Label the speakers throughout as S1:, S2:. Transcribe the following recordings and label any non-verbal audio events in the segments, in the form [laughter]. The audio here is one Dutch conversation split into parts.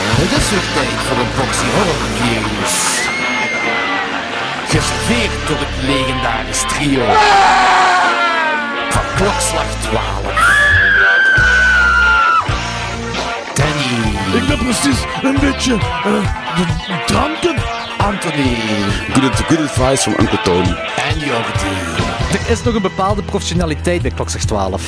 S1: het tijd voor de boxy horror reviews. Geserveerd door het legendarisch trio van klokslag 12. Danny,
S2: Ik ben precies een beetje eh, de dranken.
S1: Anthony
S3: Good, good advice from Uncle Tony.
S1: en Jordi.
S4: Er is nog een bepaalde professionaliteit bij klokslag 12.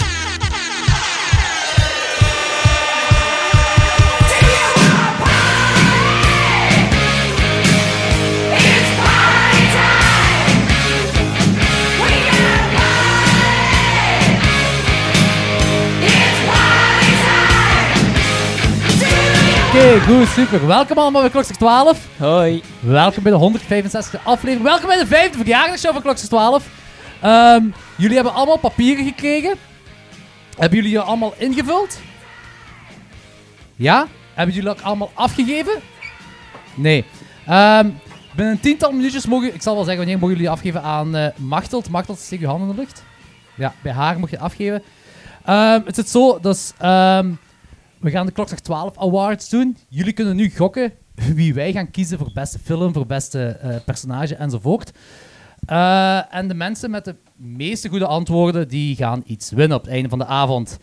S5: Oké, goed, super. Welkom allemaal bij Klokster 12. Hoi. Welkom bij de 165e aflevering. Welkom bij de vijfde verjaardagshow van Klokster 12. Ehm, jullie hebben allemaal papieren gekregen. Hebben jullie je allemaal ingevuld? Ja? Hebben jullie ook allemaal afgegeven? Nee. Ehm, binnen een tiental minuutjes mogen... Ik zal wel zeggen wanneer mogen jullie afgeven aan eh Machteld. Machteld, steek je handen in de lucht. Ja, bij haar mag je afgeven. Ehm, het zit zo, dus... ehm, we gaan de Klokslag 12 Awards doen. Jullie kunnen nu gokken wie wij gaan kiezen voor beste film, voor beste eh, personage enzovoort. Eh, en de mensen met de meeste goede antwoorden, die gaan iets winnen op het einde van de avond.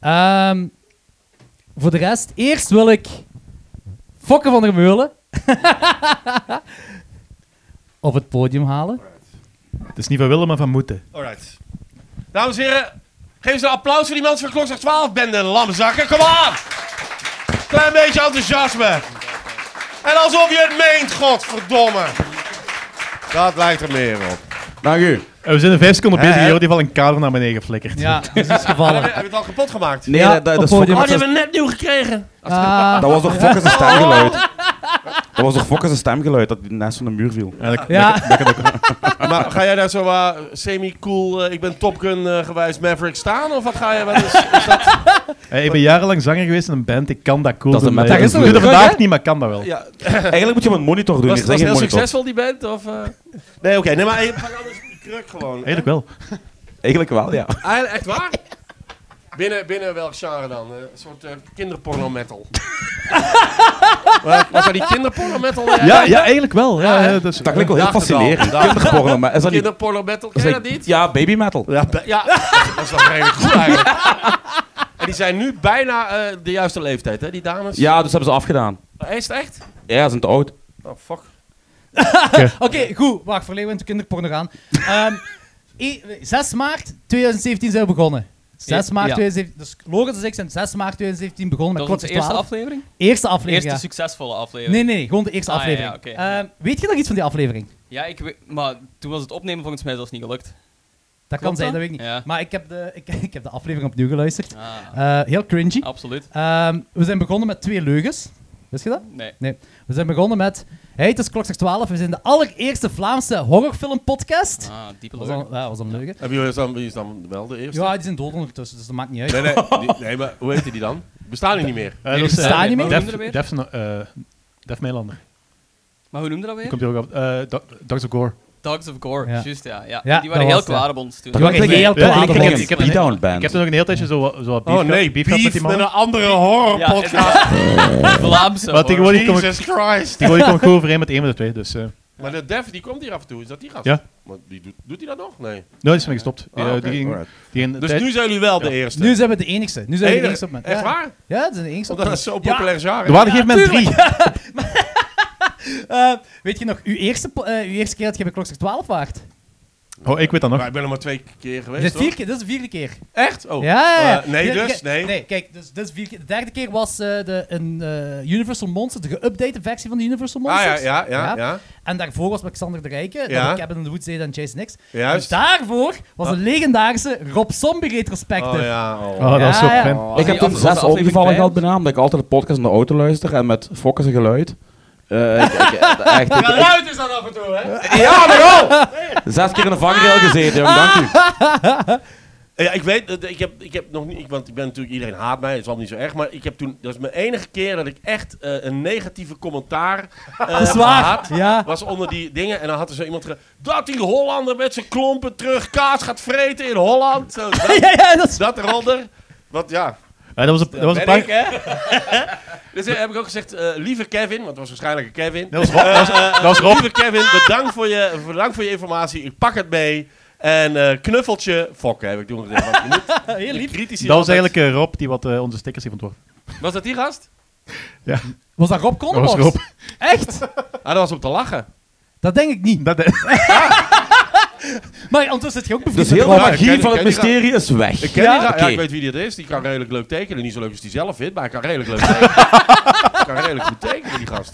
S5: Ehm, voor de rest, eerst wil ik Fokke van der Meulen [laughs] op het podium halen.
S2: Het is niet van willen, maar van moeten.
S6: Alright. Dames en heren, geef ze een applaus voor die mensen van Klokslag 12 bende, lamzakken. Kom aan! Klein beetje enthousiasme. En alsof je het meent, godverdomme. Dat lijkt er meer op.
S3: Dank u.
S2: En Eh, we zijn in vijf seconden
S6: Hè,
S2: bezig.
S6: hè?
S2: Jordi heeft al een kader naar beneden geflikkerd.
S5: Ja, dat is
S6: Heb je,
S5: gevallen.
S6: heb je het al kapot gemaakt?
S3: Nee,
S5: Dus Ja,
S3: dat, dat,
S5: op
S3: dat, is
S5: podium.
S6: Oh,
S3: Fokkers-
S6: die hebben we net nieuw gekregen.
S5: Ah,
S3: dat was toch Fokkers zijn stemgeluid? Dat was toch Fokkers zijn stemgeluid dat die naast van de muur viel?
S2: En dat-
S5: ja.
S6: Maar ga jij daar zo eh, semi-cool, eh, ik ben Top Gun eh, gewijs Maverick staan? Of wat ga je wel eens...
S2: Hey, Eh, ik ben jarenlang zanger geweest in een band. Ik kan dat cool
S3: Dat is een
S2: doen, maar
S3: methode.
S2: ik
S3: Dat is
S2: doe
S3: een
S2: dat
S5: druk,
S2: vandaag
S5: hè?
S2: niet, maar ik kan dat wel.
S6: ja,
S3: Eigenlijk moet je hem een monitor doen.
S6: was,
S3: hier
S6: was
S3: zijn
S6: heel
S3: geen monitors.
S6: succesvol die band? Of, eh? Nee, oké. nee, maar eh, pak anders die kruk gewoon.
S2: Eigenlijk wel.
S3: Eigenlijk wel, ja.
S6: Eigenlijk echt waar? Binnen, binnen welk genre dan? Eh, Een soort eh, [laughs] kinderporno-metal. Wat- Wat van die kinderporno-metal? eh,
S2: Ah, Ja, ja eigenlijk wel. Ja,
S6: Ja,
S2: ja,
S6: hè?
S2: dus,
S3: Dat klinkt wel heel
S6: Dacht het al.
S3: fascinerend. Kinderporno, maar is dat niet...
S6: Kinderporno-metal,
S3: is
S6: ken je dat niet?
S3: Ja, baby metal.
S6: Ja, be- ja. dat is wel redelijk goed eigenlijk. En die zijn nu bijna eh, de juiste leeftijd, hè, die dames? Eh,
S3: Ja, dus hebben ze afgedaan.
S6: Is het echt?
S3: Ja, ze zijn te oud.
S6: Oh, fuck.
S5: Oké, goed. Wacht, verleden we in de kinderporno gaan. Ehm, [laughs] i- 6 maart 2017 zijn we begonnen. 6
S7: Ja.
S5: maart
S7: Ja.
S5: 2017. Dus Logan en ik zijn 6 maart 2017 begonnen
S7: Dat
S5: met
S7: was onze
S5: Klokjes 12.
S7: eerste aflevering?
S5: eerste
S7: eerste
S5: aflevering, ja.
S7: succesvolle aflevering.
S5: Nee, nee, nee, gewoon de eerste
S7: Ah, ja,
S5: aflevering.
S7: ja, oké, ja.
S5: Ehm, weet je nog iets van die aflevering?
S7: Ja, ik weet, maar toen was het opnemen volgens mij zelfs niet gelukt.
S5: Dat kan
S7: Klopt
S5: zijn,
S7: dat?
S5: dat weet ik niet.
S7: Ja.
S5: Maar ik heb, de, [laughs] ik, ik heb de aflevering opnieuw geluisterd.
S7: Ah,
S5: Eh, heel cringy.
S7: absoluut.
S5: Ehm, we zijn begonnen met twee leugens. Wist je dat?
S7: Nee.
S5: Nee. We zijn begonnen met... Hey, het is klokslag 12. We zijn de allereerste Vlaamse horrorfilmpodcast.
S7: Ah, diepe
S5: Dat was,
S7: leugen.
S5: een- ja, was een leugen.
S6: Hebben jullie dan, wie is dan wel de eerste?
S5: Ja, die zijn dood ondertussen, dus dat maakt niet uit.
S6: Nee, nee, die- nee, maar hoe heette die dan? Bestaan die niet meer?
S2: eh, dat
S7: Nee,
S2: is, eh,
S5: staan niet
S7: maar
S5: meer.
S7: hoe noemde dat
S2: Def,
S7: weer?
S2: Def, eh, Def Meilander.
S7: Maar hoe noemde dat weer?
S2: Komt hier ook af. Eh, Do- Dogs of Gore.
S7: Dogs of Gore,
S5: Ja.
S7: juist ja. ja.
S5: Ja,
S7: Die
S5: dat
S7: waren heel
S5: was het, ja.
S7: kwaad op ons toen.
S5: Die waren heel
S2: Ja,
S5: kwaad
S2: ik-
S5: op
S2: ik-
S5: ons.
S3: Ik
S2: ik
S3: heb
S2: heb-
S3: een down
S2: Ik
S3: band.
S2: heb er nog een hele tijdje zo wat zo wat beef gehad- Oh, beef gehad met die man.
S6: andere
S7: Ja,
S6: horrorpodcast.
S5: [laughs]
S2: Maar
S7: Vlaamse horror.
S2: tegenwoordig kom ik-
S6: Jesus Christ.
S2: tegenwoordig kom ik goed overeen met één van de twee. Dus, eh. nou,
S6: Maar de Def, die komt hier af en toe. Is dat die gast?
S2: Ja.
S6: Maar die doet, doet hij dat nog? Nee.
S2: die is mee gestopt. Die,
S6: Ah,
S2: eh,
S6: oké,
S2: die ging,
S3: alright.
S2: die ging- eh,
S6: Dus
S2: tijd-
S6: nu zijn jullie wel de eerste.
S5: Nu zijn we de enigste. Nu zijn we de
S6: Enige-
S5: enigste op het moment.
S6: Echt
S5: Ja.
S6: waar?
S5: Ja, het is de enigste op
S6: Omdat
S5: het
S6: dat is zo'n
S5: Ja.
S6: populair genre.
S2: Er waren op een gegeven moment drie.
S5: moment. Eh, weet je nog, uw eerste, po- eh, uw eerste keer dat je bij Klokster 12 waart?
S2: Oh, ik weet dat nog.
S6: Maar ik ben er maar twee keer
S5: Dit is,
S6: geweest.
S5: de vier keer, dit is de vierde keer.
S6: hoor. Echt? Oh.
S5: Ja, ja, ja.
S6: Eh, nee,
S5: Ja,
S6: dus?
S5: ja,
S6: Nee.
S5: Nee, kijk, dus, dit is vier keer. De derde keer was eh, de een, eh, Universal Monster, de geüpdate versie van de Universal
S6: Ah
S5: Monsters.
S6: ja, ja, ja.
S5: Ja.
S6: ja.
S5: En daarvoor was Alexander de Rijke,
S6: Ja.
S5: dan Cabin in the Woods deed en Jason X.
S6: Juist. Ah.
S5: En daarvoor was een legendarische Rob Zombie
S6: Oh
S5: retrospective.
S6: ja.
S2: Oh, dat was
S5: dus.
S2: zo
S5: Ja, ja.
S2: fijn.
S3: Ik heb
S7: die
S3: toen
S7: af-
S3: zes
S7: was aflevering
S3: ongevallen
S7: vijf?
S3: gehad bijna, omdat ik altijd de podcast in de auto luister en met fokkers en geluid. Eh, ik- ik- echt, ik- ik-
S6: Geluid is dat af en toe, hè?
S3: ja, maar wel! Zes keer in de vangrail gezeten, jong, dank u.
S6: Ja, ik weet, dat- ik heb, ik heb nog niet, ik- want ik ben natuurlijk, iedereen haat mij, het is allemaal niet zo erg, maar ik heb toen, dat is mijn enige keer dat ik echt eh, een negatieve commentaar eh
S5: [laughs] Dat is
S6: heb
S5: waar.
S6: gehad.
S5: Ja.
S6: was onder die dingen. En dan had er zo iemand gezegd... Dat die Hollander met zijn klompen terug kaas gaat vreten in
S5: [laughs]
S6: Holland. Zo, dat,
S5: [laughs] ja, ja, dat is
S6: dat eronder. Want ja,
S2: Eh, Ja, dat was een, dat was een
S6: ben
S2: paar,
S6: ik, hè? [laughs] Dus eh, heb ik ook gezegd, eh, lieve Kevin, want het was waarschijnlijk een Kevin.
S2: Dat was Rob. dat was-
S6: Eh, eh,
S2: dat was Rob.
S6: Lieve Kevin, bedankt voor je, bedankt voor je informatie. Ik pak het mee. En eh, knuffeltje, fokken heb ik toen gezegd. want je moet-
S5: Heel
S6: je
S5: lief.
S6: kritisch hier
S2: Dat was
S6: altijd-
S2: eigenlijk eh, Rob die wat eh, onze stickers heeft ontworpen.
S6: Was dat die gast?
S5: Was dat Rob
S2: Dat was
S5: Kronenbos?
S2: Rob.
S5: Echt?
S6: Ah, dat was om te lachen.
S5: Dat denk ik niet.
S2: Dat, eh,
S5: Maar ondertussen zit je ook bevriend
S3: Dus
S5: met
S3: heel de
S5: Rob.
S6: Ja, ik ken-
S3: magie van
S6: ik
S3: het
S6: ken die
S3: mysterie is weg.
S6: Ik ken
S5: Ja?
S6: die ra- ja,
S3: Oké.
S6: ik weet wie dat is. Die kan redelijk leuk tekenen. Niet zo leuk als die zelf vindt, maar hij kan redelijk leuk
S2: [laughs]
S6: tekenen. kan redelijk goed tekenen, die gast.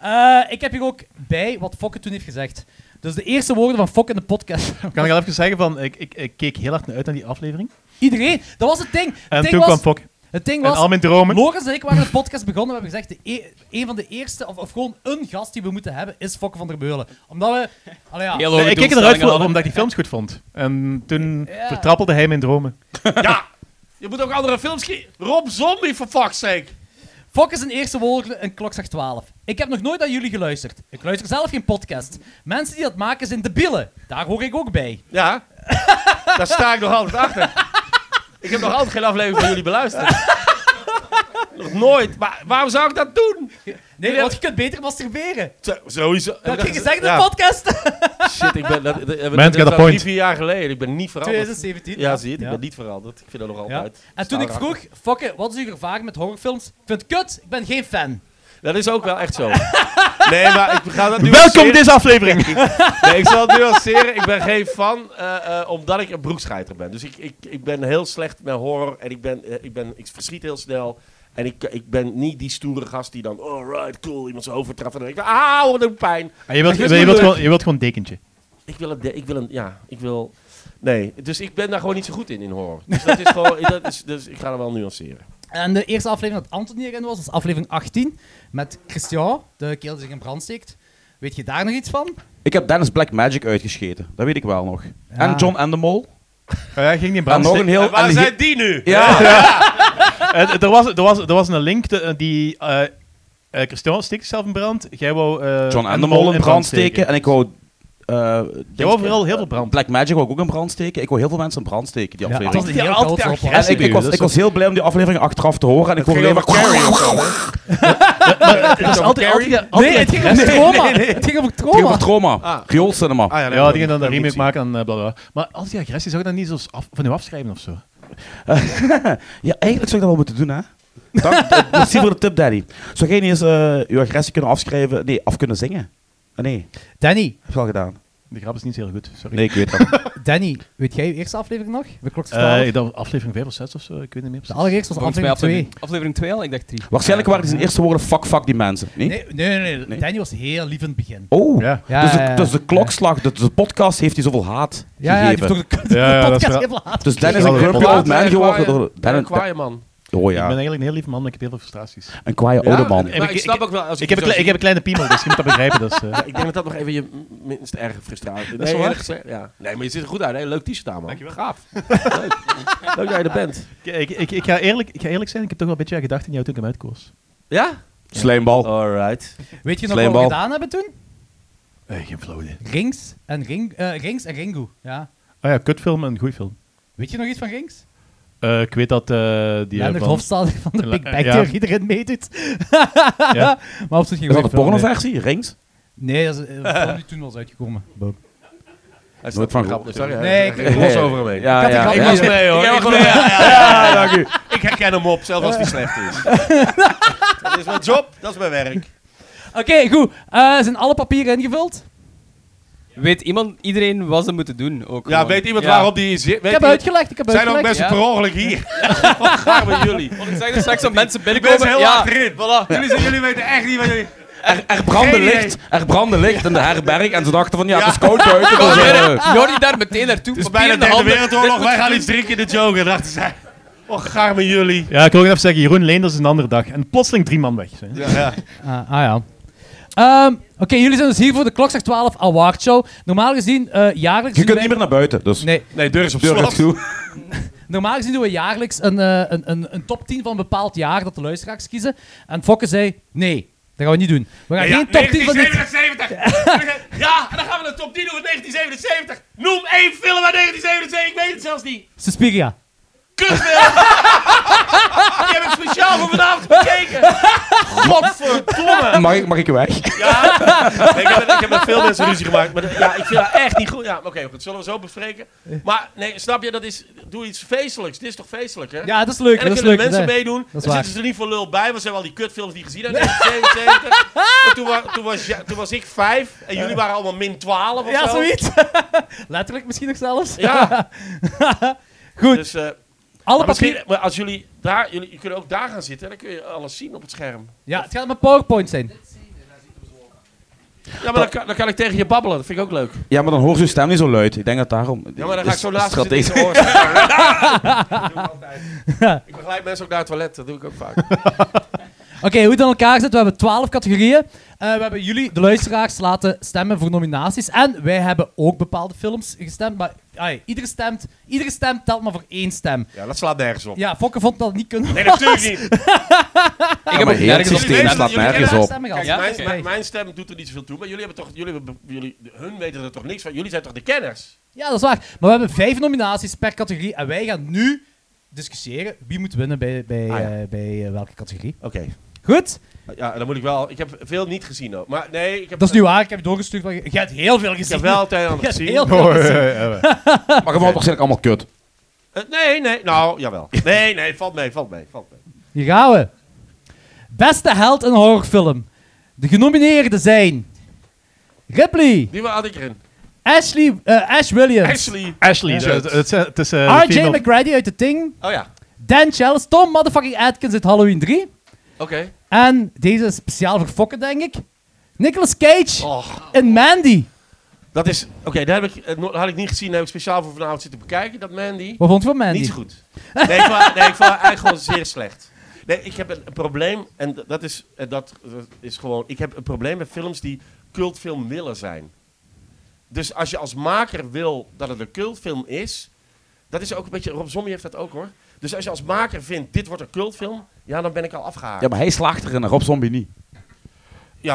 S5: Eh, ik heb hier ook bij wat Fokke toen heeft gezegd. Dus de eerste woorden van Fokke in de podcast.
S2: [laughs]
S5: [laughs]
S2: kan ik al even zeggen van, ik, ik, ik keek heel hard naar uit naar die aflevering.
S5: Iedereen, dat was het ding. Het
S2: En
S5: ding
S2: toen
S5: was,
S2: kwam Fok.
S5: Het ding
S2: En
S5: was,
S2: al mijn dromen.
S5: Lorenz en ik waren de podcast begonnen. We hebben gezegd, de e- een van de eerste, of, of gewoon een gast die we moeten hebben, is Fokke van der Beulen. Omdat we... Allee, ja.
S7: Heel
S2: Nee,
S7: hoge
S2: ik keek eruit
S7: doelstellingen
S2: voor,
S7: hadden.
S2: omdat ik die films goed vond. En toen
S5: Ja.
S2: vertrappelde hij mijn dromen.
S6: Ja, je moet ook andere films kiezen. Rob Zombie, for fuck's sake.
S5: Fokke zijn eerste woorden een klok zegt 12. Ik heb nog nooit aan jullie geluisterd. Ik luister zelf geen podcast. Mensen die dat maken zijn debielen. Daar hoor ik ook bij.
S6: Ja, [laughs] daar sta ik nog altijd achter. Ik heb nog altijd geen aflevering van jullie beluisterd. Nog nooit. Maar waarom zou ik dat doen?
S5: Nee, want je kunt beter masturberen.
S6: Zo- Sowieso.
S5: Dat
S6: Heb
S5: ging
S6: ik
S5: gezegd in de
S6: ja,
S5: podcast.
S6: Shit, ik ben... Dat, dat, dat,
S2: got a
S6: dat
S2: point.
S6: Drie, vier jaar geleden. Ik ben niet veranderd.
S5: 2017.
S6: Ja, zie je het? Ik
S5: Ja.
S6: ben niet veranderd. Ik vind dat nog
S5: Ja.
S6: altijd.
S5: En toen ik vroeg, Fokke, wat is uw ervaring met horrorfilms? Ik vind het kut, ik ben geen fan.
S6: Dat is ook wel echt zo. Nee, maar ik ga dat nu...
S2: Welkom
S6: dit.
S2: deze aflevering!
S6: Nee, ik zal het nuanceren. Ik ben geen fan, eh, eh, omdat ik een broekscheiter ben. Dus ik, ik, ik ben heel slecht met horror en ik, ben, eh, ik, ben, ik verschiet heel snel. En ik, ik ben niet die stoere gast die dan, alright, cool, iemand zijn overtrapt. En dan denk ik, ah, wat een pijn.
S2: Ah, je, wilt,
S6: Ik
S2: je,
S6: wist
S2: wilt
S6: niet
S2: gewoon, je wilt gewoon dekentje.
S6: Ik wil, een, de- ik wil een, ja, ik wil, nee. Dus ik ben daar gewoon niet zo goed in, in horror. Dus dat is gewoon, [laughs] dat is, dus ik ga er wel nuanceren.
S5: En de eerste aflevering dat Anthony erin was, was aflevering 18. Met Christian, de kerel die zich in brand steekt. Weet je daar nog iets van?
S3: Ik heb Dennis Black Magic uitgescheten. Dat weet ik wel nog. En John Endemol.
S2: Ah, ja, ging niet in
S3: En
S2: brand
S3: nog een
S2: steken.
S3: heel...
S6: En waar
S3: en die-
S6: zijn die nu?
S3: Ja.
S2: Eh, d- er, was, er, was, er was een link te- eh, die... eh eh, Christian steekt zichzelf in brand. Jij wou... eh,
S3: John
S2: Endemol
S3: Endemol in brand steken. En ik wou... eh,
S2: Jij wou vooral heel veel brand.
S3: Black Magic wou ik ook in brand steken. Ik wou heel veel mensen in brand steken, die aflevering.
S5: was een heel grote
S3: En
S5: operatie.
S3: ik, ik,
S2: dus
S3: was, ik was heel blij om die aflevering achteraf te horen. En ik
S6: Het
S3: hoorde
S6: ging
S3: alleen
S6: over
S3: maar...
S6: Carrie of zo, hè?
S2: Dat is altijd... altijd, altijd
S5: Nee, het ging over trauma. Het ging over
S3: Het ging over
S5: trauma.
S3: trauma.
S6: Ah.
S3: Rioolcinema.
S6: Ah,
S2: ja, die gaan dan
S6: dat
S2: een
S6: moet ik
S2: remake
S6: zien.
S2: maken en eh, bla bla. bla. Maar als die agressie zou ik dat niet zo af, van u afschrijven of zo?
S3: Ja, eigenlijk zou ik dat wel moeten doen, hè? Dank, eh, [laughs] merci voor de tip, Daddy. Zou jij niet eens eh je agressie kunnen afschrijven? Nee, af kunnen zingen? Ah, nee, heb
S5: Danny,
S3: je wel gedaan.
S2: De grap is niet heel goed, sorry.
S3: Nee, ik weet dat.
S5: Danny, weet jij je eerste aflevering nog? We klok
S2: Eh,
S5: 12.
S2: dat was aflevering 5 of 6 of zo, ik weet niet meer
S5: De
S2: precies.
S5: allereerste was
S7: Volgens mij
S5: aflevering 2.
S7: aflevering, aflevering 2 al, ik dacht 3.
S3: [laughs] Waarschijnlijk waren zijn eerste woorden fuck, fuck die mensen. Nee?
S5: Nee, nee, nee, nee,
S3: Nee.
S5: Danny was heel lief in het begin.
S3: Oh,
S2: Ja.
S5: Ja,
S3: dus, de,
S5: ja, ja.
S3: dus de klokslag, de, de podcast heeft hij zoveel haat
S5: Ja, ja, die
S3: gegeven.
S5: heeft toch de,
S2: Ja, ja,
S5: de
S2: dat is
S5: podcast
S2: wel-
S5: heel laat.
S3: dus Dan is
S2: Ja,
S3: een
S2: dat is
S3: grumpy
S2: wel
S3: old man
S6: een
S3: geworden
S6: eh, kwaaie-
S3: door... Dan,
S6: Een kwaaie man.
S3: oh
S2: Ik ben
S3: ja,
S2: eigenlijk een heel lief man, maar ik heb heel veel frustraties.
S3: een kwaaie
S6: Ja?
S3: oude man.
S6: Ah, Maar ik,
S2: ik-
S6: snap
S2: ik-
S6: ook wel... Als
S2: Ik heb, een
S6: zo
S2: kle- ik heb een kleine piemel, dus je moet dat begrijpen. Dus, eh.
S6: Ik denk dat dat nog even je m- minst erg frustratie is.
S2: is wel
S6: eerlijk
S2: waar.
S6: gezegd, ja. nee, maar je ziet er goed uit. Hè? Leuk t-shirt aan, man.
S2: Dankjewel.
S6: Gaaf. [laughs] Leuk. Leuk dat je er bent.
S2: ik, ik, ik, ga eerlijk, ik ga eerlijk zijn, ik heb toch wel een beetje aan gedacht in jou toen ik hem uitkoos.
S6: Ja?
S3: Slijmbal.
S6: Alright.
S5: Weet je nog wat we
S3: Slijmbal.
S5: gedaan hebben toen?
S2: Eh, geen flauw idee.
S5: Rings en, ring, eh, Rings en Ringu. Ja.
S2: Oh ja, kutfilm en een goeie film.
S5: Weet je nog iets van Rings?
S2: Eh, ik weet dat eh die... eh,
S5: Leonard
S2: van-
S5: Hofstadter van de
S2: La-
S5: Big Bang
S2: ja.
S5: Theorie erin meedoet.
S2: Ja.
S5: [laughs] Maar op zich geen
S3: Is dat een
S5: goede film, nee.
S3: pornoversie? Rings?
S5: Nee, dat is eh, een film die toen was uitgekomen.
S6: Hij is
S3: Nooit
S6: van
S3: van
S6: grap.
S3: gehoord.
S6: Sorry. hè.
S5: Nee,
S6: ik
S5: ik-
S6: ging los over hem heen.
S3: Ja,
S5: had die
S3: ja.
S5: grap
S6: Ik
S3: ja.
S6: was mee, hoor.
S7: Ik
S6: Ik,
S7: was
S6: was
S7: mee.
S6: mee. Ja, ja, ja, dank u. ik herken hem op, zelfs als hij slecht
S4: [laughs]
S6: is. dat is mijn job. Dat is mijn werk.
S5: Oké, goed. Eh, zijn alle papieren ingevuld?
S7: Weet iemand, iedereen wat ze moeten doen ook.
S6: Ja,
S7: gewoon.
S6: weet iemand
S7: Ja.
S6: waarop die zit?
S5: Ik
S6: Weet
S5: heb
S6: iemand-
S5: uitgelegd, ik heb
S6: Zijn ook
S5: uitgelegd.
S6: mensen
S7: Ja.
S6: per ongeluk hier. Wat gaar met jullie.
S7: Want ik zeg er
S6: [laughs]
S7: straks dat mensen
S6: Ik ben
S7: binnenkomen.
S6: heel
S7: ja,
S6: achterin. Jullie, zijn- jullie weten echt niet wat jullie...
S3: Er, er brandde
S6: Geen idee.
S3: licht. Er brandde licht in de herberg. En ze dachten van, ja,
S6: Ja.
S3: het is koud buiten.
S7: Kom
S3: dus, eh,
S7: binnen. Jordi daar meteen naartoe.
S6: Het is bijna de
S7: de
S6: derde wereldoorlog. Wij gaan iets drinken in de Joker, dachten zij. Och, gaar met jullie.
S2: Ja, ik wil ook even zeggen, Jeroen Leenders is een andere dag. En plotseling drie man weg. hè.
S5: Ah, ah ja. Ehm, Oké, jullie zijn dus hier voor de Klokslag 12 Award Show. Normaal gezien, eh, jaarlijks...
S3: je
S5: doen
S3: kunt niet
S5: wij-
S3: meer naar buiten, dus...
S5: Nee,
S6: Nee, deur is op
S3: Deur
S6: slot.
S3: gaat toe.
S5: [laughs] normaal gezien doen we jaarlijks een, eh, een, een, een top 10 van een bepaald jaar dat de luisteraars kiezen. En Fokke zei, nee, dat gaan we niet doen. We gaan
S6: Ja,
S5: geen top 10 van dit...
S6: 1977! ja, en dan gaan we de top 10 over 1977! Noem één film uit 1977, ik weet het zelfs niet!
S5: Suspiria.
S6: [laughs] Kutfilm! Die heb ik speciaal voor vandaag gisteravond gekeken. Godverdomme.
S3: eh, Mag ik, mag ik weg?
S6: Ja, [laughs] ik heb, met- ik heb met veel mensen
S5: [laughs]
S6: ruzie gemaakt. Maar dat- ja, ik vind dat echt niet goed. Ja, oké, goed, zullen we zo bespreken. Maar nee, snap je, dat is, doe iets feestelijks. Dit is toch feestelijk, hè?
S5: Ja, dat is leuk.
S6: En dan
S5: Dat is
S6: kunnen
S5: leuk.
S6: de mensen
S5: hè.
S6: meedoen.
S5: is
S6: Dan
S5: waar.
S6: zitten ze er niet voor lul bij, want ze hebben al die kutfilms niet gezien. uit 1977. Maar toen, wa- toen, was, ja- toen was ik vijf en jullie waren allemaal min 12 of
S5: Ja,
S6: zo.
S5: zoiets. [laughs] Letterlijk misschien nog zelfs.
S6: Ja.
S5: [laughs] Goed.
S6: Dus, eh,
S5: Alle
S6: maar misschien,
S5: papieren.
S6: maar als jullie daar, jullie, jullie kunnen ook daar gaan zitten, dan kun je alles zien op het scherm.
S5: Ja, het gaat met PowerPoint zijn.
S6: Ja, maar dan kan, dan kan ik tegen je babbelen, dat vind ik ook leuk.
S3: Ja, maar dan hoort je stem niet zo luid. Ik denk dat daarom...
S6: Ja, maar dan ga ik
S3: is
S6: zo naast je zitten in
S3: strategisch.
S6: zijn oren slaan. Dat doe ik altijd. Ik begeleid mensen ook naar het toilet, dat doe ik ook vaak.
S5: Oké, hoe het in elkaar zit. We hebben twaalf categorieën. Eh, we hebben jullie, de luisteraars, laten stemmen voor nominaties. En wij hebben ook bepaalde films gestemd. Maar ai, iedere, stemt, iedere stem telt maar voor één stem.
S6: Ja, dat slaat nergens op.
S5: Ja, Fokke vond dat het niet kunnen. [laughs]
S6: Nee, natuurlijk niet.
S7: Ik heb
S3: maar heel
S7: ook
S3: het
S7: nergens op
S3: systeem
S7: gestemd.
S3: slaat
S6: jullie
S3: nergens
S6: kennen
S3: op.
S5: Stemmen
S6: Kijk,
S5: gehad.
S7: Ja,
S6: mijn,
S7: oké.
S6: mijn, mijn stem doet er niet zoveel toe, maar jullie hebben toch, jullie, hebben- jullie, hun weten er toch niks van. Jullie zijn toch de kenners?
S5: Ja, dat is waar. Maar we hebben vijf nominaties per categorie. En wij gaan nu discussiëren wie moet winnen bij, bij,
S3: Ah, ja.
S5: eh, bij eh, welke categorie.
S6: Oké.
S5: Goed?
S6: Ja, dan moet ik wel. Ik heb veel niet gezien ook. Maar nee, ik heb,
S5: Dat is nu waar. Ik heb je doorgestuurd. maar je- Je hebt heel veel
S6: ik
S5: gezien.
S6: heb wel het een en
S5: [laughs] Je
S6: ander
S5: hebt
S6: gezien.
S5: heel veel gezien.
S3: Maar je vond waarschijnlijk allemaal kut.
S6: Eh, nee, nee, nou, jawel. Nee, nee, valt mee, valt mee, valt mee.
S5: Hier gaan we. Beste held in horrorfilm. De genomineerden zijn... Ripley,
S6: Die had ik erin.
S5: Ashley, eh, Ash Williams,
S2: [laughs]
S6: Ashley.
S2: Ashley.
S6: Ja.
S2: eh, het- het- Het is eh, de
S5: R.J.
S2: female-
S5: McGrady uit The Thing,
S6: Oh ja,
S5: Dan Chalice, Tom motherfucking Atkins uit Halloween 3.
S6: oké.
S5: En deze is speciaal voor fokken, denk ik. Nicolas Cage
S6: Och,
S5: in Mandy.
S6: Oh, dat is. Oké, daar heb ik, eh, no- had ik niet gezien. Daar heb ik speciaal voor vanavond zitten bekijken. Dat Mandy.
S5: Wat vond je van Mandy?
S6: Niet zo goed. Nee, ik vond, nee, ik vond haar eigenlijk gewoon zeer slecht. Nee, ik heb een, een probleem. En d- dat is, en dat, dat is gewoon. Ik heb een probleem met films die cultfilm willen zijn. Dus als je als maker wil dat het een cultfilm is. Dat is ook een beetje. Rob Zombie heeft dat ook hoor. Dus als je als maker vindt, dit wordt een cultfilm. Ja, dan ben ik al afgehaakt.
S3: Ja,
S6: Ja,
S3: maar hij slaagt erin, Rob Zombie niet.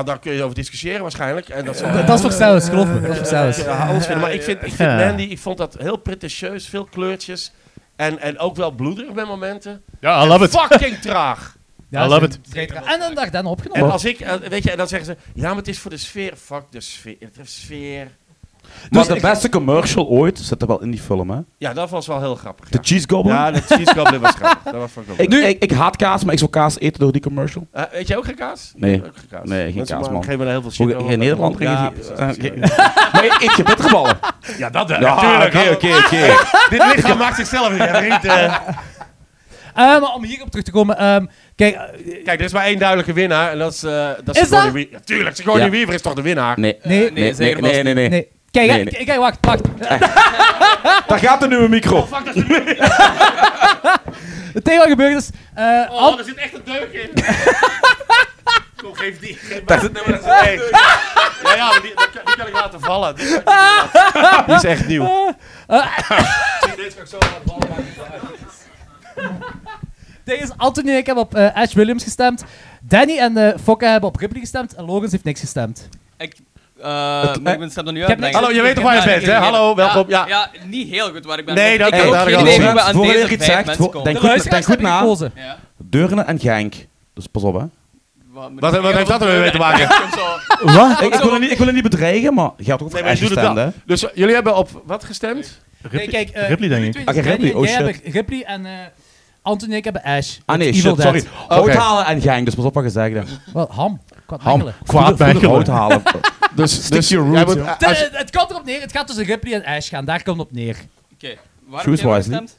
S6: daar kun je over discussiëren waarschijnlijk. En dat is
S5: Dat is voor zelfs, geloof me. Dat is voor zelfs.
S6: Ja, alles vinden. Maar ik vind, ik vind
S2: Ja.
S6: Mandy, ik vond dat heel pretentieus. Veel kleurtjes. En, en ook wel bloederig bij momenten.
S2: Ja, I love it.
S6: Fucking traag.
S5: Ja,
S2: I love
S5: ze-
S2: it.
S5: vrij traag. En een dag dan
S6: En
S5: opgenomen.
S6: als ik, eh, weet je, en dan zeggen ze, ja, maar het is voor de sfeer. Fuck de sfeer. De sfeer.
S3: Maar
S6: Dus ik-
S3: de beste commercial ooit zit er wel in die film, hè?
S6: Ja, dat was wel heel grappig.
S3: De
S6: Ja,
S3: Cheese Goblin.
S6: ja dat cheese goblin was grappig. Dat was fucking
S3: ik, ik, ik haat kaas, maar ik zou kaas eten door die commercial.
S6: Weet jij ook geen kaas?
S3: Nee.
S6: Ik heb ook geen kaas.
S3: Nee, geen
S6: Mensen
S3: kaas,
S6: maken-
S3: man.
S6: Geven me daar heel veel shit
S3: Hoe,
S6: over.
S3: in Nederland ging
S6: Ja,
S3: ja,
S6: precies,
S3: Maar je eet je bitterballen.
S6: ja, dat wel.
S3: Ja, oké, oké, oké.
S6: Dit lichaam maakt zichzelf weer. hè, vriend, eh.
S5: Eh, maar om hierop terug te komen. ehm, kijk, eh,
S6: Kijk, er is maar één duidelijke winnaar. En dat is, eh dat
S5: Is
S6: is, Sigourney
S5: dat?
S6: Wea- Ja, tuurlijk, Sigourney
S3: Ja.
S6: Weaver is toch de winnaar?
S3: Nee,
S5: nee,
S7: Nee,
S3: nee,
S7: zeker
S3: nee,
S7: vast
S3: nee, nee.
S5: nee. Kijk,
S3: Nee,
S5: eh, kijk, wacht, wacht.
S3: Daar gaat de nieuwe micro.
S6: Oh, Fuck, dat is de winnaar.
S5: Het enige wat gebeurd is... eh, Ab-
S6: Oh, er zit echt een deuk in. Kom, geef die. Geef maar het nummer dat ze- Nee. Ja, ja, maar die, die, kan, die kan ik laten vallen. Die, kan ik niet laten- [laughs] Die is echt nieuw. Zie, Deze kan ik zo laten vallen.
S5: Tegen Anthony en ik hebben op eh, Ash Williams gestemd. Danny en eh Fokke hebben op Ripley gestemd. En Logans heeft niks gestemd.
S7: Ik, eh, maar ik ben stem er nu uit.
S5: heb
S7: denk ik.
S6: Hallo, je weet toch waar je bent, hè? Hallo, welkom.
S7: Ja,
S6: Ja.
S7: ja, niet heel goed waar ik ben.
S6: Nee, dat-
S7: ik heb
S6: dat-
S7: ook
S6: daar
S7: geen
S6: gaan we.
S7: idee hoe we
S3: Mensen,
S7: aan
S3: dus voor
S7: deze
S3: eerlijk
S7: vijf
S3: gezegd,
S7: mensen
S3: voor-
S7: komen.
S3: denk
S5: De
S3: goed-
S5: luisteraars
S3: denk goed
S5: hebben
S3: na.
S5: gekozen.
S7: Ja.
S3: Deurne en Genk. Dus pas op, hè.
S7: Wat,
S6: Wat- wat heeft dat er weer mee te [laughs] maken?
S3: Wat? Ik, ik, wil het niet, ik wil het niet bedreigen, maar je gaat ook
S6: Nee,
S3: voor
S6: maar
S3: Ash
S6: je doet het
S3: gestemd, hè.
S6: wel. Dus eh, jullie hebben op wat gestemd?
S5: Nee,
S2: Ripley,
S5: kijk, eh,
S2: Ripley, denk
S5: jullie
S2: ik.
S5: twee-
S3: Ah, kijk,
S5: Danny
S3: Ripley,
S5: en
S3: oh
S5: jij
S3: shit.
S5: hebben Ripley en eh, Anthony en ik hebben Ash.
S3: Ah nee,
S5: Uit
S3: shit,
S5: Evil Dead.
S3: sorry. Hout
S6: Oké.
S3: halen en Genk, dus pas op wat je zegt. hè.
S5: Wel, ham. Kwaad
S3: Ham,
S5: mengelen.
S3: kwaad
S2: Voeder-
S3: bij hout
S2: voeder-
S3: halen.
S6: Dus,
S3: Stick to your
S6: jij
S3: roots,
S6: moet-
S5: De-
S6: als-
S5: het komt erop neer. Het gaat tussen Ripley en Ash gaan. Daar komt het op neer.
S7: Oké, waar heb
S3: Choose
S7: jij
S3: wisely.
S7: op gestemd?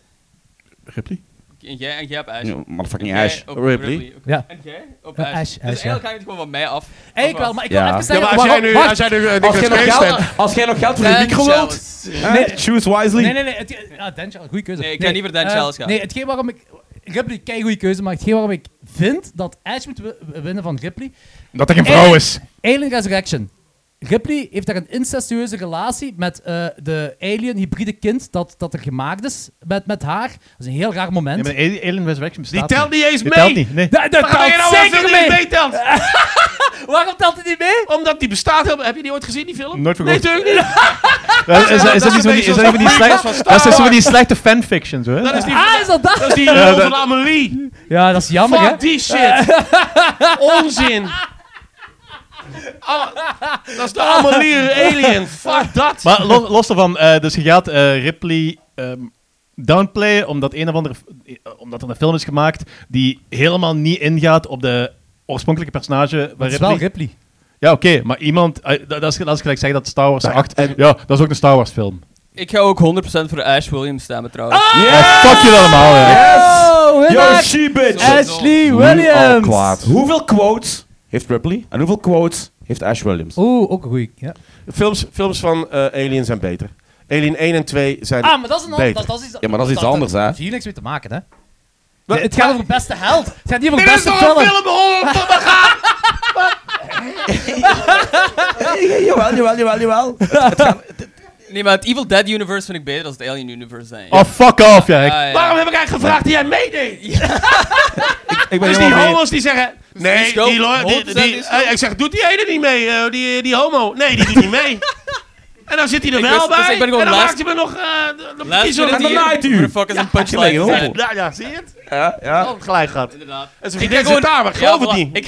S2: Ripley?
S7: En jij en jij op Ash.
S3: Ja, Motherfucking
S7: Jij
S3: Ash.
S7: op
S3: Ripley.
S7: oké.
S5: Ja.
S7: En jij op
S5: Ja,
S7: Ash.
S5: Ash,
S7: Dus
S5: Ash,
S7: eigenlijk
S5: ja.
S7: hangt het gewoon van mij af.
S5: Eigenlijk wel, maar ik wil
S3: Ja.
S5: even
S6: Ja,
S5: zeggen...
S6: maar als jij
S5: waarom-
S6: nu,
S5: wacht.
S6: als jij nu eh,
S3: Als
S6: Nicolas
S3: jij, nog
S6: Cage
S3: geld,
S6: stemt-
S3: [laughs] als jij nog geld voor de
S7: Dan
S3: micro wilt,
S7: Chalice.
S3: hè, choose wisely.
S5: Nee, nee, nee. Het, ja, Dan Charles, goede keuze.
S7: Nee, ik ga niet voor Dan
S5: eh,
S7: Charles gaan.
S5: Nee, hetgeen waarom ik... Ripley, kei goede keuze, maar hetgeen waarom ik vind dat Ash moet wi- winnen van Ripley... Eh,
S2: Dat hij een vrouw is.
S5: Alien Resurrection. Ripley heeft daar een incestueuze relatie met eh, de alien-hybride kind dat, dat er gemaakt is met, met haar. Dat is een heel raar moment.
S2: Ja, maar Alien Resurrection
S6: Die
S2: bestaat
S6: telt niet eens
S2: Die telt
S6: mee.
S2: niet, nee.
S5: Da- dat
S6: Waar ben je
S5: telt
S6: nou wel
S5: zeker
S6: veel niet
S5: mee!
S6: meetelt?
S5: Waarom telt hij niet mee?
S6: [laughs] Omdat die bestaat helemaal. Heb je die ooit gezien, die film?
S2: Nooit
S6: Nee,
S2: verkocht.
S6: natuurlijk niet. [laughs]
S2: Dat is- is- Is
S6: dat is
S2: dat niet van
S6: een
S2: die-
S6: beetje
S2: is dat niet van die slechte-
S6: van Star
S2: dat is van
S6: Wars.
S2: die slechte fanfictions, hoor?
S6: Dat is die,
S5: Ah, is dat dat?
S6: dat is die rol
S2: dat-
S6: van Amelie.
S5: Ja, dat is jammer, hè?
S6: Fuck die
S7: [laughs]
S6: shit. Onzin. Ah, dat is de Amelie Alien. Fuck dat.
S2: Maar los, los daarvan, eh, dus je gaat eh, Ripley ehm downplayen omdat, een of andere, eh, omdat er een film is gemaakt die helemaal niet ingaat op de oorspronkelijke personage. Waar
S5: Dat is wel
S2: Ripley...
S5: Ripley.
S2: Ja, oké, maar iemand... eh, dat, dat is, dat is gelijk zeggen dat Star Wars
S3: Ja,
S2: 8...
S3: en-
S2: Ja, dat is ook een Star Wars film.
S7: Ik ga ook 100% voor Ash Williams stemmen trouwens.
S2: Ah, fuck jullie allemaal, ja.
S5: Oh,
S3: Yo,
S5: winnaar!
S3: she bitch!
S5: Ashley
S3: Nu al
S5: Williams!
S3: oh, kwaad. Hoeveel quotes heeft Ripley en hoeveel quotes heeft Ash Williams?
S6: Oh,
S5: Oeh, ook een goeie. Ja.
S6: Films, films van eh, Alien zijn beter. Alien 1 en 2 zijn...
S5: Ah, maar dat is een ander.
S6: Beter.
S5: Dat, dat is iets,
S3: Ja, maar dat is iets anders, hè?
S5: heeft hier niks mee te maken, hè? Ja, het gaat over beste held. Het gaat niet over
S6: Dit is
S5: beste
S6: toch een
S5: film.
S6: film, Oh, hoor!
S3: jawel, jawel, jawel, jawel.
S7: Nee, maar het Evil Dead universe vind ik beter dan het Alien universe. Zijn.
S2: Oh, fuck off, ja. Ik,
S7: Ah, ja.
S6: Waarom heb ik eigenlijk gevraagd die jij meedeed?
S3: Ik ben
S6: Dus die
S3: helemaal mee.
S6: homo's die zeggen... Nee,
S7: scope,
S6: die, lo- die,
S7: 100%
S6: die-
S7: is
S6: eh, Ik zeg, doet die ene niet mee, eh, die, die homo? Nee, die doet niet mee. En dan zit hij er
S7: Ik
S6: wel
S7: wist-
S6: bij.
S7: dus ik ben gewoon
S6: en dan
S7: last-
S6: maakt hij me nog... eh, dan
S7: Last
S6: kies je nog-
S7: minute
S3: en dan
S7: hier.
S3: naait u.
S7: Who the fuck is een
S3: gelijk,
S7: punchline?
S3: joh.
S7: zijn?
S6: Ja, ja, zie je het?
S3: Ja, ja.
S6: Oh, gelijk gehad.
S7: Inderdaad.
S6: En ze
S7: Ik ga
S6: vergeten
S7: gewoon,
S6: het daar, maar geloof
S7: Ja,
S6: het
S7: voilà.
S6: niet.
S7: Ik,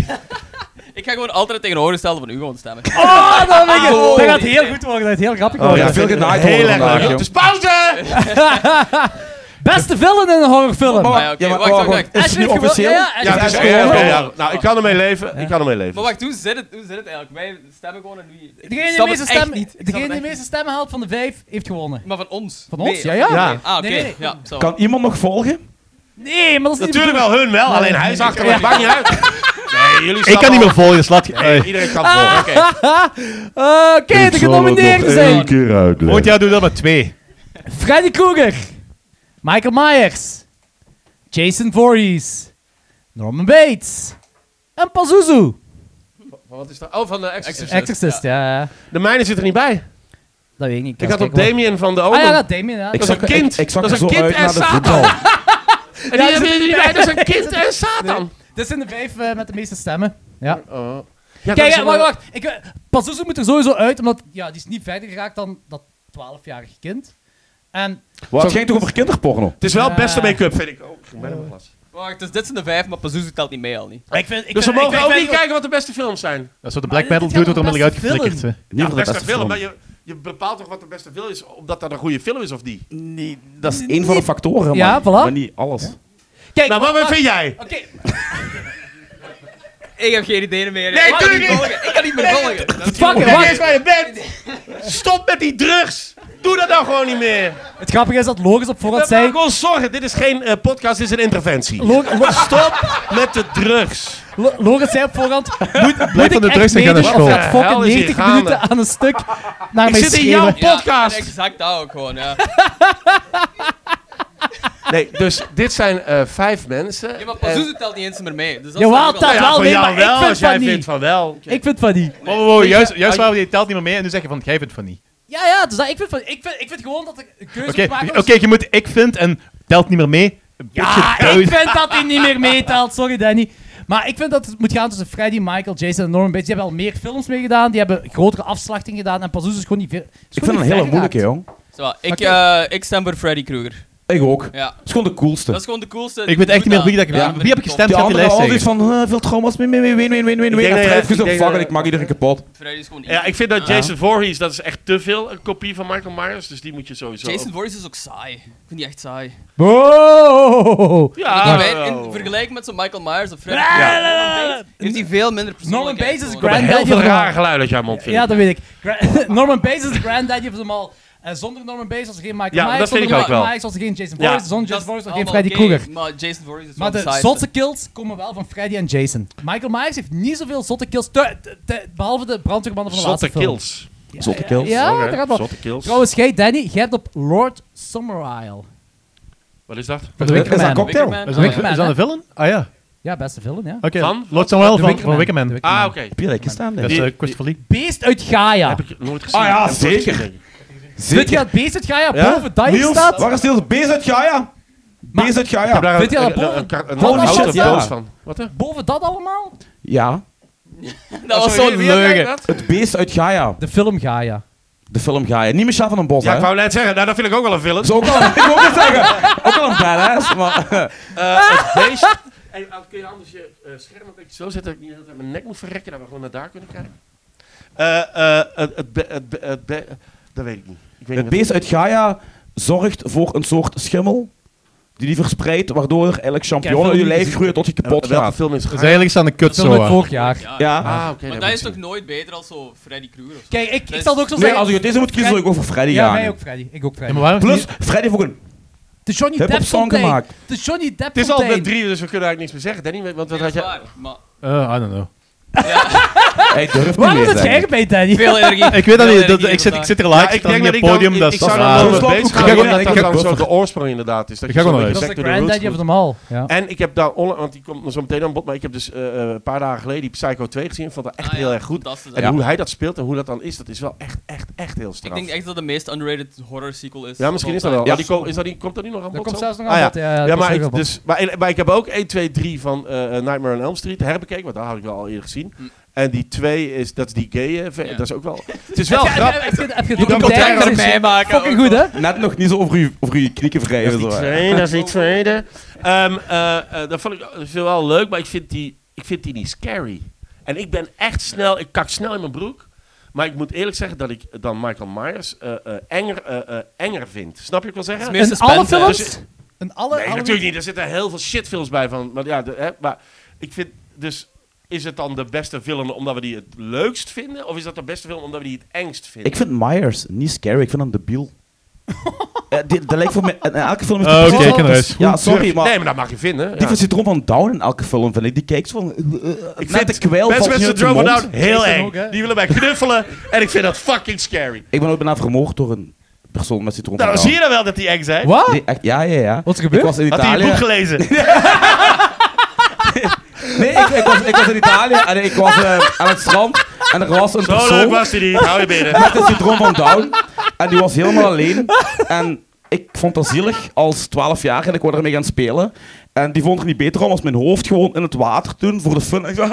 S7: [laughs] ik ga gewoon altijd het tegenovergestelde van u gewoon stemmen.
S5: Oh, dat, vind ik-
S7: Oh.
S5: dat gaat heel goed worden. Dat gaat heel grappig
S3: Oh
S5: worden.
S3: ja, veel genaaid worden
S6: Heel erg
S3: vandaag,
S6: leuk.
S3: joh.
S6: Het is pauze!
S5: Beste villain in een horrorfilm.
S7: Maar ja, oké, wacht, wacht, wacht.
S3: Is het nu
S5: Ashley
S3: officieel?
S5: Gewel- Ja,
S6: Ja,
S5: ja,
S6: het is
S5: Ashley
S6: oké,
S5: Gewel-
S6: oké, ja. Nou, ik kan ermee leven. Ik kan ermee
S7: Maar
S6: leven.
S7: wacht, hoe zit, het, hoe zit het eigenlijk? Wij stemmen gewoon en wie...
S5: Degene die de meeste stemmen- degene die de meeste stemmen haalt van de vijf, heeft gewonnen.
S7: Maar van ons?
S5: Van ons?
S7: Nee.
S5: Ja, ja.
S6: Ja.
S5: Nee.
S7: Ah, oké.
S5: Nee, nee, nee.
S7: Ja, zo.
S3: Kan iemand nog volgen?
S5: Nee, maar dat is niet
S6: Natuurlijk wel hun wel, alleen hij is achter me. Maakt niet uit. Nee, jullie
S2: ik
S6: staan
S2: kan niet
S6: al-
S2: meer volgen, slaat... je.
S6: Nee, iedereen kan volgen.
S7: Oké.
S5: Ah, Oké, de genomineerden zijn
S3: keer
S2: Volgend jaar doen we dat met twee.
S5: Freddy Krueger, Michael Myers, Jason Voorhees, Norman Bates en Pazuzu.
S6: Wat is dat? Oh, van de Exorcist.
S5: Exorcist, ja. ja.
S6: De mijne zit er niet bij.
S5: Dat weet ik niet.
S6: Ik had op
S5: kijken, hoor.
S6: Damien van de
S5: Ah
S6: Omen.
S5: ja, dat Damien, ja.
S6: Dat is een kind.
S3: Ik, ik zag
S6: Dat
S3: er
S6: is
S3: zo
S6: een kind
S3: uit
S6: en
S3: naar de
S6: Satan.
S3: voetbal.
S6: En die hebben jullie niet bij. Dat is een
S5: [laughs]
S6: kind
S5: Nee.
S6: en Satan.
S5: Dit zijn de vijf eh, met de meeste stemmen. Ja.
S6: Ja, dat
S5: Kijk,
S6: is
S5: eh, wacht,
S6: wel-
S5: wacht. Ik, eh, Pazuzu moet er sowieso uit, omdat ja, die is niet verder geraakt dan dat 12-jarige kind. En
S3: Wat, het ging toch over kinderporno?
S6: Het is wel
S5: Ja.
S6: beste make-up, vind ik. Oh, ik ben in de klas.
S7: Wacht, dus dit zijn de vijf, maar Pazuzu telt niet mee al niet.
S5: ik vind, ik
S6: Dus we mogen ook niet kijken wat de beste films zijn.
S2: Dat Ah, is wat de black
S5: Maar
S2: metal
S5: dit gaat
S2: doet, wordt er
S5: om
S2: onmiddellijk
S5: beste
S2: uitgeflikkerd. hè.
S3: Niet
S6: de
S3: voor de
S6: beste,
S3: beste
S6: film.
S3: film.
S6: Maar je, je bepaalt toch wat de beste film is, omdat dat een goede film is of niet.
S3: Nee, dat is één van de factoren, maar,
S5: Ja, voilà.
S3: maar niet alles.
S5: Kijk,
S6: Nou, wat vind jij?
S5: Oké,
S7: Ik heb geen idee meer.
S6: Nee,
S7: ik kan
S6: tuurlijk
S7: niet
S6: niet.
S7: volgen. Ik kan niet meer volgen. Dat is-
S5: fuck it,
S6: Kijk
S5: wacht.
S6: eens waar je bent. Stop met die drugs. Doe dat nou gewoon niet meer.
S5: Het grappige is dat Loris op voorhand
S6: Dat
S5: zei...
S6: maakt ons zorgen. Dit is geen eh, podcast, dit is een interventie.
S5: Lo- Lo-
S6: Stop met de drugs.
S5: Lo- Loris zei op voorhand...
S2: [laughs]
S5: Moet, moet
S2: van
S5: ik
S2: de
S5: echt
S2: drugs en ga naar
S5: meedoen
S2: school.
S5: Of gaat
S6: Ja,
S5: fucking
S6: hel is hier
S5: 90
S6: gaande.
S5: minuten aan een stuk naar
S6: Ik
S5: mij
S6: zit in jouw
S5: schreeuwen.
S7: Ja,
S6: podcast.
S7: en exact dat ook gewoon, ja.
S6: Nee, dus dit zijn eh, vijf mensen.
S7: Ja, maar
S6: En-
S7: Pazuzu telt niet eens meer mee. Dus dat
S5: Jawel,
S7: staat ook al-
S5: telt.
S6: Ja,
S5: Wel,
S6: voor
S5: nee,
S6: jou
S5: maar ik
S6: wel,
S5: vind
S6: als jij
S5: van niet.
S6: vindt van wel.
S5: Ik vind van die.
S2: Wow, wow, wow, juist, juist waar we die telt niet meer mee en nu zeg je van, jij vindt van niet.
S5: Ja, ja, dus dat, ik, vind van, ik, vind, ik vind gewoon dat ik een keuze
S2: Oké,
S5: moet maken.
S2: oké, je moet ik vind en telt niet meer mee. Een
S5: Ja,
S2: beetje
S5: ik
S2: duid.
S5: vind dat hij niet meer meetelt. Sorry, Danny. Maar ik vind dat het moet gaan tussen Freddy, Michael, Jason en Norman Bates. Die hebben al meer films meegedaan. Die hebben grotere afslachting gedaan. En Pazuzu is gewoon niet veel...
S3: Ik vind het een hele moeilijke, jong.
S7: Zo, ik,
S5: Oké.
S7: eh, ik stem voor Freddy Krueger.
S3: Ik ook. Het
S7: Ja.
S3: is gewoon de coolste.
S7: Dat is gewoon de coolste.
S2: Ik weet echt niet meer wie dat ik-
S7: Ja,
S2: wie heb ik gestemd?
S3: die
S2: gaat die
S3: andere
S2: lijst
S3: altijd
S2: zeggen.
S3: van eh, veel trauma's, win, win, win, win, win, win, win.
S6: denk
S3: En
S6: dat-
S3: Fred
S6: ik
S3: gezegd,
S6: denk
S3: fuck it,
S6: dat-
S3: ik maak iedereen kapot.
S7: Freddy is gewoon
S6: Ja, ik vind dat Jason Voorhees, dat is echt te veel een kopie van Michael Myers. Dus die moet je sowieso...
S7: Jason Voorhees is ook saai. Ik vind die echt saai.
S5: Ah, Wow!
S7: In
S6: Ja,
S7: mijn-
S6: wel.
S7: in vergelijking met zo'n Michael Myers of Freddy Krueger, heeft hij veel minder
S5: Norman
S7: persoonlijkheid.
S5: Bates is
S7: gewoon.
S5: grand-
S6: Heel
S5: Daddy
S6: veel
S5: van-
S6: rare geluiden uit jouw mond, vind
S5: Ja,
S6: ik.
S5: dat weet ik. Gra- [laughs] Norman Bates is de granddaddy van hem al. En zonder Norman Bates was er geen Michael
S6: Ja,
S5: Myers.
S6: dat vind
S5: zonder
S6: ik
S5: Michael
S6: ook wel.
S5: Myers was er geen Jason
S6: Ja.
S5: Voorhees. Zonder
S7: Dat
S5: Jason
S7: is
S5: Voorhees was er geen
S7: allemaal
S5: Freddy
S7: oké,
S5: Krueger.
S7: Maar Jason Voorhees is
S5: Maar
S7: wel
S5: de
S7: saaiste.
S5: zotte kills komen wel van Freddy en Jason. Michael Myers heeft niet zoveel zotte kills, te- te- te- behalve de brandweermannen van de
S6: Zotte
S5: laatste film.
S6: kills.
S3: Zotte kills.
S5: Ja,
S6: Oké,
S5: dat gaat wel.
S6: Zotte kills.
S5: Trouwens, jij Danny, jij hebt op Lord Summerisle.
S6: Wat is dat?
S5: Van de
S3: Is dat een
S5: Wickerman.
S3: cocktail?
S7: Wickerman.
S2: Is dat, een-
S5: Wickerman,
S2: is dat een villain? Ah ja.
S5: Ja, beste film, ja.
S2: Oké.
S6: Van?
S2: Lord Samuel
S5: De
S2: van, van Wickerman.
S5: De
S6: Ah, oké.
S3: Pierre, staan
S2: Dat
S3: daar.
S2: is eh,
S6: Die-
S2: Christopher Lee.
S5: Beest uit Gaia.
S6: Heb ik nooit gezien.
S3: Ah ja,
S6: Heb ik nooit
S3: zeker.
S6: gezien.
S5: Weet je dat beest uit Gaia
S3: Ja?
S5: boven Dyer
S3: Niels,
S5: staat?
S3: Waar is Niels? Bees uit Gaia?
S5: Maar-
S3: Bees uit
S6: Ik heb
S3: Gaia.
S6: daar
S5: Weet je
S6: een-
S5: dat
S6: een-
S5: boven-
S6: een- een-
S5: Holy
S6: een
S5: shit,
S6: houten
S3: ja.
S6: doos van. Wat hè?
S5: Boven dat allemaal?
S3: Ja.
S7: Dat was zo'n leugen.
S3: Het beest uit Gaia.
S5: De film Gaia.
S3: De film Gaia. Niet Michel van den Bos,
S6: Ja,
S3: hè?
S6: ik wou net zeggen, nou, dat vind ik ook wel een film.
S3: Dat is ook al, [laughs] ik wou net zeggen, ook al een badass, maar...
S6: Beest. [laughs] Hey, kun je anders je eh, scherm een beetje zo zetten dat ik niet de hele tijd mijn nek moet verrekken, dat we gewoon naar daar kunnen kijken? Eh, eh, het, het, be- het, be- het be- dat weet ik niet. Ik
S3: Het
S6: weet niet wat-
S3: beest uit Gaia zorgt voor een soort schimmel die die verspreidt, waardoor er eigenlijk champignon in je lijf groeien tot je kapot
S6: Eh, welke
S3: gaat.
S6: film is het?
S2: Dat is Dus eigenlijk aan de
S5: De film uit
S2: kutzoa.
S5: vorig jaar.
S7: Ja.
S3: Ja.
S6: Ah, oké.
S7: Maar
S6: dat
S7: dat
S6: moet
S7: is
S6: je-
S7: toch nooit beter als zo Freddy Krueger of zo?
S5: Kijk, ik, ik
S7: Dat is-
S5: zal het ook zo
S3: Nee,
S5: zeggen.
S3: als je deze moet kiezen, zou ik ook voor Freddy
S5: Ja,
S3: gaan.
S5: mij ook Freddy. Ik ook Freddy.
S2: Ja, maar waarom
S3: Plus, Freddy heeft ook een
S5: De Johnny
S3: hip-hop
S5: Depp
S3: song
S5: fontein.
S3: gemaakt.
S5: De Johnny Depp
S6: Het is al met
S5: fontein.
S6: drie, dus we kunnen eigenlijk niks meer zeggen, Danny. Want wat
S7: Nee,
S6: had
S7: dat is
S6: jij...
S7: waar. Maar
S2: Eh, I don't know.
S3: Hij durft niet meer,
S5: Waarom Ah! is het
S3: zeg.
S5: geheim bij Danny?
S7: veel energie.
S2: Ik weet dat
S7: veel
S2: niet. dat-
S7: energie
S2: ik, zit, ik
S7: vandaag.
S2: zit er
S6: Ja,
S2: live
S6: ik
S2: staan
S6: denk
S2: op
S6: dat
S2: het
S6: ik dan-
S2: podium.
S6: ik-
S2: dat
S6: ik
S2: is
S6: zou
S2: raar.
S6: dan
S3: Ja,
S6: wel
S3: dat
S6: mee
S3: is
S6: bezig
S3: wel
S6: gaan.
S3: goed.
S6: Ik denk
S3: Ik
S6: dat
S3: heb
S6: dat
S3: ook
S6: zo
S3: nog-
S6: de oorsprong inderdaad is. Dat
S2: Ik
S6: je
S2: heb ook
S6: zo
S2: nog
S6: back
S5: Dat is
S6: to
S5: de
S6: the roots
S5: granddaddy
S6: moet.
S5: of them all. Ja.
S6: En ik heb daar onla- want die komt er zo meteen aan bod, maar ik heb dus eh, eh, een paar dagen geleden die Psycho 2 gezien. Ik vond dat echt
S7: Ah, ja,
S6: heel erg goed.
S7: fantastisch.
S6: En
S7: Ja.
S6: hoe hij dat speelt en hoe dat dan is, dat is wel echt, echt, echt heel
S7: Ik
S6: straf.
S7: denk echt dat de meest underrated horror sequel is.
S6: ja, misschien is dat wel.
S7: Ja.
S6: Oh, die ko- is dat die, komt dat nu nog aan bod?
S5: Dat komt
S6: zo?
S5: zelfs nog eh,
S6: Ah,
S5: aan
S6: ja.
S5: bod, ja, dat
S6: Ja,
S5: komt
S6: maar
S5: zelfs nog aan
S6: ik,
S5: bod.
S6: dus, maar, en- maar ik heb ook 1, 2, 3 van eh, eh, Nightmare on Elm Street herbekeken, want dat had ik wel al eerder gezien.
S7: Hm.
S6: En die 2 is, dat is die gay, eh, ver-
S7: Ja.
S6: dat is ook wel... Het is [laughs] wel
S5: Heb je- heb je-
S6: grappig.
S5: heb je- Heb je
S7: Die
S5: documentaire
S7: documentaire
S5: gezien?
S7: erbij maken.
S5: Fucking
S7: ook
S5: goed, hè?
S3: Net nog niet zo over je, over je knieken wrijven.
S6: Dat is
S3: zo,
S6: die
S3: hè.
S6: tweede, dat is die tweede. Ehm, eh, eh, dat vond ik dat is wel leuk, maar ik vind, die, ik vind die niet scary. En ik ben echt snel, ik kak snel in mijn broek. Maar ik moet eerlijk zeggen dat ik dan Michael Myers eh, eh, enger, eh, eh, enger vind. Snap je wat ik wil zeggen?
S7: wel.
S6: Nee,
S7: Meer
S5: In alle
S7: suspense, hè.
S5: films? In alle... alle-
S6: Dus- natuurlijk niet. Er zitten heel veel shitfilms bij van. Maar, ja, de- hè, maar ik vind dus... Is het dan de beste film omdat we die het leukst vinden? Of is dat de beste film omdat we die het engst vinden?
S3: Ik vind Myers niet scary, ik vind hem
S6: [laughs]
S3: debiel. Eh, die- dat lijkt voor mij... In elke film is
S2: Oh,
S3: precies
S2: oké,
S3: dat.
S2: ik ken huis.
S3: Ja, sorry, maar...
S6: nee, maar dat mag je vinden.
S3: Die
S6: ja.
S3: van Syndroom van Down in elke film, vind ik. Die kijkt zo van... eh, eh,
S6: Ik
S3: net
S6: vind
S3: de kwijl
S6: mensen
S3: valt
S6: met
S3: niet
S6: zijn
S3: uit de
S6: drone
S3: mond.
S6: down heel
S5: Is dat
S6: eng.
S5: ook, hè?
S6: Die willen mij knuffelen en ik vind dat fucking scary.
S3: Ik ben ooit bijna vermoord door een persoon met Syndroom van
S6: Nou,
S3: Down.
S6: zie je dan wel dat die eng zijn?
S5: Wat?
S3: Nee, echt, ja, ja, ja.
S5: Wat is er
S3: Ik
S5: gebeurd?
S3: was in
S6: Had hij
S3: Italië.
S6: een boek
S3: [laughs]
S6: gelezen?
S3: nee, ik, ik, was, ik was in Italië en ik was eh, aan het strand. En er was een
S6: Zo leuk
S3: persoon
S6: was die niet. Hou je
S3: [laughs]
S6: binnen.
S3: met het syndroom van Down. En die was helemaal alleen. En ik vond dat zielig als 12 jaar en ik wou ermee gaan spelen. En die vond er niet beter om als mijn hoofd gewoon in het water doen voor de fun. En ik zo, [laughs]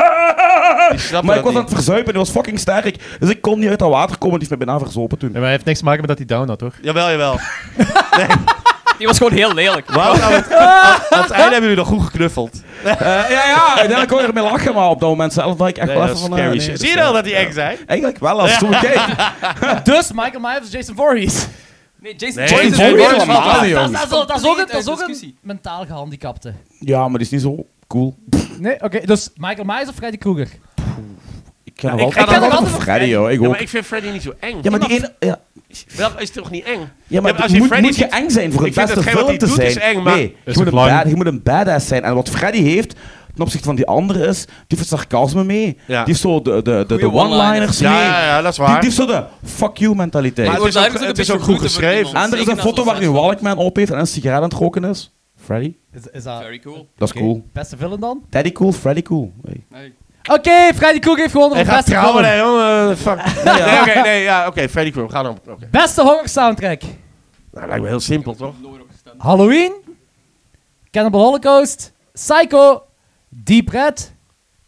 S6: snapte
S3: maar ik
S6: dat
S3: was aan
S6: niet.
S3: het verzuipen en die was fucking sterk. Dus ik kon niet uit dat water komen. Die heeft mij bijna verzopen toen.
S2: Ja, maar hij heeft niks te maken met dat hij down had, hoor.
S6: Jawel, jawel.
S7: [laughs] Die was gewoon heel lelijk.
S6: Maar aan het, aan- aan het einde hebben jullie nog goed geknuffeld.
S3: Eh, ja, ja, uiteindelijk kon je ermee lachen. Maar op dat moment zelf dacht ik echt
S6: Nee,
S3: wel
S6: dat
S3: even
S6: is
S3: van... eh,
S6: scary
S3: nee,
S6: shit.
S3: dat
S6: Zie
S3: is-
S6: je nou dat die eng zijn?
S3: Eigenlijk wel, als toen kijk.
S5: Dus Michael Myers of Jason Voorhees.
S7: Nee, Jason
S6: Nee,
S7: Voorhees
S6: Jason
S7: is
S3: Voorhees helemaal
S7: wel fantastisch.
S3: niet, jongens.
S5: Dat is- dat is ook een- dat is ook een
S7: Discussie.
S5: mentaal gehandicapte.
S3: Ja, maar die is niet zo cool.
S5: Nee, oké. dus Michael Myers of Freddy Krueger?
S3: Ik ga
S6: Ja,
S3: nog
S6: ik
S3: altijd
S6: ga nog
S3: altijd
S5: altijd
S3: voor
S5: voor
S3: Freddy, joh. Ik
S6: Ja,
S3: ook.
S6: maar ik vind Freddy niet zo eng.
S3: Ja, maar die ene... Ja,
S6: Wel, is toch niet eng?
S3: ja, maar
S6: maar als
S3: het
S6: je
S3: moet,
S6: Freddy
S3: moet je
S6: ziet-
S3: eng zijn voor het
S6: Ik vind
S3: beste
S6: hetgeen wat
S3: film
S6: hij
S3: te
S6: doet
S3: zijn.
S6: is eng, maar-
S3: Nee, je
S2: is
S3: moet, een
S2: lang.
S3: bad, je moet een badass zijn. En wat Freddy heeft, ten opzichte van die andere is, die heeft sarcasme mee. Die
S6: Ja.
S3: heeft zo de, de, de, de
S7: Goeie
S3: one-liners mee.
S6: Ja, ja, ja, dat is
S3: Die, die
S6: waar.
S3: heeft zo de fuck you mentaliteit.
S6: Maar-
S7: Hij wordt
S6: Het is ook-
S7: eigenlijk
S6: het
S7: een
S6: is ook
S7: beetje
S6: goed
S7: verboeten voor
S6: geschreven.
S7: iemand.
S3: en er is
S7: Zeker
S3: een
S7: als
S3: foto
S7: dat
S3: waar hij een
S7: zo-
S3: Walkman op heeft en een sigaret aan het roken is. Freddy?
S5: Is, is dat...
S7: Very cool.
S3: Dat is
S5: oké.
S3: cool.
S5: Beste film dan?
S3: Daddy cool, Freddy cool. Hey.
S7: Nee.
S5: Oké, Freddy Krueger heeft gewonnen
S6: Hij
S5: voor
S6: gaat
S5: beste
S6: trouwen,
S5: film.
S6: hè, jongen. Oh, eh, Fuck. Nee, oké, nee, ja, oké, Freddy Krueger. Ga dan. Oké.
S5: Beste horror soundtrack.
S6: Nou, lijkt me heel simpel, toch?
S7: Nooit opgestemd.
S5: Halloween, Cannibal Holocaust, Psycho, Deep Red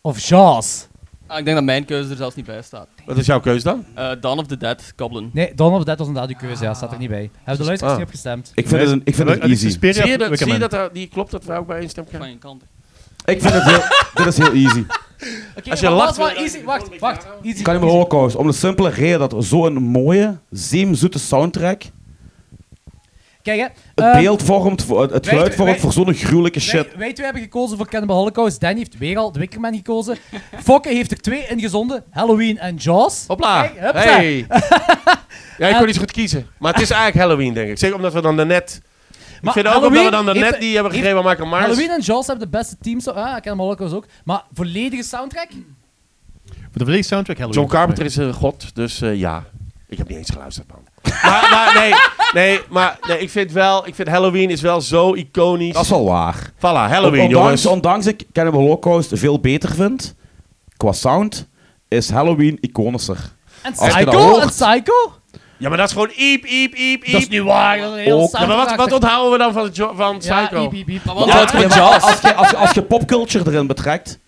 S5: of Jaws?
S7: Ah, ik denk dat mijn keuze er zelfs niet bij staat.
S6: Wat is jouw keus dan?
S7: Eh Dawn of the Dead, Goblin.
S5: Nee, Dawn of the Dead was inderdaad uw keuze, ja, staat er niet bij. Hebben de luisteraars
S6: Ah.
S5: niet opgestemd?
S3: Ik vind het, een, ik vind het
S2: Alex
S3: easy.
S2: Suspiria
S6: Zie je
S2: of
S6: dat, zie je
S2: Wickerman?
S6: dat daar- die klopt dat we ook bij één stem
S7: Van
S6: krijgen?
S7: je kant.
S3: Ik vind het heel... [laughs] Dit is heel easy.
S5: Oké,
S6: Als je
S5: maar
S6: lacht,
S5: dat is
S6: wil
S5: wel
S6: je
S5: easy. Wacht, wacht. Easy.
S3: Cannibal Holocaust, om de simpele reden dat er zo'n mooie, zeemzoete soundtrack
S5: Kijk, hè.
S3: het
S5: ehm,
S3: beeld vormt, voor- het, het
S5: wij-
S3: geluid vormt
S5: wij-
S3: voor zo'n gruwelijke shit.
S5: Wij, wij twee hebben gekozen voor Cannibal Holocaust. Danny heeft weer al de Wickerman gekozen. [laughs] Fokke heeft er twee ingezonden. Halloween en Jaws.
S6: Hopla.
S5: Kijk, hupsa.
S6: Ah,
S3: [laughs]
S6: hey. ja,
S3: Eh,
S6: ik kon niet zo goed kiezen. Maar het is eigenlijk Halloween, denk ik. Zeker omdat we dan daarnet...
S5: Maar
S6: ik vind ook omdat we
S5: Halloween
S6: dan daarnet
S5: heeft-
S6: die hebben
S5: heeft-
S6: gegeven aan Michael Myers.
S5: Halloween en Jaws hebben de beste teams. Ah, Cannibal Holocaust ook. Maar volledige soundtrack?
S2: Voor de volledige soundtrack Halloween.
S6: John Carpenter is een god, dus eh, ja. Ik heb niet eens geluisterd, man. maar, maar nee, nee, maar nee, ik vind wel... Ik vind Halloween is wel zo iconisch.
S3: Dat is wel waar.
S6: Voilà, Halloween,
S3: ondanks,
S6: jongens.
S3: ondanks ik Cannibal Holocaust veel beter vind, qua sound, is Halloween iconischer.
S5: En
S3: Als je dat
S5: Psycho?
S3: hoort.
S5: En Psycho?
S6: Ja, maar dat is gewoon iep, iep, iep, iep.
S5: Dat is niet waar. Dat is een heel
S3: Ook.
S6: ja, maar wat, wat onthouden we dan van, Jo- van Psycho?
S5: Ja, iep, iep, iep.
S7: Maar wat
S3: Ja,
S7: houdt van
S3: maar
S7: Jaws?
S3: Als je, als, je- als je popculture erin betrekt,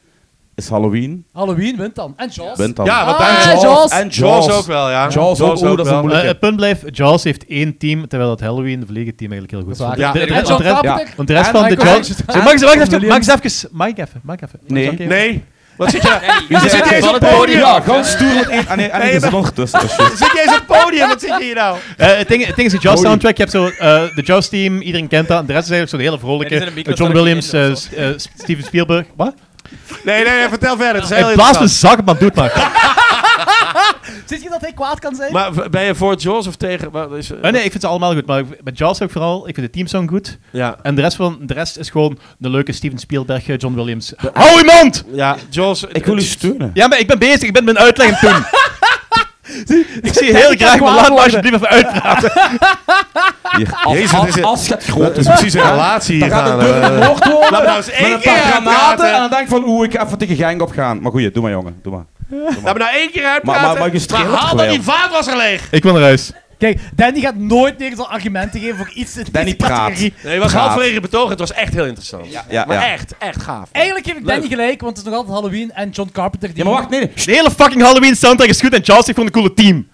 S3: is Halloween.
S5: Halloween wint dan. En Jaws.
S3: Wint dan.
S6: Ja, want
S5: Ah,
S6: daar-
S5: en Jaws.
S3: En
S6: Jaws ook wel, ja.
S3: Jaws ook, oeh, dat is een
S6: wel.
S3: moeilijke.
S2: Eh, het punt blijft, Jaws heeft één team, terwijl het Halloween, de vlegenteam, eigenlijk heel goed is.
S5: Dat is
S2: Want
S6: waar.
S2: de-
S6: Ja,
S2: de-
S5: en
S2: want
S5: John
S2: de rest-
S5: Carpenter.
S2: want de rest
S5: En
S2: van
S5: [laughs]
S2: de
S5: Michael
S2: Jaws...
S5: Jackson.
S2: Zeg, Max, wacht even,
S5: Williams.
S2: Max, even. Mike even, Mike even. Mike,
S3: Nee.
S2: oké.
S6: Nee. Wat zit je?
S7: Danny,
S6: zit
S7: eh,
S6: deze
S7: van
S6: op
S7: het
S6: podium.
S3: Ja, gewoon stoer met één. Ah nee, ah, nee,
S6: Nee,
S3: er zit
S6: maar-
S3: ondertussen.
S6: [laughs]
S3: dat is juist.
S6: Zit jij zo'n podium? Wat zit je hier nou?
S2: Eh, het, ding, het ding is, de Jaws
S3: Holy.
S2: soundtrack, je hebt zo eh, de Jaws team, iedereen kent dat. En de rest is eigenlijk zo'n hele vrolijke
S7: Ja, die zijn een
S2: eh, John
S7: microfoon
S2: Williams,
S7: in de
S2: eh,
S7: of
S2: s- eh, S- Steven Spielberg. Wat?
S6: Nee, nee, nee, vertel verder. Het is heel
S2: Hij blaast mijn
S6: interessant.
S2: zak, man, doe het maar. [laughs]
S5: Zit je dat hij kwaad kan
S3: dus-
S5: zijn?
S6: Maar v- ben je voor Jaws of tegen... wat is-
S2: Eh, nee, ik vind ze allemaal goed, maar ik- met Jaws ook vooral, ik vind de teamsong goed.
S6: Ja.
S2: En de rest, van, de rest is gewoon de leuke Steven Spielberg, eh, John Williams. Hou je mond!
S6: Ja, Jaws...
S3: Ik wil u steunen.
S2: Ja, maar ik ben bezig, ik ben mijn uitleg aan het doen. ik zie heel
S5: Ik kan
S2: graag, maar
S5: kwaad
S2: laat me
S5: worden.
S2: alsjeblieft even uitpraten.
S3: Hier, als,
S6: Jezus,
S3: als,
S6: dit is-
S3: als het groot is.
S6: precies een relatie
S3: Dan
S6: hier
S3: gaat het
S6: gaan.
S3: deur in [laughs] de moord worden.
S6: Laat me nou eens één
S3: met een
S6: keer
S3: paar
S6: uitpraten.
S3: granaten. En dan denk ik van, oeh, ik ga even tegen gang op gaan. Maar goed, doe maar jongen, doe maar.
S6: Laat me nou één keer uitpraten.
S3: Maar- maar- maar je streelt
S6: haal dan
S3: wel.
S6: die vaatwasser leeg.
S2: Ik wil naar huis.
S5: Kijk, Danny gaat nooit meer zo'n argumenten geven voor iets in
S3: Danny
S5: deze
S3: praat.
S5: categorie.
S6: Nee, je was
S3: Gaaf.
S6: halverwege betogen. Het was echt heel interessant.
S3: Ja,
S6: Maar
S3: ja.
S6: echt, echt gaaf.
S5: Eigenlijk geef ik Danny gelijk, want het is nog altijd Halloween en John Carpenter die...
S3: Ja, maar wacht, nee, nee.
S2: De hele fucking Halloween soundtrack is goed en Charles heeft gewoon een coole team.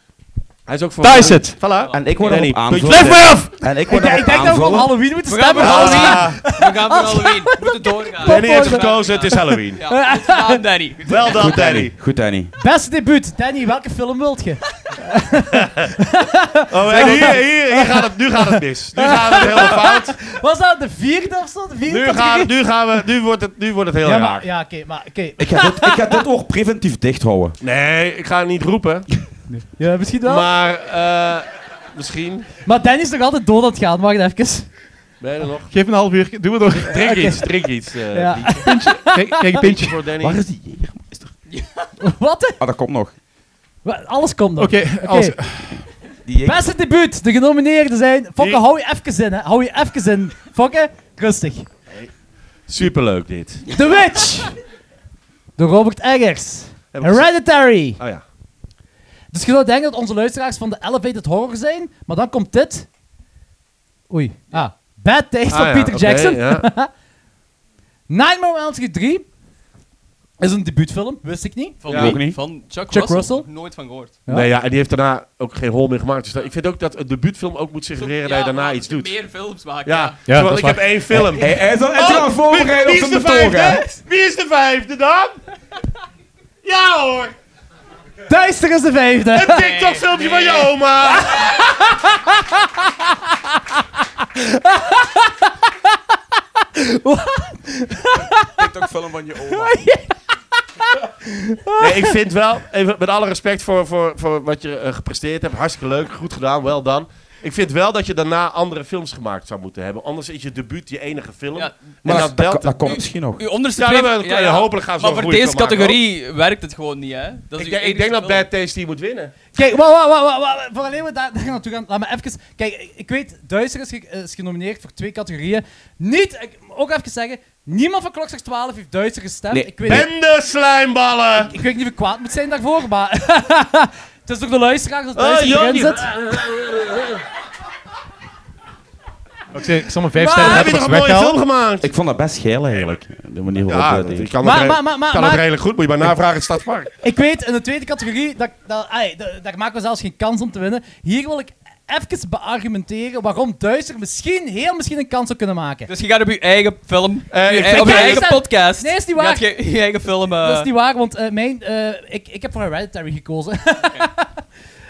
S6: Hij is ook voor
S2: Daar is
S6: mij.
S2: het.
S6: Voilà.
S3: En ik word
S6: Danny,
S3: erop
S6: puntje.
S3: aanvullen.
S2: Blijf mij af!
S3: En ik
S5: Ik,
S3: word
S5: denk- ik
S3: erop
S5: denk dat we op
S3: aanvullen.
S5: Halloween moeten
S7: We gaan
S5: stemmen.
S7: voor
S5: Halloween.
S7: Halloween. We gaan voor Halloween. We moeten doorgaan.
S6: Danny heeft gekozen. Het is Halloween.
S3: [laughs]
S7: Ja, goed gedaan, Danny.
S6: Wel dan,
S3: Goed,
S6: Danny.
S3: Danny. Goed, Danny.
S5: Beste debuut. Danny, welke film wilt je?
S6: Oh, en hier, hier, hier gaat het, nu gaat het mis. Nu gaat het helemaal fout.
S5: Was dat de vierde of zo? De vierde
S6: Nu,
S5: categorie?
S6: gaan, nu, gaan we, nu, wordt, het, nu wordt het heel
S5: Ja,
S6: raar.
S5: maar, ja, oké, maar oké.
S3: Ik ga dit- Ik ga dit oor preventief dicht houden.
S6: Nee, ik ga het niet roepen.
S5: Ja, misschien wel. Maar,
S6: Maar eh, misschien.
S5: Danny is nog altijd dood aan het gaan, wacht even.
S6: Ben je er nog?
S2: Geef me een half uur, doen we door.
S6: Drink iets, drink iets. eh,
S5: Ja.
S6: Lieke.
S2: Krijg, krijg een pintje.
S6: Voor Danny.
S3: Waar is die jegermeester?
S5: [laughs] Wat?
S3: Ah, dat komt nog.
S5: Wa- Alles komt nog.
S2: Oké,
S5: Oké.
S2: als-
S3: Die jeger-
S5: Beste debuut. De genomineerden zijn... Fokke,
S6: Hier.
S5: hou je even in, hè. Hou je even in. Fokke, rustig.
S6: Superleuk dit.
S5: The Witch. Door Robert Eggers.
S6: Heb ik
S5: Hereditary.
S6: Oh ja.
S5: Dus je zou denken dat onze luisteraars van de Elevated Horror zijn, maar dan komt dit. Oei. Ah. Bad Taste van
S6: Ah ja,
S5: Peter
S6: oké,
S5: Jackson.
S6: ja.
S5: Nightmare on Elm Street 3 is een debuutfilm, wist ik niet.
S7: Van
S6: Ja,
S7: wie?
S3: ook niet.
S7: Van Chuck,
S5: Chuck
S7: Russell?
S5: Russell?
S7: Nooit van gehoord.
S5: Ja.
S6: Nee, ja, en die heeft daarna ook geen hol meer gemaakt. Dus dat- ik vind ook dat een debuutfilm ook moet suggereren dat je daarna
S7: maar
S6: iets doet.
S7: Meer films maken.
S6: Ja,
S7: Ja.
S2: Ja,
S6: terwijl
S2: dat is
S6: ik heb één film.
S3: Hey, hij is al hij is al aan het
S6: Oh, wie,
S3: voorbereiden op
S6: wie is
S3: zijn
S6: de
S3: betoog, hè.
S6: vijfde? Wie is de vijfde dan? Ja hoor,
S5: Duister is de vijfde.
S6: een TikTok filmpje van je oma.
S3: TikTok-film van je oma.
S6: Nee, ik vind wel, even met alle respect voor, voor, voor wat je eh, gepresteerd hebt, hartstikke leuk, goed gedaan, wel dan. Ik vind wel dat je daarna andere films gemaakt zou moeten hebben. Anders is je debuut je enige film.
S7: Ja.
S6: en
S3: Maar
S6: dat
S3: dat,
S6: belt...
S3: dat, dat komt misschien nog.
S7: Uw onderste
S6: Ja,
S7: twee-
S6: maar- hopelijk gaan ze
S7: Maar
S6: wel
S7: voor
S6: een
S7: deze
S6: goede film
S7: categorie werkt het gewoon niet, hè? Dat
S6: ik
S7: is
S6: denk,
S7: uw
S6: ik
S7: enige
S6: denk dat
S7: film.
S6: Bad Taste die moet winnen.
S5: [laughs] Kijk, wauw, wauw, wauw, wauw, wauw. Voor alleen we daar, daar naartoe gaan, laat me even... Kijk, ik- ik weet, Duister is, ge- is genomineerd voor twee categorieën. Niet, ik, ook even zeggen, niemand van Klokslag 12 heeft Duister gestemd.
S3: Nee.
S5: Ik weet
S6: Ben de slijmballen!
S5: Ik weet niet of ik kwaad moet zijn daarvoor, maar... [laughs] het is ook de luisteraar dat
S6: Oh,
S5: Duister erin
S6: Jordi.
S5: zit.
S2: Ik zeg, ik zal mijn vijf
S5: Maar
S2: sterren
S6: heb je
S2: hebben
S6: toch een
S2: als
S6: mooie film
S2: weghalen.
S6: gemaakt?
S3: Ik vond dat best geil eigenlijk. De manier waarop
S6: ja,
S3: dat
S6: dat-
S3: deed.
S6: ik kan,
S5: Maar-
S6: het, re-
S5: maar- maar- maar-
S6: kan
S5: maar-
S6: het redelijk goed. Moet je maar navragen in Stadspark.
S5: Ik weet, in de tweede categorie, dat, dat, ai, da- daar maken we zelfs geen kans om te winnen. Hier wil ik even beargumenteren waarom Duister misschien, heel misschien een kans zou kunnen maken.
S7: Dus je gaat op je eigen film,
S6: Eh, ik
S7: je-
S6: vind-
S7: op je
S5: Nee,
S7: eigen
S5: is dat-
S7: podcast.
S5: Nee, is niet
S7: je
S5: waar.
S7: gaat je, je eigen film. eh,
S5: Dat is niet waar, want eh, mijn, eh, ik, ik heb voor Hereditary
S7: [laughs]
S5: gekozen. [laughs]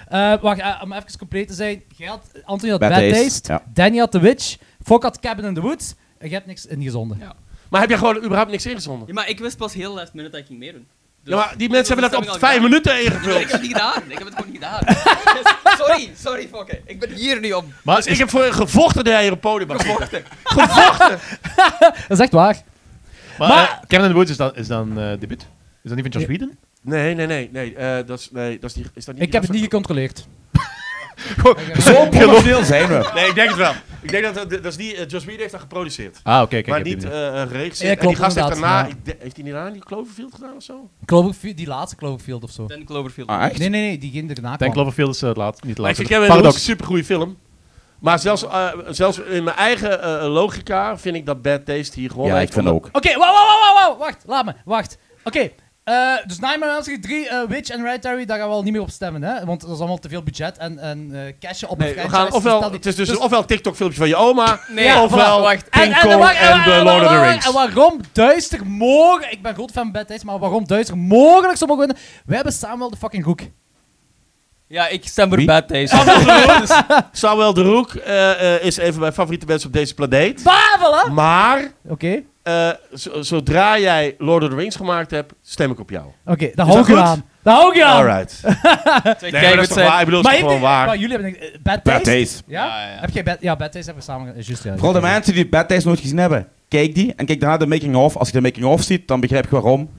S5: Eh, wacht, eh, om even compleet te zijn. Jij had, Anthony had Bad,
S3: Bad
S5: Taste,
S3: Taste, ja.
S5: Danny had The Witch, Fok had Cabin in the Woods. en Je hebt niks eh, ingezonden.
S7: Ja.
S6: Maar heb je gewoon überhaupt niks ingezonden?
S7: Ja, maar ik wist pas heel last minute dat ik ging meedoen. Dus-
S6: Ja, maar die mensen hebben dat
S7: heb
S6: op
S7: ik al
S6: vijf
S7: gedaan.
S6: minuten
S7: Nee, ik
S6: ingevuld.
S7: heb het niet gedaan. Ik heb het gewoon niet gedaan.
S6: [laughs]
S7: sorry, sorry, fucker. Ik ben hier nu op.
S2: Maar
S6: Dus ik heb voor gevochten dat jij hier op het podium mag zitten.
S5: Dat is echt waar.
S2: maar,
S5: maar-
S2: eh, Cabin in the Woods is dan, is dan eh, debuut? Is dat niet van Josh Whedon?
S6: Nee, nee, nee. nee, eh, dat is, nee dat is, niet, is dat niet
S5: Ik heb het
S6: die
S5: niet gecontroleerd.
S3: Zo professioneel zijn we.
S6: Nee, ik denk het wel. Ik denk dat dat, dat is niet. eh, Joss Whedon heeft dat geproduceerd.
S2: Ah, oké. kijk,
S6: maar
S2: ik heb
S6: niet
S2: die
S6: eh
S2: niet.
S6: eh, geregisseerd.
S5: Ja,
S6: en die
S5: klopt,
S6: gast heeft
S5: inderdaad,
S6: daarna.
S5: ja.
S6: ik de- heeft hij daarna die Cloverfield gedaan of zo?
S5: Cloverfield, die laatste Cloverfield of zo.
S7: Dan Cloverfield.
S3: Ah, echt?
S5: Nee, nee, nee, die ging erna
S2: Denk
S5: kwam.
S2: Cloverfield is eh, laat, niet
S6: Maar
S2: laat.
S6: ik vind Kevin een
S2: Paradox.
S6: supergoeie film. Maar zelfs, eh, zelfs in mijn eigen eh, logica vind ik dat Bad Taste hier gewoon.
S3: Ja,
S6: heeft
S3: ik vind
S6: om-
S3: ook.
S5: Oké, wauw, wauw, wauw, wauw, wauw, wacht, laat me, wacht. Oké, eh, dus Nightmare on Elm Street 3, eh, Witch en Hereditary, daar gaan we al niet meer op stemmen, hè? Want dat is allemaal te veel budget en, en eh cashen op
S6: Nee,
S5: een
S6: we
S5: franchise.
S6: gaan
S5: dus stel
S6: ofwel,
S5: die-
S6: het is dus, een- ofwel TikTok-filmpje van je oma,
S7: Nee,
S5: Ja,
S6: ofwel
S7: voilà, wacht.
S6: King
S5: de
S6: Kong
S5: waar-
S6: en
S5: waar-
S6: The Lord of the
S5: waar-
S6: Rings.
S5: En waarom duister mogelijk... Ik ben groot fan van Bad Taste, maar waarom duister mogelijk zo mogen winnen? We hebben samen wel de fucking hoek.
S7: Ja, ik stem voor
S3: Wie?
S7: Bad [laughs] Taste.
S6: Samuel de Roek eh, eh, is een van mijn favoriete mensen op deze planeet.
S5: Bah, voilà.
S6: Maar
S5: Oké, oké,
S6: eh, zo- zodra jij Lord of the Rings gemaakt hebt, stem ik op jou.
S5: daar hou ik
S6: dat
S5: je
S6: goed?
S5: aan. Daar hou ik je aan.
S6: Alright. Nee,
S7: Twee
S6: maar dat
S7: keigoed
S6: is toch
S7: zijn.
S6: waar? Ik bedoel, het
S5: Maar, heeft-
S6: is toch gewoon waar.
S5: maar jullie hebben... denk ik- Bad
S3: Bad
S5: Taste?
S3: Taste.
S5: Ja?
S7: Ja, ja.
S5: Heb je Bad... Ja, Bad Taste hebben we samen... eh, Juist, ja.
S3: Vooral de mensen die Bad Taste nooit gezien hebben. Kijk die en kijk daarna de making-of. Als je de making-of ziet, dan begrijp je waarom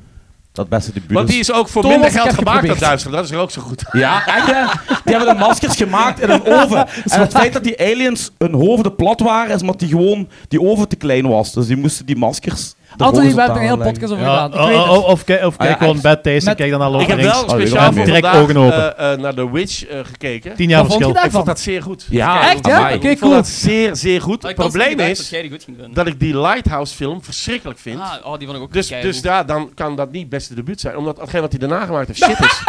S3: dat beste debuut
S6: Want
S3: is.
S6: die is ook voor
S5: Thomas,
S6: minder
S5: ik
S6: geld
S5: heb
S6: gemaakt dan
S5: geprobeerd.
S6: Duitsland. Dat is er ook zo goed.
S3: Ja, en eh, die hebben de maskers gemaakt in een
S6: [laughs]
S3: oven. En het feit dat die aliens hun hoofden plat waren, is omdat die gewoon die oven te klein was. Dus die moesten die maskers. er
S5: Anthony, we hebben er
S3: horizontaal
S5: een hele
S3: leggen.
S5: podcast over
S2: Ja,
S5: gedaan. Ik weet
S2: oh,
S5: het.
S2: oh, oh, of kijk, of kijk
S3: ja,
S2: gewoon
S3: echt.
S2: Bad Taste en
S5: Met-
S2: kijk dan naar Lord
S6: Ik
S2: of
S6: heb
S2: the Rings.
S6: wel
S3: Oh,
S6: speciaal
S3: ik
S6: voor
S3: heb
S2: direct
S6: vandaag
S2: ogen open.
S6: eh, eh, naar The Witch eh, gekeken.
S2: Tien jaar
S5: Wat vond je
S2: verschil.
S5: daar-
S6: Ik vond
S5: Daarvan.
S6: dat zeer goed.
S3: Ja,
S5: Echt, ja?
S3: amai.
S5: Oké,
S6: Ik vond
S5: cool.
S6: dat zeer, zeer goed. Het
S7: Maar ik was
S6: probleem
S7: niet gedacht dat
S6: is
S7: jij die goed ging vinden.
S6: dat ik die Lighthouse film verschrikkelijk vind.
S7: Ah, oh, die vond ik ook
S6: Dus,
S7: keigoed.
S6: dus ja, dan kan dat niet het beste debuut zijn. Omdat hetgeen wat hij daarna gemaakt heeft shit is.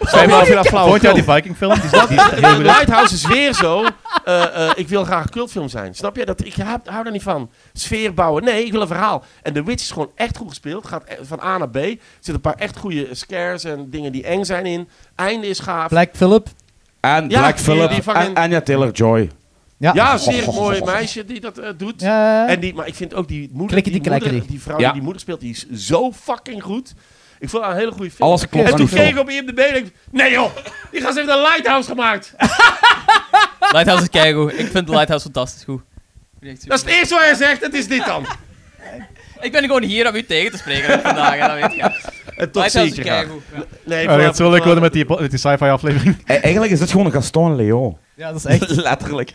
S6: Zijn we al dat flauw?
S2: Volgend jaar die Viking film, die is die is echt
S6: [laughs]
S2: heel goed.
S6: Lighthouse is weer zo. eh, eh, ik wil graag een cultfilm zijn. Snap je? Dat, ik hou, hou daar niet van. Sfeer bouwen. Nee, ik wil een verhaal. En The Witch is gewoon echt goed gespeeld. Gaat e- van A naar B. Er zitten een paar echt goede scares en dingen die eng zijn in. Einde is gaaf.
S5: Black Phillip.
S3: En
S6: Ja,
S3: Black
S6: die-
S3: Phillip
S6: die
S3: en
S6: fucking-
S3: Anya Taylor-Joy.
S6: Ja, zeer mooi meisje die dat eh, doet.
S5: Ja.
S6: En die, maar ik vind ook die moeder,
S5: Klikkie
S6: die,
S5: die
S6: moeder
S5: klakkerie.
S6: die vrouw
S3: Ja.
S6: die die moeder speelt, die is zo fucking goed. Ik vond haar een hele goede film.
S3: Alles klopt
S6: en
S3: aan die
S6: toen keek ik
S3: film.
S6: op IMDb en ik, nee joh, die gast heeft een lighthouse gemaakt.
S7: Lighthouse is keigoed. Ik vind Lighthouse fantastisch goed.
S6: Dat is het eerste wat hij zegt, het is dit dan.
S7: Ik ben gewoon hier om u tegen te spreken vandaag, hè, dat weet je.
S6: En toch zie
S7: Lighthouse
S6: ik
S7: is
S6: je graag.
S7: keigoed. ja.
S6: Nee,
S2: Oh, Ja,
S6: vanaf-
S2: Het gaat zo leuk worden met die, met die sci-fi aflevering.
S3: E- Eigenlijk is dit gewoon een Gaston en Leo.
S5: Ja, dat is echt...
S3: Letterlijk.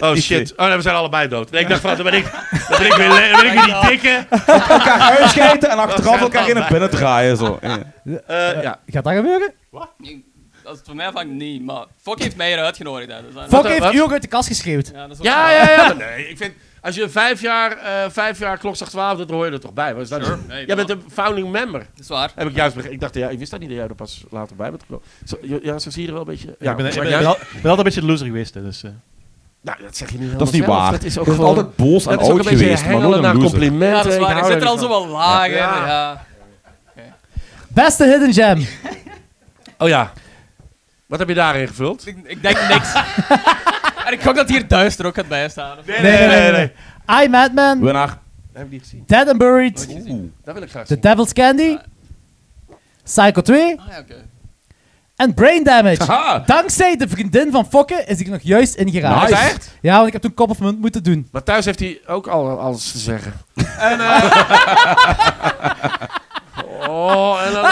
S6: Oh shit, oh nee, we zijn allebei dood. Nee, ik dacht van, dan ben ik, eh, dan ben ik, weer, le- dan ben ik weer die dikke.
S3: elkaar uitschijten en achteraf elkaar in het binnen draaien. Zo. Ja.
S6: Eh, ja.
S5: Gaat dat gebeuren?
S7: Ik- Als het van mij vangt, niet. Maar Fok heeft mij eruit genodigd. Hè. Dus dan-
S5: Fok
S6: wat?
S5: heeft u ook uit de kast geschreeuwd.
S7: Ja, dat is ook
S6: ja,
S7: waar.
S6: ja, ja, maar nee, ik vind... Als je vijf jaar, eh vijf jaar klokslag 12, dat hoor je er toch bij. Wat is dat?
S7: Sure. Nee,
S6: Jij bent een founding member.
S7: Dat is waar.
S6: Heb ik juist begrepen. Ik dacht, ja, ik wist dat niet dat jij er pas later bij bent gekomen. Zo, ja, ja, zo zie je er wel een beetje... Ja,
S2: ik ben, ik ben,
S6: maar
S2: ik
S6: juist-
S2: ben al- ik ben altijd een beetje een loser geweest. hè, Dus, eh.
S6: nou, dat zeg je niet helemaal
S3: Dat is niet
S6: zelf.
S3: waar.
S6: Dat is ook
S3: je bent
S6: gewoon-
S3: altijd boos en
S6: dat is ook
S3: oud
S6: een beetje
S3: geweest, maar nooit
S6: hengelen
S3: een
S6: naar
S3: loser.
S6: complimenten.
S7: Ja, dat is waar. Ik
S6: hou
S7: zit er
S6: niet
S7: al zo
S6: van.
S7: wel lager.
S6: Ja.
S7: Ja.
S5: Beste hidden gem.
S6: Oh ja. Wat heb je daarin gevuld?
S7: Ik, ik denk niks. en ik gok dat hier duister ook gaat bijstaan. Of-
S5: Nee, nee, nee. nee, I, Madman,
S3: Winnaar.
S6: Dat heb ik niet gezien.
S5: Dead and Buried,
S3: Oeh.
S6: Dat wil ik graag
S5: The
S6: zien.
S5: Devil's Candy, Psycho 2
S7: Ah, ja, oké.
S5: en Brain Damage.
S3: Haha.
S5: Dankzij de vriendin van Fokke is ik nog juist in geraakt.
S3: Nice.
S6: Echt?
S5: Ja, want ik heb toen kop of munt moeten doen.
S6: Maar thuis heeft hij ook al alles te zeggen.
S2: eh,
S6: En, eh, [laughs] oh, en dan...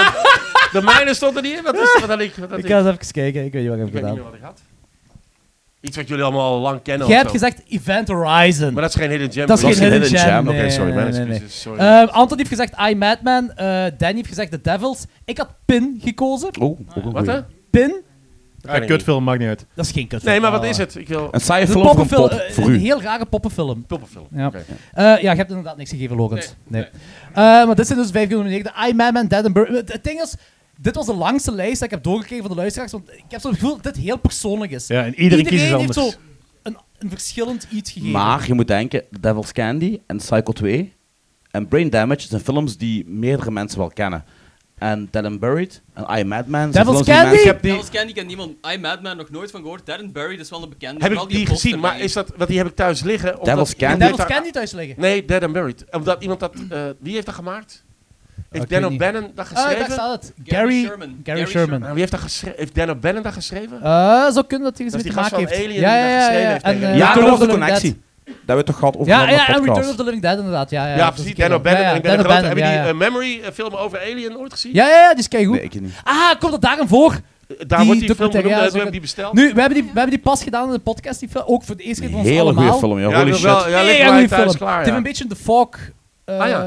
S6: De mijne stond er niet in. Wat is wat had ik? Wat had
S5: Ik
S6: ik?
S5: ga eens even kijken, ik weet niet wat ik
S6: Ik
S5: heb
S6: weet niet
S5: gedaan.
S6: meer wat ik had. Iets wat jullie allemaal al lang kennen.
S5: Jij
S6: of
S5: hebt
S6: zo.
S5: gezegd Event Horizon.
S6: Maar dat is geen hidden gem.
S5: dat is
S3: was
S5: geen
S3: geen
S5: hidden,
S3: hidden
S5: gem.
S3: gem.
S5: Nee,
S6: Oké, sorry,
S5: nee,
S6: mijn
S5: nee, nee.
S6: excuses. Sorry.
S5: Eh, Anton heeft gezegd I, Madman. eh, Danny heeft gezegd The Devils. Ik had Pin gekozen.
S3: Oeh, ook een
S6: Wat hè?
S3: goeie.
S5: Pin,
S6: kan ik
S2: Ah, kutfilm, maakt niet uit.
S5: dat is geen kut.
S6: Nee, maar wat is het? Ik wil...
S3: Een saaie
S5: Ah. Een
S3: film voor een
S5: poppenfilm.
S3: pop,
S5: eh,
S3: voor
S5: een
S3: u.
S5: heel rare poppenfilm.
S6: Poppenfilm.
S5: Ja.
S6: Oké.
S5: Eh, ja, je hebt inderdaad niks gegeven, Logans. Nee. Eh, maar dit zijn dus vijf genomineerden. I, Man, Man, Dead and Bur- Het- Het ding is, dit was de langste lijst dat ik heb doorgekregen van de luisteraars. Want ik heb zo'n gevoel dat dit heel persoonlijk is.
S2: Ja, en iedereen kiest iets
S5: heeft
S2: anders.
S5: zo een, een verschillend iets
S6: Eh,
S5: gegeven.
S3: Maar je moet denken, The Devil's Candy en Psycho 2 en Brain Damage zijn films die meerdere mensen wel kennen. En Dead and Buried en I, Madman zijn
S5: Devil's
S3: films die
S5: Candy?
S3: mensen-
S5: Ik heb
S7: Die... Als Candy kent niemand. I, Madman, nog nooit van gehoord. Darren Barry, dat is wel een bekende.
S6: Heb
S7: Vooral
S6: ik die
S7: poster
S6: gezien, maar
S7: van-
S6: is dat, want die heb ik thuis liggen. Omdat
S3: Devil's
S6: iemand
S3: Candy?
S6: heeft
S5: Devils
S6: daar-
S5: Candy thuis liggen.
S6: Nee, Dead and Buried. Omdat iemand dat, eh, wie heeft dat gemaakt? Heeft
S5: ik
S6: Dan
S5: weet niet.
S6: O'Bannon dat
S5: Ah, daar
S6: geschreven?
S5: staat het.
S7: Gary
S5: Gary,
S7: Sherman.
S5: Gary,
S7: Gary
S5: Sherman.
S7: Sherman.
S6: Nou, wie heeft dat geschreven? Heeft Dan O'Bannon dat geschreven?
S5: Eh, zou kunnen dat hij iets
S6: Dat
S5: mee
S6: is
S5: te
S6: die
S5: maken
S6: gast
S5: heeft.
S6: van Alien die dat geschreven heeft tegen
S5: eh,
S6: hem.
S3: Ja,
S5: Return
S3: toen
S5: of
S3: was de
S5: the Living
S3: connectie.
S5: Dead.
S3: Dat hebben we het toch gehad over
S5: Ja,
S3: een andere
S5: ja, en Return
S3: podcast.
S5: of the Living Dead inderdaad. Ja, ja,
S6: ja,
S5: dat is
S6: precies.
S5: een
S6: Dan
S5: kerel.
S6: O'Bannon.
S5: Ja,
S6: en
S5: ja,
S6: ik ben een
S5: Dan O'Bannon,
S6: grote, hebben jullie
S5: ja,
S6: die
S5: ja.
S6: eh, memory eh, film over Alien ooit gezien? Eh,
S5: Ja, ja, ja, die is keigoed.
S3: Nee, ik weet niet.
S5: Ah, komt dat daar een voor?
S6: Daar
S5: die
S6: wordt die film
S5: documentaire,
S6: genoemd,
S5: ja,
S6: eh,
S5: zo
S6: toen heb
S5: goed.
S6: ik die besteld.
S5: Nu, we hebben, die, we hebben die pas gedaan in de podcast, die film, ook voor de eerste keer
S3: Een
S5: van ons
S3: hele goede
S5: allemaal.
S3: film, joh.
S6: Ja,
S3: Holy
S6: ik wil
S3: shit.
S6: wel- ja, ligt
S5: Mega
S6: bij
S5: goede
S6: thuis
S5: film.
S6: klaar,
S5: het heeft
S6: ja.
S5: een beetje de fog. eh,
S6: Ah, ja.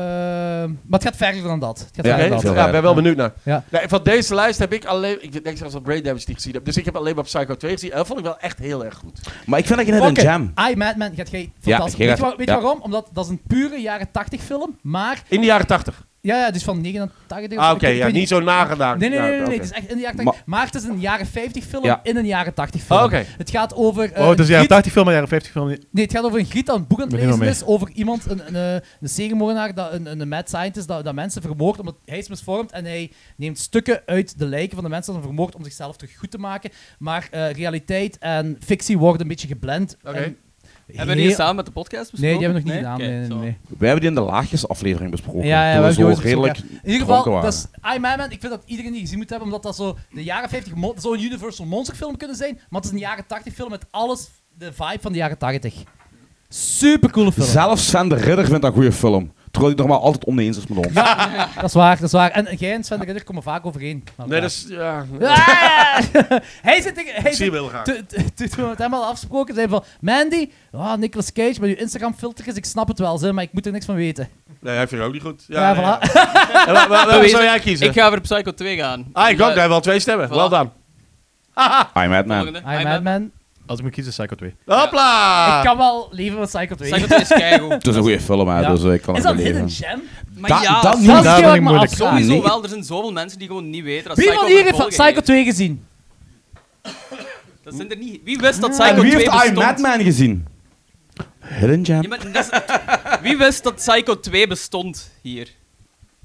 S5: Maar het gaat verder dan dat. Het gaat
S3: Ja,
S5: verder dan
S6: Oké,
S3: heel
S5: dat.
S3: veel.
S6: ja, ik ben wel benieuwd naar.
S5: Ja.
S6: Nee, van deze lijst heb ik alleen... Ik denk zelfs dat Brain Damage niet gezien heb. Dus ik heb alleen maar Psycho 2 gezien. En dat vond ik wel echt heel erg goed.
S3: Maar ik vind dat geen hidden
S5: Oké,
S3: jam.
S5: I, Madman, gaat jij
S3: Ja,
S5: fantastisch.
S3: jij
S5: weet je,
S3: gaat-
S5: waar- weet je
S3: ja.
S5: waarom? Omdat dat is een pure jaren 80 film, maar
S6: In de jaren 80.
S5: Ja, ja, dus van 89. of
S6: Ah,
S5: zo.
S6: oké,
S5: Ik- ik
S6: ja,
S5: weet
S6: niet zo nagedacht.
S5: Nee, nee, nee, nee,
S6: Ja,
S5: nee,
S6: oké.
S5: het is echt in de jaren 80. Maar, het is een jaren 50 film
S3: Ja.
S5: in een jaren 80
S7: Oh,
S5: film.
S6: Ah, oké.
S5: Het gaat over. eh,
S2: Oh, het is
S5: een
S2: de jaren
S5: Griet-
S2: 80 film en jaren 50 film. niet.
S5: Nee, het gaat over een Griet dat een boek aan het
S2: Begin maar
S5: lezen
S2: mee.
S5: is. Over iemand, een, een, eh, een seriemoordenaar, dat- een, een, een mad scientist, dat, dat mensen vermoordt omdat hij is misvormd. En hij neemt stukken uit de lijken van de mensen die hij vermoord om zichzelf terug goed te maken. Maar eh, realiteit en fictie worden een beetje geblend.
S7: Oké.
S5: En
S7: Hebben we die
S5: heel-
S7: samen met de podcast
S5: Nee,
S7: besproken?
S5: die hebben we nog niet gedaan.
S7: Oké,
S5: nee, nee,
S7: zo.
S5: nee.
S3: Wij hebben die in de laagjes aflevering besproken.
S5: Ja, ja,
S3: toen
S5: we
S3: we
S5: hebben die
S3: zo
S5: ooit besproken,
S3: redelijk
S5: ja. In ieder geval,
S3: dronken
S5: dat is I'm Man. Ik vind dat iedereen die gezien moet hebben, omdat dat zo de jaren 50 mo- dat zou een Universal Monster film kunnen zijn, maar het is een jaren 80 film met alles de vibe van de jaren 80. Super coole film.
S3: Zelfs Sven de Ridder vindt dat een goede film. Terwijl hij normaal altijd oneens is met ons.
S5: dat is waar, dat is waar. En jij en Sven de Ridder komen vaak overeen. met elkaar.
S6: Nee, dat is... Ja,
S5: Ah! [laughs] hij zit tegen. Hij
S6: ik zie
S5: zit,
S6: hem heel graag.
S5: Toen- toen- toen we met hem hadden afgesproken, zei hij van: Mandy, ah, Nicolas Cage met uw Instagram-filter is, ik snap het wel, zeg, maar ik moet er niks van weten.
S6: Nee, hij vindt het ook niet goed. Ja,
S5: Ja,
S6: nee,
S5: voilà.
S6: ja. En wa- wa-
S5: [laughs]
S6: Welke zou jij kiezen?
S7: Ik ga voor Psycho 2 gaan. Eh,
S6: Ah, ik ook. Daar
S7: Omdat-
S6: hebben we al twee stemmen. Wel dan.
S3: I'm Madman.
S7: Volgende.
S5: I'm Man. Man.
S2: Als ik moet kiezen, Psycho 2.
S6: Hopla!
S5: Ik kan wel leven met Psycho 2.
S7: [laughs] Psycho 2 is keigoed.
S3: Het is een goede film, hè,
S5: Ja.
S3: dus eh, ik kan het
S5: Is dat
S3: wel
S5: een
S3: leven.
S5: hidden gem?
S7: Maar
S3: Da-
S7: ja,
S3: dan
S5: Dat
S3: niet.
S5: is
S2: daar
S5: heel
S2: ben ik
S5: erg maar
S2: moeilijk.
S5: afvraag.
S7: sowieso
S3: nee.
S7: wel. Er zijn zoveel mensen die gewoon niet weten dat
S5: Wie
S7: Psycho
S5: van hier heeft
S7: vervolgen
S5: Psycho 2 gezien?
S7: Dat zijn er niet. Wie wist dat
S3: En
S7: Psycho
S3: wie
S7: 2
S3: heeft I'm
S7: bestond?
S3: Madman gezien? Hidden Jam.
S7: Ja, maar dat is- Wie wist dat Psycho 2 bestond hier?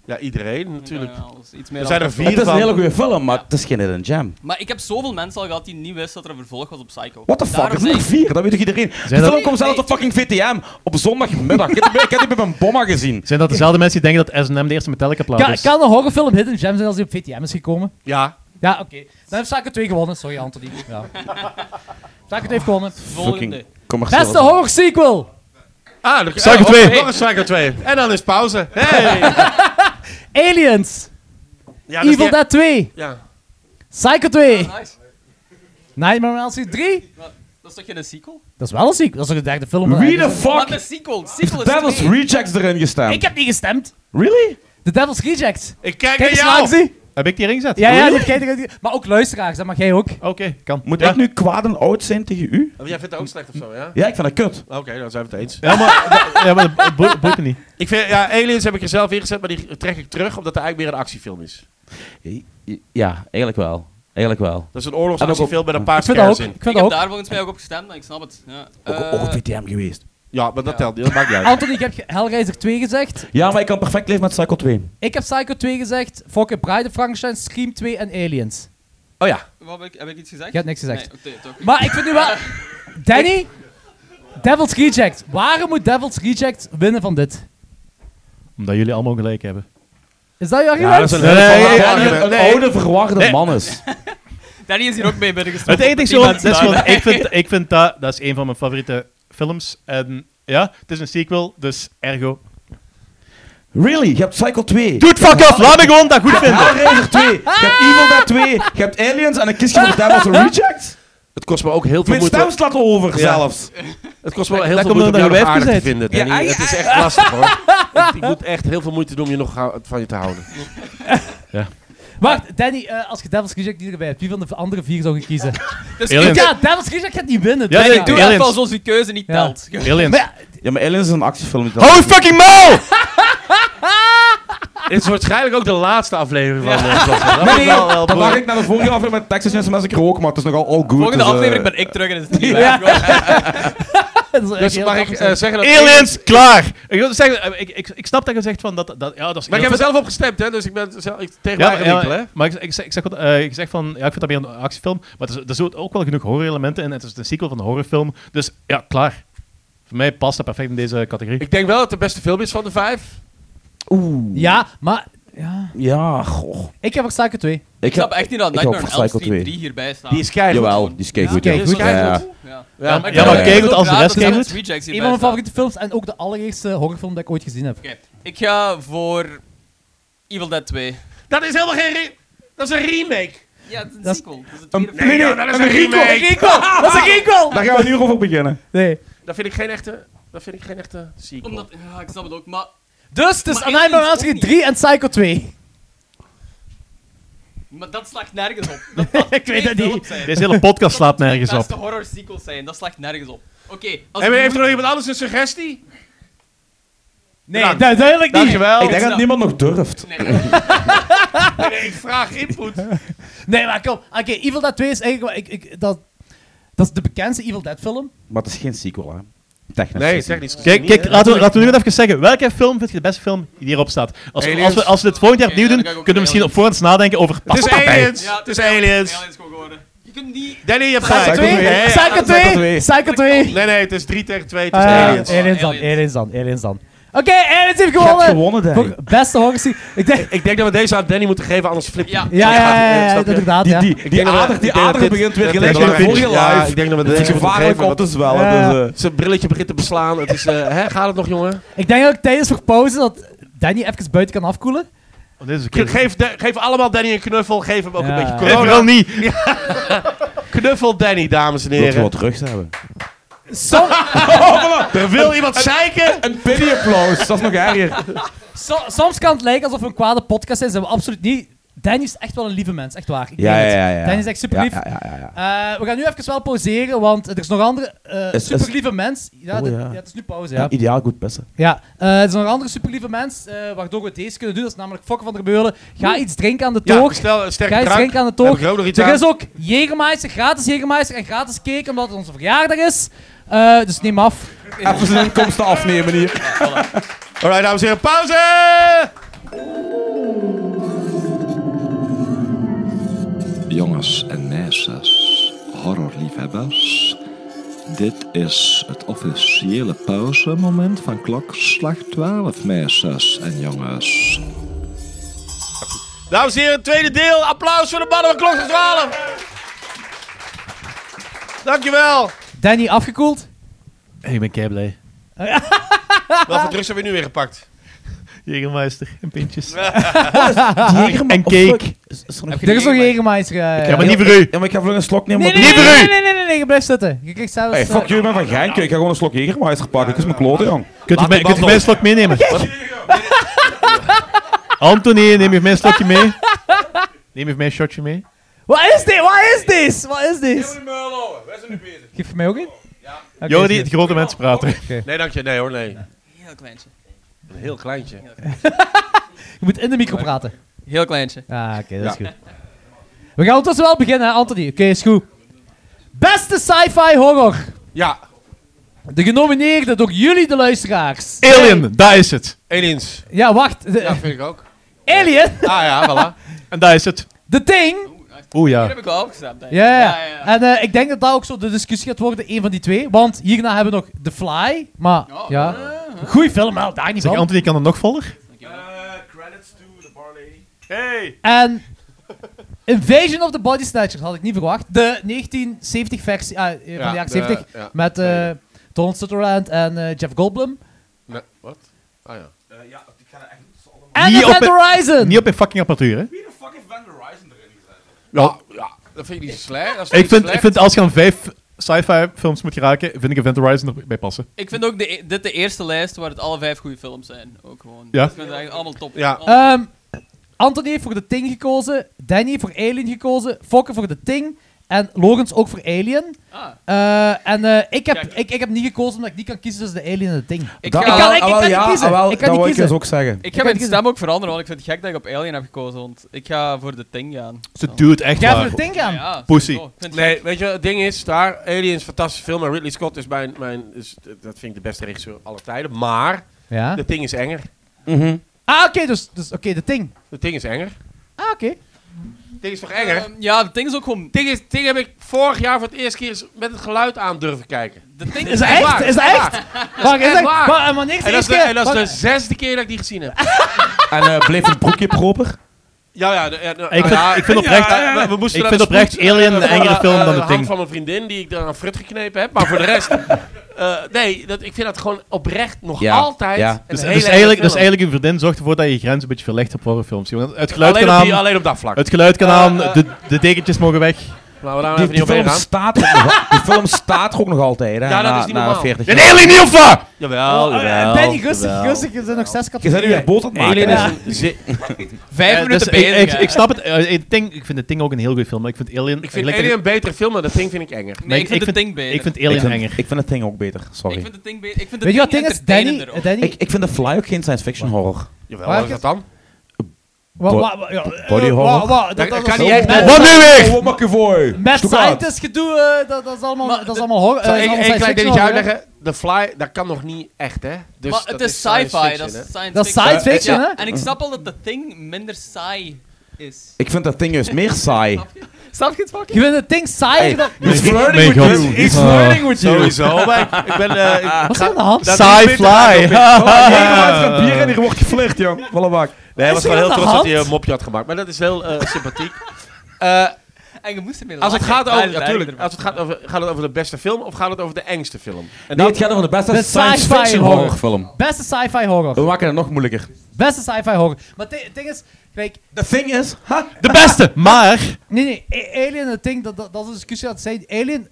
S6: Ja, iedereen natuurlijk.
S7: Ja, alles, iets meer
S6: Er zijn
S7: dan-
S6: er
S3: Het
S6: vier
S3: is een hele
S6: van.
S3: goede film, maar het is geen Hidden Jam.
S7: Maar ik heb zoveel mensen al gehad die niet wisten dat er een vervolg was op Psycho.
S3: What the fuck?
S7: Daarom
S3: Het is nummer
S7: zeg ik-
S3: 4, dat weet toch iedereen? De
S2: dat-
S3: film komt zelfs
S7: Nee.
S3: op fucking VTM op zondagmiddag. Ik heb die- ik heb die bij mijn bomma
S2: [laughs]
S3: gezien.
S2: Zijn dat dezelfde mensen die denken dat S&M de eerste Metallica plaat
S5: Kan,
S2: is?
S5: kan een horrorfilm Hidden Gem zijn als die op VTM is gekomen?
S6: Ja.
S5: Ja, oké. Dan heeft Psycho 2 gewonnen. Sorry, Anthony. Ja. Psycho 2 heeft gewonnen.
S7: Volgende.
S3: commercieel.
S5: Beste horror sequel!
S6: Ah, dan-
S2: Psycho
S6: eh,
S2: twee.
S6: nog- Nog een Psycho 2. En dan is pauze. Hey!
S5: Aliens!
S6: Ja, dat is
S5: Evil
S6: die-
S5: Dead 2!
S6: Ja.
S5: Psycho 2!
S7: Nice.
S5: Nightmare on Elm Street 3!
S7: Dat is toch geen sequel?
S5: Dat is wel een sequel. Dat is toch de derde film? van
S3: Wie de
S5: Aliens?
S7: Wat
S3: fuck
S7: een sequel? Sequel is
S3: Devil's
S7: twee.
S3: Rejects erin
S5: Ik
S3: gestemd?
S5: heb niet gestemd.
S3: Really?
S5: The Devil's Rejects.
S6: Ik kijk
S5: Kijk
S6: naar
S5: eens
S6: jou.
S5: langs die.
S2: Heb ik die erin gezet?
S5: Ja, ja,
S2: Oei.
S5: die heb jij eruit- Maar ook luisteraars, dat mag jij ook.
S2: Oké, kan.
S3: Moet
S2: ja.
S3: ik nu kwaad en oud zijn tegen u?
S6: Oh, Jij vindt het ook slecht of zo, ja?
S3: Ja, ik vind dat kut.
S6: Oké, dan zijn we het eens.
S2: Ja, maar, dat- ja, maar dat boe- boeit me niet.
S6: Ik vind, ja, Aliens heb ik er zelf in gezet, maar die trek ik terug omdat het eigenlijk meer een actiefilm is.
S3: Ja, eigenlijk wel. Eigenlijk wel.
S6: Dat is een
S3: En
S6: oorlogsactiefilm
S3: ook
S6: met een paar
S5: Ik vind dat
S6: scares
S5: ook.
S6: in.
S5: Ik vind
S7: Ik
S5: dat
S7: heb
S5: ook.
S7: daar volgens mij ook op gestemd, maar ik snap het. Ja.
S3: Ook,
S7: Eh,
S3: ook op VTM geweest.
S6: Ja, maar dat telt niet. Dat maakt niet uit.
S5: Anthony, ik heb Hellraiser 2 gezegd.
S3: Ja, maar ik kan perfect leven met Psycho 2.
S5: Ik heb Psycho 2 gezegd, Fokker Bride of Frankenstein, Scream 2 en Aliens.
S6: Oh ja.
S7: wat heb, ik, heb ik iets gezegd?
S5: Je hebt niks gezegd.
S7: Nee, oké, toch.
S5: Maar ik vind nu [laughs] wel... Danny, Devil's Reject. Waarom moet Devil's Reject winnen van dit?
S2: Omdat jullie allemaal gelijk hebben.
S5: Is dat jouw argument?
S3: Ja, dat is een
S2: Nee,
S3: hele
S2: nee,
S3: verwarde
S2: nee,
S3: argument.
S6: nee.
S3: oude verwarde man is.
S7: Danny is hier ook mee binnengestoken.
S2: Het enige is
S7: Die
S2: gewoon, dat
S7: mensen
S2: is
S7: daar.
S2: gewoon- ik vind, ik vind dat, dat is een van mijn favoriete films. En ja, het is een sequel, dus ergo.
S3: Really? Je hebt Psycho 2.
S2: Doe Ah! het fuck af, laat me gewoon dat goed vinden.
S3: Hellraiser 2. Je hebt Evil Dead 2. Je hebt Aliens en een kistje
S2: [laughs]
S3: voor Devil's Rejects.
S6: [laughs] Het kost me ook heel veel
S3: Mijn
S6: moeite.
S3: stem slaat over
S6: Ja.
S3: zelfs.
S6: Het kost me heel
S2: dat
S6: veel
S2: komt
S6: moeite om
S2: omdat
S6: jou
S2: je
S6: nog
S2: wijfje
S6: aardig te
S2: bent.
S6: vinden,
S3: Ja,
S6: Danny.
S3: ai,
S6: het is echt lastig, [laughs] hoor. ik, ik moet echt heel veel moeite doen om je nog ga- van je te houden.
S5: Wacht, Danny, eh, als je Devil's Reject niet erbij hebt, wie van de andere vier zou je kiezen?
S7: Dus
S2: Alien.
S7: ik
S5: ja, Devil's Reject gaat niet winnen.
S2: Ja,
S5: Danny.
S2: nee,
S7: doe
S2: Aliens.
S7: echt wel zoals die keuze niet
S5: Ja.
S7: telt.
S2: Aliens.
S5: Maar ja,
S3: Ja, maar Aliens is een actiefilm. die dat-
S2: Hou je fucking mouw!
S6: [laughs] Dit is waarschijnlijk ook de laatste aflevering van eh, Klokslag. Dat vind ik
S3: Nee,
S6: wel- wel
S3: dat
S6: boeiend.
S3: dacht ik naar de vorige aflevering met Texas Chainsaw Massacre ook, maar het is nogal all good.
S7: [laughs] Volgende
S3: dus, eh,
S7: aflevering ben ik terug en is het niet
S5: Ja.
S7: waar. Gewoon.
S5: dat is echt
S6: [laughs] Dus
S5: heel
S6: mag ik
S5: grappig.
S6: eh, zeggen dat...
S2: Aliens, klaar! Ik, wil zeggen, eh, ik, ik, ik snap dat je zegt van dat... dat ja, dat is
S6: Maar ik
S2: heel
S6: heb er
S2: vet.
S6: zelf op gestemd, hè. Dus ik ben zelf, ik, tegen
S2: ja,
S6: mijn
S2: ja,
S6: eigen winkel, hè.
S2: maar ik, ik, zeg- ik, zeg, wel, eh, ik zeg van, ja, ik vind dat meer een actiefilm, maar het is- er zitten ook wel genoeg horror-elementen in. Het is een sequel van een horrorfilm, dus ja, klaar. Voor mij past dat perfect in deze categorie.
S6: Ik denk wel dat het de beste film is van de vijf.
S3: Oeh.
S5: Ja, maar... Ja.
S3: Ja, goh.
S5: Ik heb ook Psycho 2.
S7: Ik snap echt niet dat
S3: ik hou
S7: Nightmare on
S3: van
S7: Elm
S3: Psycho
S7: Street
S3: 2.
S7: 3 hierbij staat.
S6: Die is keihard.
S3: Jawel, die is keigoed.
S5: Ja,
S3: Ja,
S5: die is
S6: keigoed.
S3: Ja.
S7: Ja.
S2: Ja,
S6: maar
S2: ja, maar
S7: Ik
S2: kijk,
S7: vind
S2: goed
S7: het
S2: als de
S7: ook
S2: rest
S7: raar dat
S2: kijk
S7: Devil's Rejects
S5: Een
S7: hierbij
S5: van mijn
S7: staat.
S5: favoriete films en ook de allereerste horrorfilm dat ik ooit gezien heb.
S7: Oké, ik ga voor Evil Dead 2.
S6: Dat is helemaal geen... re- Dat is een remake. Nou,
S7: Ja, het is een
S5: Dat is-
S7: sequel. Dat is het
S3: Een,
S7: tweede.
S3: nee, nee,
S6: dat is
S3: een
S6: een
S3: requel.
S6: remake.
S5: Dat is een sequel!
S3: Daar gaan we nu over beginnen.
S5: Nee.
S6: Dat vind ik geen echte... Dat vind ik geen echte sequel.
S7: Omdat, ja, ik snap het ook, maar...
S5: Dus het is
S7: Maar
S5: Anime
S7: Aliens ook
S5: Mastery
S7: niet.
S5: 3 en Psycho 2.
S7: Maar dat slacht nergens op. Dat, dat
S5: Ik weet
S7: twee
S5: dat niet.
S7: films zijn.
S2: Deze hele
S6: [laughs]
S2: podcast slaat nergens
S7: Dat de
S2: op.
S7: horror sequels zijn, dat slacht nergens op. Oké, als
S6: Hebben- heeft
S7: ik
S6: er
S7: moet-
S6: nog iemand anders een suggestie?
S5: Nee, du- duidelijk niet.
S6: Dankjewel.
S3: Ik denk dat niemand nog durft.
S6: Nee, ik vraag input.
S5: Nee, maar kom. Oké, Evil Dead 2 is eigenlijk... wel- Ik, ik, dat, dat is de bekendste Evil Dead film.
S3: Maar het is geen sequel, hè. Technisch.
S6: Nee,
S3: gezien.
S6: technisch
S2: Kijk, kijk laten, we, laten we nu even zeggen. Welke film vind je de beste film die hierop staat? Als we, als we, als we dit volgend jaar
S7: Oké,
S2: opnieuw
S7: ja,
S2: doen,
S7: dan ga ik ook
S2: kunnen we misschien op voorhand nadenken over...
S6: Het is
S2: Past daarbij?
S6: aliens. het is aliens.
S7: Aliens gewoon geworden. Je kunt niet...
S6: Danny, je hebt
S5: Psycho
S6: gelijk.
S3: Psycho
S5: 2?
S3: twee.
S6: Nee,
S3: twee.
S5: Psycho 2? Psycho 2?
S6: Nee, nee, het is 3 tegen 2. Het is
S5: Eh,
S6: aliens.
S5: aliens dan,
S7: Aliens.
S5: aliens dan, aliens dan. Oké, aliens heeft
S3: Je hebt
S5: gewonnen.
S3: gewonnen, Danny.
S5: Voor Beste horror Ik denk...
S6: Ik denk dat we deze aan Danny moeten geven, anders flip je.
S7: Ja.
S5: Ja, ja, ja, ja,
S6: eh, snap je?
S5: inderdaad,
S3: Die,
S5: ja.
S3: die, die
S6: denk dat we-
S3: ader,
S6: ik
S3: die
S6: denk dat
S3: ader
S6: dit-
S3: begint weer
S6: dit
S3: gelijk
S6: is
S3: aan de
S6: belangrijk.
S3: vorige
S6: Ja,
S3: live.
S6: ik denk dat we
S3: Het
S6: deze
S3: is
S6: moeten
S3: gevaarlijk
S6: geven,
S3: om te
S5: Ja.
S3: zwellen. Dus, eh,
S6: Zijn brilletje begint te beslaan. Het is, eh, hè, gaat het nog, jongen?
S5: Ik denk ook tijdens voor pauze dat Danny even buiten kan afkoelen.
S2: Oh, dit is oké.
S6: Ge- Geef, de- geef allemaal Danny een knuffel. Geef hem ook
S5: Ja.
S6: een beetje
S2: Nee,
S6: corona.
S2: vooral
S6: [laughs]
S2: niet.
S6: Knuffel Danny, dames en
S3: Wilt je
S6: heren.
S3: wat rugs hebben?
S5: Som- [laughs]
S6: Er wil iemand zeiken.
S3: Een pity applaus, dat is nog erger.
S5: so- soms kan het lijken alsof we een kwade podcast zijn. Zijn we absoluut niet. Danny is echt wel een lieve mens, echt waar. Ik
S3: Ja,
S5: meen het.
S3: ja, ja, ja.
S5: Danny is echt super lief.
S3: Ja, ja, ja, ja.
S5: Eh, we gaan nu even wel pauzeren, want er is nog een andere eh
S3: Is- is-
S5: superlieve mens. Ja,
S3: Oh,
S5: dit-
S3: ja.
S5: ja, het is nu pauze, ja.
S3: Ja, Ideaal goed pissen.
S5: Ja, eh, er is nog een andere superlieve mens, eh, waardoor we deze kunnen doen. Dat is namelijk Fokke van der Beulen. Ga iets drinken aan de
S6: Ja,
S5: toog.
S6: stel een
S5: Ga
S6: sterke
S5: iets
S6: drank.
S5: drinken aan de
S6: Heb
S5: toog.
S6: ik er ook nog iets
S5: Er
S6: aan?
S5: is ook Jägermeister, gratis Jägermeister en gratis cake, omdat het onze verjaardag is. Eh, dus neem af.
S3: Even zijn inkomsten afnemen hier.
S6: Alright, dames en heren, pauze!
S8: Jongens en meisjes, horrorliefhebbers. Dit is het officiële pauzemoment van klokslag 12, meisjes en jongens.
S6: Dames en heren, tweede deel. Applaus voor de mannen van Klokslag 12. Dankjewel.
S5: Danny afgekoeld.
S2: Hey, ik ben kei blij.
S6: Wat voor drugs hebben we nu weer gepakt?
S2: Jägermeister en pintjes.
S3: En
S2: cake.
S5: Er is nog Jägermeister. eh.
S2: Ja, maar niet voor u.
S3: Ja, maar ik ga vlug een slok nemen.
S5: nee, nee,
S3: want-
S5: nee,
S2: Niet voor
S5: nee, nee,
S2: u.
S5: nee, nee, nee, nee, je blijft zitten. Je krijgt zelfs...
S3: Hey,
S5: eh,
S3: fuck jullie, ik ben van Genk. Ik ga gewoon een slok Jägermeister pakken. Ik is mijn klote, jong.
S2: Kunt u
S6: Laat
S2: mij,
S6: de
S2: kunt u mij
S6: band
S2: een
S6: op.
S2: slok meenemen? Anthony, neem je mijn slokje mee? Neem je mijn shotje mee?
S5: Wat is dit? Wat is dit? Wat is dit? Geef je mij ook in? Ja.
S2: Jordi, het grote mens praten.
S6: Nee, dank je. Nee hoor, nee.
S7: Heel kleintje.
S6: Een heel kleintje.
S5: Je moet in de micro praten.
S7: Heel kleintje.
S5: Ah, oké, dat is goed. We gaan ondertussen wel beginnen, hè, Anthony. Oké, is goed. Beste sci-fi horror.
S6: Ja,
S5: De genomineerde door jullie, de luisteraars.
S2: Alien, daar is het.
S6: aliens.
S5: Ja, wacht. De-
S6: Ja, vind ik ook.
S5: Alien,
S6: Ah ja, voilà.
S2: En daar is het.
S5: The Thing.
S2: Oeh
S7: Hier
S2: ja.
S7: heb ik wel opgestapt. denk ik.
S5: Ja, ja, ja.
S7: ja, ja.
S5: En eh, ik denk dat dat ook zo de discussie gaat worden, één van die twee. Want hierna hebben we nog The Fly. Maar
S6: Oh.
S5: ja, goeie film, wel, daar niet
S2: Zeg,
S5: van.
S2: Anthony kan er nog voller?
S6: Credits to the bar lady. Hey!
S5: En Invasion of the Body Snatchers had ik niet verwacht. De 1970-versie, ah, eh, van
S6: Ja,
S5: de jaren
S6: de-
S5: 70.
S6: ja.
S5: met eh,
S6: Nee.
S5: Donald Sutherland en eh, Jeff Goldblum.
S6: Nee, wat? Ah ja.
S3: Eh,
S5: En
S2: Niet op
S5: Event
S2: het-
S5: Horizon!
S2: Niet op mijn fucking apparatuur, hè?
S3: Wie de fuck heeft Van Horizon erin gezet?
S6: Ja, ja. Dat vind ik niet zo slecht. Dat is
S2: Ik
S6: niet
S2: vind,
S6: slecht.
S2: ik vind als je aan vijf sci-fi films moet geraken, vind ik Event Horizon erbij passen.
S7: Ik vind ook de, e- dit de eerste lijst waar het alle vijf goede films zijn. Ook gewoon.
S2: Ja.
S7: Ik vind het eigenlijk allemaal top.
S6: Ja.
S7: Allemaal-
S5: Ehm, Anthony heeft voor de Ting gekozen, Danny voor Alien gekozen, Fokke voor de Ting en Logans ook voor Alien.
S7: ah.
S5: Eh, en eh, ik, heb,
S7: Kijk.
S5: ik, ik heb niet gekozen omdat ik niet kan kiezen tussen de Alien en de Ting.
S7: Ik
S3: Dat-
S7: ga,
S5: kan- ik
S3: ah, wel,
S5: kan niet
S3: ja,
S5: kiezen.
S3: ah, wel,
S5: Ik kan
S3: dat
S5: niet
S3: wou ik
S5: kiezen.
S3: dus ook zeggen.
S7: ik
S5: kan
S7: ga mijn
S5: niet
S7: stem ook veranderen, want ik vind het gek dat ik op Alien heb gekozen. Want ik ga voor de Ting gaan.
S2: Ze doet echt
S5: Ga voor
S2: waar.
S5: de Ting gaan.
S7: Ja,
S2: Pussy.
S7: sowieso. Ik vind het
S6: Nee, weet je, het ding is, daar, Aliens, fantastische film. En Ridley Scott is mijn, mijn is, dat vind ik de beste regisseur aller tijden. Maar,
S5: Ja.
S6: de ding is enger.
S5: Ah, oké, dus, dus oké, de Ting.
S6: De ding is enger.
S5: Ah, oké.
S6: Het ding is toch
S7: gek.
S6: enger?
S7: Ehm, ja, de Ting is ook gewoon...
S6: Ding, is, ding heb ik vorig jaar voor het eerst keer eens met het geluid aan durven kijken.
S7: De Ting
S5: Is dat echt?
S6: waar,
S5: Is dat
S6: dat is
S5: echt? Wacht, is
S6: echt
S5: dat-
S6: waar.
S5: wa- eh, Maar niks
S6: En dat is, de,
S5: eerst, eh,
S6: en dat is de
S5: wacht,
S6: zesde keer dat ik die
S2: [laughs]
S6: gezien heb.
S3: En eh, bleef een broekje proper?
S6: Ja, ja. de- eh, nou,
S2: Ik vind-
S6: ja,
S2: ik vind oprecht-
S6: ja, we- we moesten
S2: ik
S6: naar
S2: vind
S6: de
S2: oprecht
S6: spoed-
S2: Alien
S6: eh,
S2: een
S6: van,
S2: engere
S6: eh,
S2: film dan
S6: eh,
S2: de
S6: hand
S2: Ting.
S6: van mijn vriendin die ik daar aan frut geknepen heb. Maar voor de
S2: [laughs]
S6: rest... eh, nee, dat, ik vind dat gewoon oprecht nog
S3: Ja,
S6: altijd
S3: ja.
S6: een
S2: Dus,
S6: hele
S2: dus,
S6: enge
S2: eigenlijk,
S6: film.
S2: dus eigenlijk, uw vriendin zorgt ervoor dat je je grens een beetje verlegt op horrorfilms. jongen. Het geluid
S6: alleen,
S2: kan
S6: op die,
S2: aan,
S6: alleen op dat vlak.
S2: het geluid kan
S6: Eh,
S2: aan,
S6: eh.
S2: de, de dekentjes mogen weg.
S6: Laten we daar
S3: Die,
S6: even niet
S3: die,
S6: op heen
S3: film
S6: gaan.
S3: staat, er nog- die film staat er ook nog altijd, hè?
S6: Ja, dat
S3: na,
S6: is niet
S3: na
S6: normaal.
S3: 40
S2: Een
S3: jaar.
S2: alien Ilfa!
S7: Jawel,
S3: Oh,
S7: jawel.
S5: Danny, rustig, rustig. Er zijn nog zes
S3: Je bent nu weer
S5: categorieën.
S3: boot aan het maken.
S6: Alien
S3: hè?
S6: is een ze-
S7: Vijf
S2: Eh,
S7: minuten
S2: dus ik,
S7: bezig.
S2: ik, ik snap het. eh, eh, Ting- ik vind de Ting ook een heel goede film. Maar ik vind Alien...
S6: Ik vind
S2: lijkt-
S6: Alien een betere film, maar dat ding vind ik enger.
S7: Nee, ik vind de Ting
S2: Ik
S7: beter.
S2: vind
S3: Ik
S2: Alien
S3: vind,
S2: enger.
S3: ik vind het ding ook beter, sorry.
S7: Ik vind de Ting beter. Ik vind de
S5: Weet je wat
S7: Thing
S5: ding is? Danny,
S7: entertainender ook.
S5: Danny
S3: Ik, ik vind de Fly ook geen science fiction horror.
S6: Jawel,
S5: Waar
S6: wat is
S5: heb
S6: dat dan?
S5: Wa-
S3: Bo-
S5: wa- wa- ja, eh,
S3: body
S5: wa-
S3: horror?
S5: wa- dat-
S6: Dat,
S5: dat
S6: kan
S5: is-
S6: niet echt.
S5: Met-
S2: Wat nu weer?
S3: Oh, Wat maak je voor?
S5: Met
S3: Zoek uit.
S5: scientist gedoe, eh, dat, dat is allemaal,
S7: Maar
S5: dat is
S7: de-
S5: allemaal horror. eh,
S6: Ik
S5: allemaal
S6: ik
S5: science
S6: ga dit
S5: fiction horror, hè.
S6: uitleggen. The Fly, dat kan nog niet echt, hè? Dus
S7: maar
S6: dat
S7: het is
S6: science
S7: sci-fi,
S6: fiction,
S7: dat is
S6: hè.
S7: science
S5: Dat is
S7: fiction.
S5: science fiction,
S7: Ja,
S5: hè?
S7: En ik snap al dat de Thing minder saai is.
S3: Ik vind dat ding juist meer saai.
S7: Snap je het fucking?
S5: Je vindt het ding saai. dat-
S3: He's flirting
S2: with you.
S3: He's
S2: Oh.
S3: flirting with you.
S2: [laughs]
S6: [laughs] Sowieso, maar ik- ik ben... eh, ik-
S5: Wat is er aan de hand?
S6: dat-
S2: Sci-fly!
S3: een bier en hier wordt geflirt, jong. Volle bak.
S6: Nee, hij was
S5: er
S6: wel
S5: aan
S6: heel
S5: de
S6: trots dat hij eh,
S5: hand?
S6: een mopje had gemaakt. Maar dat is heel
S7: [laughs]
S6: eh, sympathiek. Eh,
S7: En je moest ermee
S6: als het
S7: lachen.
S6: gaat
S7: Daar
S6: over...
S7: is het
S6: Ja, tuurlijk.
S7: eigenlijk
S6: Als het gaat over... Gaat het over de beste film of gaat het over de engste film? En
S3: Nee,
S6: dat-
S3: het gaat over de beste
S5: De
S3: science
S5: sci-fi
S3: fiction
S5: horror.
S3: horrorfilm.
S5: Beste sci-fi horror.
S3: We maken het nog moeilijker.
S5: Beste sci-fi horror. Maar het ding- het ding is, kijk,
S3: The thing is... Ha,
S2: De beste! Maar...
S5: nee, nee, A- Alien, het ding, dat, dat, dat is een discussie aan het zijn. Alien,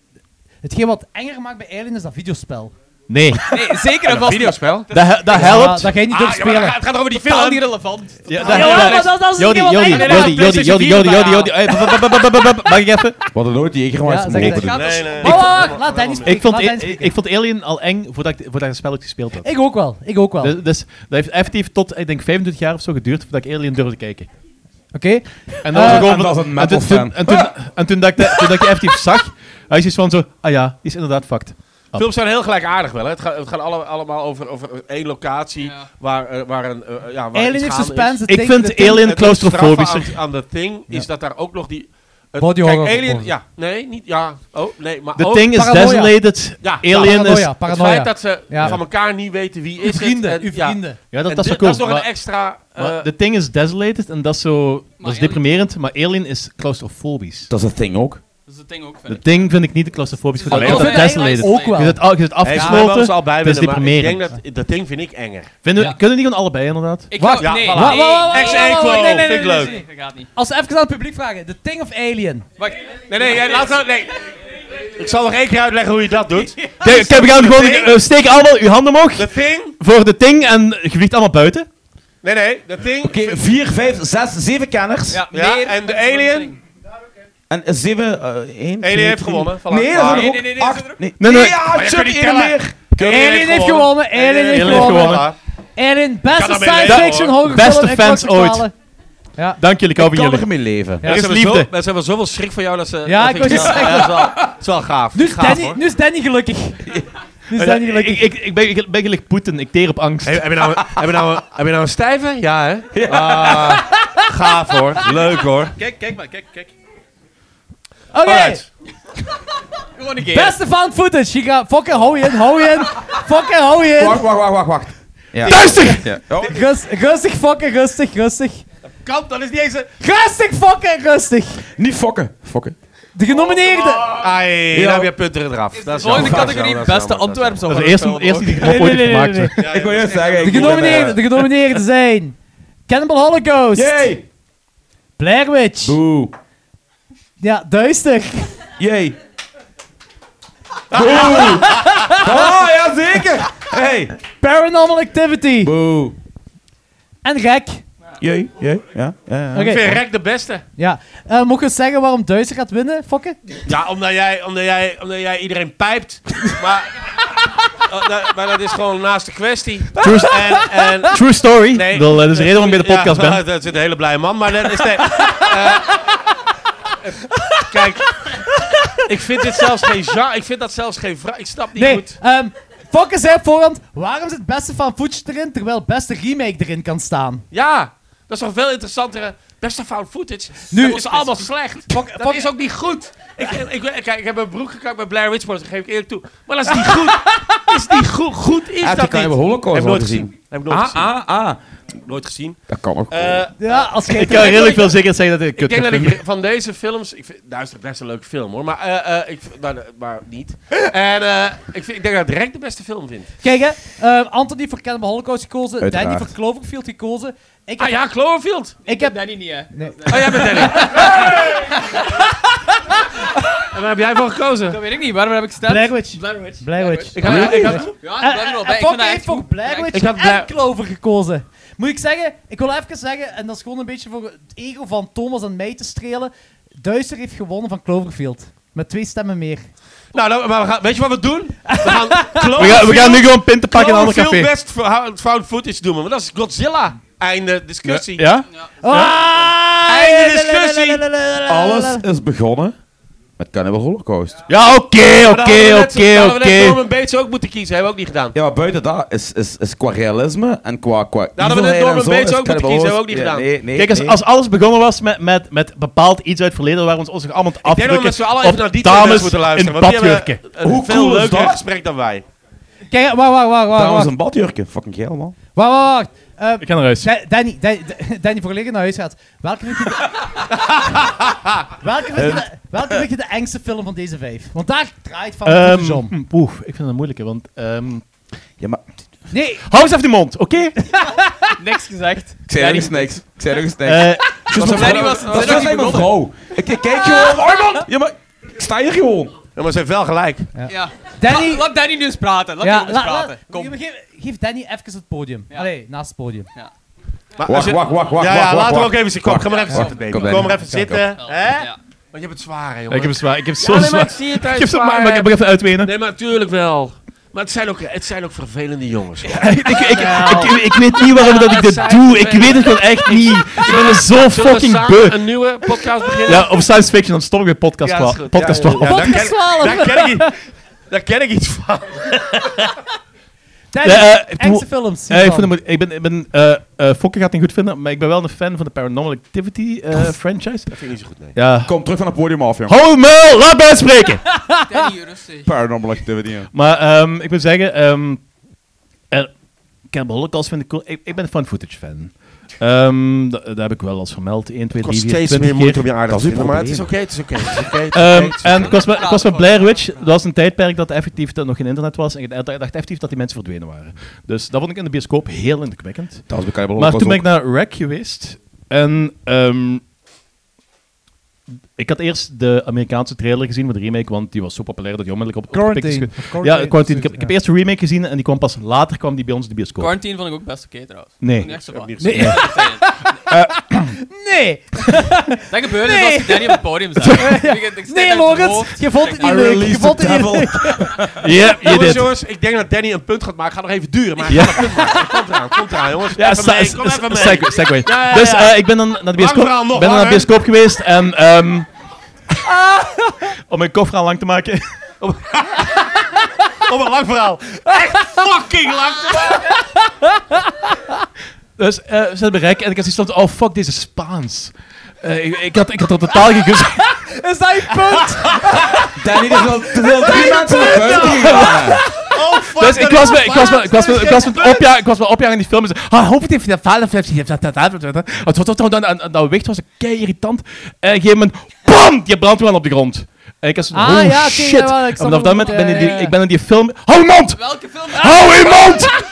S5: hetgeen wat enger maakt bij Alien is dat videospel.
S2: Nee.
S7: ermee. [laughs] Nee, zeker en vast.
S6: Videospel?
S2: Dat, he- dat helpt.
S5: Ja, dat ga je niet durft
S6: Ah, ja,
S5: spelen.
S6: maar het gaat- het gaat over die film.
S7: Totaal niet relevant.
S2: Ja, dat
S5: Ja,
S2: helpt.
S5: maar dat, dat is
S2: Jody,
S5: hetgeen wat
S2: Jody,
S5: enger
S6: nee,
S2: Jody, Jody,
S6: nee, PlayStation
S2: Jody, Jody,
S6: vier
S2: Jody, Jody. Eh, Hey, bup, bup, bup, bup, bup, bup. Mag ik
S5: [laughs]
S2: even?
S3: Wat een nooit die ik gewoon
S5: Ja,
S3: eens
S5: zeg
S3: mogen
S5: dat.
S3: doen.
S7: Gaat
S6: Nee,
S7: als-
S6: nee.
S5: Wacht, wacht, wacht, laat Danny
S2: Ik
S5: spreken.
S2: vond,
S5: laat Danny
S2: ik, ik-
S5: spreken.
S2: ik vond Alien al eng voordat ik, voordat ik het spelletje gespeeld had.
S5: Ik ook wel, ik ook wel.
S2: Dus, dus dat heeft effectief tot, ik denk, 25 jaar of zo geduurd voordat ik Alien durfde kijken.
S5: Oké?
S2: En dan was ik
S3: Eh,
S2: gewoon
S3: en
S2: van-
S3: dat is een
S2: en toen-
S3: metalfan.
S2: toen- En toen, en toen dat ik de- toen dat ik die effectief zag, hij is iets van zo, ah ja, die is inderdaad fucked.
S5: Oh.
S6: Films zijn heel gelijkaardig wel. Hè? Het gaat, het gaat alle- allemaal over, over één locatie
S7: Ja.
S6: waar, eh, waar een... eh, ja, waar
S5: Alien
S6: iets
S5: heeft
S6: gaande
S5: suspense. het
S2: Ik
S5: ding-
S2: vind
S5: het ding-
S2: Alien
S6: Het straffe
S2: claustrofobischer.
S6: Aan, aan dat ding is dat daar ook nog die... het-
S5: Body
S6: kijk,
S5: horror
S6: Alien...
S5: gevolgen.
S6: Ja, nee, niet... Ja, oh, nee, maar
S2: The
S6: ook...
S2: Thing is
S5: paranoia.
S2: Desolated.
S6: Ja,
S2: Alien
S5: paranoia,
S2: is...
S5: paranoia.
S6: Het feit dat ze
S5: Ja.
S6: van elkaar niet weten wie is
S5: Uw vrienden,
S6: het... en-
S5: uw
S6: ja.
S5: vrienden.
S2: Ja, dat,
S6: En
S2: dat is
S6: dit-
S2: wel cool.
S6: Dat is nog
S2: maar-
S6: een extra... eh,
S2: maar The Thing is Desolated en dat is zo... dat is
S7: Alien-
S2: deprimerend, maar Alien is claustrofobisch.
S3: Dat is een thing ook.
S7: Dat is de Thing ook, vind
S2: The
S7: ik.
S2: Thing vind ik niet claustrofobisch,
S7: Maar
S2: voordat
S6: Alien
S2: ik dat
S6: Oh, vind ik
S2: Desolated.
S7: eigenlijk
S5: Ook wel.
S2: Je zit, al- je zit
S6: Hey, ze hebben
S2: afgesloten.
S6: ons al bij
S2: het is
S6: willen, maar ik denk
S2: deprimerend.
S6: dat dat ding vind ik enger.
S2: Vinden we-
S5: Ja.
S2: Kunnen we niet gewoon allebei, inderdaad?
S7: Ik
S5: Wacht,
S7: zou- nee,
S6: ja, voilà.
S7: nee,
S5: Wacht, wacht, wacht, wacht,
S7: nee,
S6: Ex
S5: wacht, wacht,
S6: equo,
S5: nee, nee, nee,
S6: vind ik
S5: nee,
S6: leuk.
S5: nee, nee.
S7: Dat gaat niet.
S5: Als we even aan het publiek vragen, The Thing of Alien.
S7: Wacht.
S6: Nee, nee, jij- laat nou... Nee. Ik zal nog één keer uitleggen hoe je dat doet.
S2: Kijk, kijk, we gaan gewoon...
S6: Thing-
S2: eh, Steek allemaal uw handen omhoog
S6: The Thing...
S2: voor The Thing en gewicht allemaal buiten.
S6: Nee, nee, The Thing...
S3: Oké, vier, vijf, zes, zeven kenners.
S7: Ja,
S6: Ja,
S7: meer
S6: en de
S7: dan voor
S6: alien?
S7: Thing.
S3: En eh, zeven, eh, één, twee,
S6: heeft
S3: drie.
S6: gewonnen, voilà. Ah,
S3: Nee, dat
S6: Klaar.
S3: zijn er
S7: Nee,
S3: ook
S7: nee, nee, dat
S3: acht.
S7: zijn er ook-
S3: Nee,
S2: Nee, nee.
S3: ja,
S6: je
S3: shit,
S6: kunt niet
S3: één
S6: tellen.
S3: meer.
S5: Alien heeft gewonnen, Alien heeft
S2: Alien heeft
S5: gewonnen.
S2: gewonnen.
S5: Alien,
S6: Kan
S5: beste
S6: dat mee
S5: science
S6: leven,
S5: fiction
S6: hoor.
S5: horror
S2: Beste
S5: film, ik kan
S2: fans
S5: het vertalen.
S2: Dank jullie, ik hou van
S3: Kan
S2: jullie.
S3: er mee leven.
S5: Ja.
S2: Er
S6: Ja, ze
S2: is
S6: hebben
S2: liefde.
S6: Zo, maar ze hebben zoveel schrik van jou dat ze...
S5: Ja,
S6: dat
S5: ik
S6: vind
S5: wou
S6: wel-
S5: juist
S6: ja, dat, is wel, dat is wel gaaf.
S5: Nu is,
S6: gaaf,
S5: Danny,
S6: hoor.
S5: nu is Danny gelukkig. Nu is Danny
S2: ik,
S5: gelukkig.
S2: ik, ik, ik ben, ik ben gelijk Poetin, ik teer op angst.
S6: Hey, heb, je nou, een- heb, je nou, een- heb je nou een stijve? Ja, hè? Ah, gaaf, hoor. Leuk, hoor.
S7: Kijk, kijk maar, kijk, kijk.
S5: Oké,
S6: Alright.
S7: Gewoon een keer.
S5: beste found footage. Je gaat fucking hou je in, hou je in. Fucking hou je in.
S3: Wacht, wacht, wacht, wacht, wacht. Ja.
S2: Duister!
S3: Ja. Oh,
S5: Rust- rustig, fucking rustig, rustig.
S6: Kant, dat is niet eens een...
S5: Rustig, fucking rustig.
S3: Niet fokken. Fokken.
S5: De genomineerde.
S6: Ai, dan heb je punten eraf. Dat is
S7: Volgende
S6: jammer,
S7: categorie,
S6: dat is jammer, dat is jammer, dat
S7: beste
S6: is jammer.
S7: Antwerpse
S2: Dat is de eerste, eerste die ik nog
S5: Nee,
S2: ooit
S5: nee,
S2: heb
S5: nee,
S2: gemaakt.
S5: nee,
S2: zeg.
S3: ik wil juist zeggen.
S5: De genomineerden, de genomineerden zijn... Cannibal Holocaust.
S3: Yay!
S5: Blair Witch.
S3: Boe.
S5: Ja, duister.
S3: Yay. Boe. Oh, jazeker. Hey.
S5: Paranormal Activity.
S3: Boe.
S5: En gek.
S3: Jee, jee. Ja, ja, ja.
S5: Oké.
S6: Ik vind Rek de beste.
S5: Ja. Eh mocht je zeggen waarom duister gaat winnen, fokken?
S6: Ja, omdat jij, omdat jij, omdat jij iedereen pijpt. [laughs] maar, eh, dat- maar dat is gewoon naast de kwestie.
S2: True,
S6: En, en,
S2: true story.
S6: Nee.
S2: Ik bedoel, eh, dat is de reden waarom ik bij de podcast
S6: ja, [laughs]
S2: ben.
S6: Dat zit een hele blije man, maar dat is...
S2: [laughs]
S6: Nee, eh, kijk, ik vind dit zelfs geen genre. Ik vind dat zelfs geen vraag. Ik snap niet
S5: Nee,
S6: goed.
S5: ehm Fokken zei op voorhand, waarom zit beste van footage erin, terwijl beste remake erin kan staan?
S6: Ja, dat is toch veel interessantere... Beste found footage.
S5: Nu-
S6: Nu dat is allemaal slecht. dat is ook niet goed. Ik, ik, ik- kijk, ik heb mijn broek gekakt met Blair Witch Project, dat geef ik eerlijk toe. Maar dat is niet goed. is niet goed. Goed is
S3: Heb je
S6: dat niet.
S3: Cannibal Holocaust
S6: Heb ik
S3: al
S6: nooit
S3: gezien?
S6: gezien. Heb ik nooit
S3: Ah,
S6: gezien.
S3: ah, ah.
S6: Nooit gezien.
S3: Dat kan ook.
S6: Eh,
S5: Ja, als jij
S2: Ik kan redelijk veel zeker zeggen dat ik
S6: Ik
S2: het
S6: denk
S2: kut
S6: dat
S2: vind.
S6: ik van deze films. Ik vind Duister best een leuke film hoor. Maar, eh, eh, ik, vind- maar, maar niet. En eh, ik, vind, ik denk dat ik direct de beste film vind.
S5: Kijk hè, ehm, Anthony voor Cannibal Holocaust gekozen,
S3: Uiteraard.
S5: Danny voor Cloverfield gekozen. Ik heb...
S6: Ah ja, Cloverfield.
S5: ik heb
S7: Danny niet, hè.
S6: Oh, jij bent Danny.
S9: En waar heb jij voor gekozen?
S7: Dat weet ik niet, waarom heb ik stem?
S10: Blair Witch.
S7: Blair Witch.
S10: Blair Witch.
S9: Ik ga, ik ga,
S5: Eh,
S7: Ja, ik blijf er wel bij. Ik vind dat
S5: heeft
S7: echt
S5: voor
S7: goed.
S5: Blair
S9: ik
S5: Witch
S9: had Blair-
S5: en Clover gekozen. Moet ik zeggen, ik wil even zeggen, en dat is gewoon een beetje voor het ego van Thomas en mij te strelen. Duister heeft gewonnen van Cloverfield. Met twee stemmen meer.
S6: Nou, dan- maar we gaan, weet je wat we doen? We gaan
S2: We gaan, we gaan nu gewoon pinten pakken in een ander
S6: veel
S2: café.
S6: best verha- found footage doen, want dat is Godzilla. Einde discussie.
S2: Ja?
S5: Ah,
S6: Einde discussie.
S3: Alles is begonnen met Cannibal Holocaust.
S2: Ja, oké,
S6: Maar daar hadden we
S2: oké,
S6: net- daar
S2: oké,
S6: hadden we net
S2: oké.
S6: Norman Bates ook moeten kiezen, hebben we ook niet gedaan.
S3: Ja, maar buiten dat is, is, is qua realisme en qua... qua
S6: hadden we net
S3: evilheid en
S6: Norman
S3: zo
S6: Bates
S3: is
S6: ook moeten
S3: Cannibal
S6: kiezen,
S3: Holocaust-
S6: hebben we ook niet gedaan. ah,
S3: Ja, nee, nee,
S2: Kijk, als,
S3: nee.
S2: als alles begonnen was met, met, met bepaald iets uit het verleden, waar we ons allemaal aan het
S6: Ik denk dat we met z'n allen
S2: afdrukken
S6: even naar
S2: op
S6: die twee mensen
S2: dames
S6: moeten
S2: in
S6: luisteren. want die hebben
S2: badjurken.
S6: een
S3: Hoe
S6: veel
S3: cool is
S6: leuker
S3: dat?
S6: gesprek dan wij.
S5: Kijk, wacht, wacht, wacht, wacht.
S3: Dames
S5: wacht.
S3: en badjurken. Fucking geil, man.
S5: Wacht, wacht, wacht.
S2: Ik ga naar huis.
S5: Eh, Da- Danny, Da- Da- Danny, voor liggen naar huis gaat. Welke vind je
S2: [laughs]
S5: de, welke vind je de, welke vind je de engste film van deze vijf? Want daar draait van
S2: Ehm,
S5: um, om.
S2: mm, Oeh, ik vind dat een moeilijke, want... ehm
S3: Ja, maar...
S5: Nee,
S2: hou eens even die mond, oké?
S6: [laughs]
S7: Niks gezegd.
S3: Ik zei nog eens niks. Ik zei nog eens niks.
S2: Eh,
S7: Danny was...
S3: Dat is
S7: Danny
S3: mijn
S7: begon.
S3: vrouw. Ik, ik kijk gewoon. Oh man! Ja, maar ik sta hier gewoon.
S6: Ja, maar ze heeft wel gelijk.
S7: Ja.
S5: Danny...
S7: Laat, laat Danny nu eens praten. Laat
S5: Ja,
S7: Danny nu
S5: la-
S7: eens
S5: la-
S7: praten. Kom.
S5: Geef, geef Danny even het podium.
S7: Ja.
S5: Allee, naast het podium.
S6: Maar als
S3: Wacht,
S6: je-
S3: wacht, wacht, wacht.
S6: ja, ja,
S3: wacht,
S6: laat hem
S3: wacht.
S6: ook even zitten. Kom, ga maar even
S3: Wacht,
S6: zitten.
S3: kom,
S6: Kom,
S3: Danny.
S6: maar even
S3: Kom,
S6: zitten. Hè?
S7: Ja.
S6: Want je hebt het zwaar,
S2: ik heb
S6: jongen.
S2: het zwaar, ik heb het zo
S6: Ja, nee, maar
S2: zwaar.
S6: ik zie het, hij
S2: Ik heb
S6: heeft
S2: zo maar,
S6: zwaar,
S2: maar ik heb even uitwenen.
S6: Nee, maar natuurlijk wel. Maar het zijn ook, het zijn ook vervelende jongens. hoor.
S2: ik, ik, ik, ik, ik weet niet waarom dat ik dit doe. Ik weet het gewoon echt
S6: [laughs]
S2: niet. Ik ben er zo
S6: Zullen we
S2: fucking
S6: samen
S2: beu.
S6: een nieuwe podcast beginnen?
S2: Ja, of science fiction, dan stop ik met podcast
S6: Ja,
S2: twa-
S6: is goed.
S2: podcast
S6: Ja, ja,
S2: 12.
S6: ja, daar ken-
S5: Podcast 12.
S6: Daar
S5: [laughs]
S6: ken ik, daar ken ik iets van.
S5: Danny,
S2: Ja, eh, ik
S5: engste
S2: bedoel-
S5: films.
S2: Eh, ik, vind hem- ik ben, ik ben eh eh, Fokke gaat het niet goed vinden, maar ik ben wel een fan van de Paranormal Activity eh, franchise.
S6: Dat vind ik niet zo goed, nee.
S2: Ja.
S3: Kom terug van het podium af, jongen.
S2: Hou je muil, laat mij spreken! [laughs]
S7: Danny, rustig.
S3: Paranormal activity. ja.
S2: maar ehm, ik wil zeggen, ehm eh, Cannibal Holocaust vind ik cool. Ik, ik ben een fan footage fan. Ehm dat, dat heb ik wel als vermeld. 1, 2, 3, 4, 20 keer.
S6: om je aardig te vinden, maar het is oké, het is oké. het [laughs] is oké, het is oké,
S2: Ehm,
S6: het is oké.
S2: en ik was, met, ik was met Blair Witch, dat was een tijdperk dat effectief dat nog geen internet was. En ik dacht dacht effectief dat die mensen verdwenen waren. Dus dat vond ik in de bioscoop heel indrukwekkend.
S3: Dat was bij Cannibal
S2: Maar
S3: Holocaust
S2: toen ben ik
S3: ook.
S2: naar Rack geweest. En ehm, ik had eerst de Amerikaanse trailer gezien met de remake, want die was zo populair dat die onmiddellijk op, op de
S10: Quarantine.
S2: pik is
S10: Of
S2: ge- Ja, Quarantine. Ik heb,
S10: zoiets,
S2: ik heb eerst de remake gezien en die kwam pas later kwam die bij ons de bioscoop.
S7: Quarantine vond ik ook best oké trouwens.
S2: Nee.
S7: Niet echt zo van.
S2: Nee.
S5: Nee,
S7: Dat gebeurde dus als Danny op het podium zat. Ik begin- ik steek
S5: nee,
S7: uit mijn hoofd.
S5: Logans. Je vond het niet leuk. Je vond het niet leuk.
S2: Ja, je
S6: Jongens,
S2: dit.
S6: jongens, ik denk dat Danny een punt gaat maken. Gaat nog even duren, [laughs] maar hij
S2: Ja.
S6: gaat een punt maken. Komt eraan, komt eraan, jongens.
S2: Ja,
S6: even
S2: sa-
S6: mee,
S2: sa-
S6: kom even mee.
S2: segue- segue.
S6: ja, ja.
S2: Dus eh, ik ben dan naar de bioscoop,
S6: verhaal, nog
S2: ben dan naar de
S6: langer.
S2: bioscoop geweest en... ehm, [laughs] om mijn koffer aan lang te maken.
S6: [laughs]
S2: [laughs]
S6: Op een lang verhaal. Echt fucking lang.
S2: Dus eh we zaten bij Rek en ik had zoiets van, oh fuck, deze is Spaans. Eh, ik, ik, had, ik had er totaal geen gus-
S5: Is dat je punt?
S7: [laughs]
S3: Danny, er zijn- er zijn drie mensen naar buiten gegaan.
S6: Oh, [laughs] fuck.
S2: Dus ik
S6: dat
S2: was
S6: is
S2: me, ik was me, ik was me,
S6: Spaans.
S2: ik was me het opjagen, ik was me opjagen in die film. en ze, Ah, hoop het heeft dat vader heeft heeft dat dat dat dat dat. Het was toch dan dan dat wicht was kei irritant. En op een gegeven moment, bam, je brandt gewoon op de grond. En ik was
S5: Ah,
S2: oh
S5: ja, oké,
S2: shit.
S5: jawel, ik snap
S2: en
S5: wat
S2: vanaf dat
S5: je
S2: moment
S5: bedoelt,
S2: ben ik
S5: ja,
S2: die,
S5: ja, ja.
S2: ik ben in die film. Hou je mond,
S7: Welke film?
S2: hou je mond.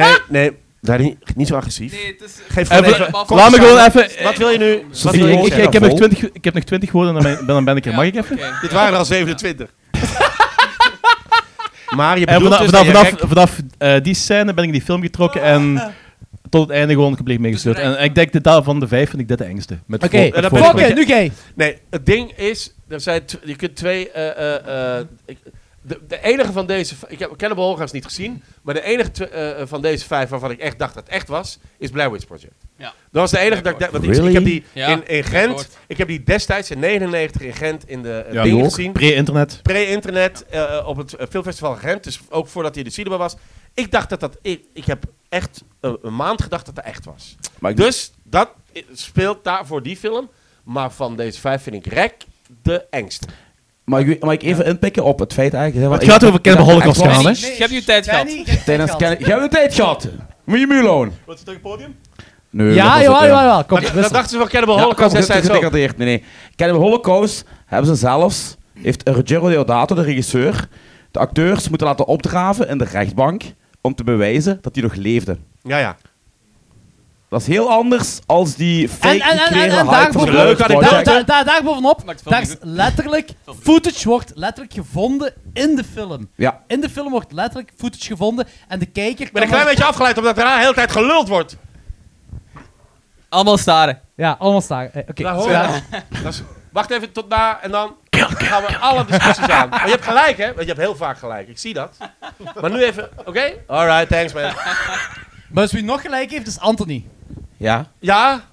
S6: Nee, nee. Danny, niet zo agressief.
S7: Nee, het is...
S6: Geef
S2: Even-
S6: gewoon even... kom,
S2: Laat me gewoon
S6: Sam.
S2: even.
S6: Wat wil je nu? Wat
S2: Ik,
S6: wil je
S2: ik,
S6: nu?
S2: ik, heb nog 20 ik heb nog 20 woorden en dan ben- dan ben ik er. Mag ik even?
S7: Oké.
S6: Dit waren er al 27. maar je
S2: En
S6: bedoelt
S2: Eh, vanaf,
S6: dus
S2: vanaf,
S6: dat je
S2: vanaf, vanaf eh, die scène ben ik in die film getrokken en tot het einde gewoon gebleven meegesleurd. En, en ik denk, dit daar van de vijf vind ik dit de engste. Met
S5: Oké,
S2: vol- met
S6: dat
S2: vol-
S6: ben
S5: fuck it, nu jij.
S6: gek- Nee, het ding is... Er zijn tw- je kunt twee... eh, eh, eh, ik- de, de enige van deze... v- Ik heb Cannibal Holocaust niet gezien. Maar de enige tw- eh, eh, van deze vijf waarvan ik echt dacht dat het echt was... Is Blair Witch Project.
S7: Ja.
S6: Dat was de enige dat ik dacht... want ik- Ik
S3: Really?
S6: heb die
S7: Ja,
S6: in, in
S7: hoor.
S6: Gent... Ik heb die destijds in 99 in Gent in de eh,
S2: Ja,
S6: dingen
S2: ook.
S6: gezien.
S2: Pre-internet.
S6: pre-internet eh, eh, op het eh, filmfestival Gent, dus ook voordat hij in de cinema was. Ik dacht dat dat ik, ik heb echt eh, een maand gedacht dat dat echt was.
S3: Maar ik-
S6: Dus dat i- speelt daar voor die film, maar van deze vijf vind ik Rek de engste.
S3: Mag ik, mag ik even inpikken op het feit eigenlijk?
S2: Het gaat over Cannibal Holocaust gaan, hè?
S7: Je hebt je tijd gehad.
S3: Tijdens Cannibal... Jij hebt een tijd gehad. Moet je muloon.
S6: Wat is het podium?
S3: Nee, dat
S5: Ja,
S3: was
S5: jawel,
S3: het,
S5: jawel, jawel. Kom,
S6: Dat, dat
S5: wissel.
S6: dachten ze van Cannibal
S3: Ja,
S6: Holocaust
S3: kom,
S6: destijds
S3: goed
S6: ook.
S3: gedegradeerd. Nee, nee. Cannibal Holocaust hebben ze zelfs... Heeft Ruggero Deodato, de regisseur, de acteurs moeten laten opdraven in de rechtbank om te bewijzen dat die nog leefden.
S6: Ja, ja.
S3: Dat is heel anders als die fake
S5: En, en, en, en,
S3: gecreëerde
S5: en
S3: hype
S5: daar,
S3: van
S5: boven-
S3: geluid dat ik
S5: daar,
S3: daar-
S5: daar, daar, daar bovenop,
S7: Maakt het
S5: daar
S7: wel
S5: is letterlijk, footage wordt letterlijk gevonden in de film.
S3: Ja.
S5: In de film wordt letterlijk footage gevonden en de kijker...
S6: ben een klein beetje afgeleid omdat daarna de hele tijd geluld wordt.
S7: Allemaal staren.
S5: Ja, allemaal staan. Eh, Oké.
S6: Daar hoor je
S5: Ja.
S6: Dat is- wacht even tot na en dan gaan we alle discussies aan. Maar je hebt gelijk, hè? Want je hebt heel vaak gelijk. Ik zie dat. Maar nu even, oké? Alright, thanks man.
S5: Maar dus wie nog gelijk heeft, is Anthony.
S3: Ja.
S6: Ja?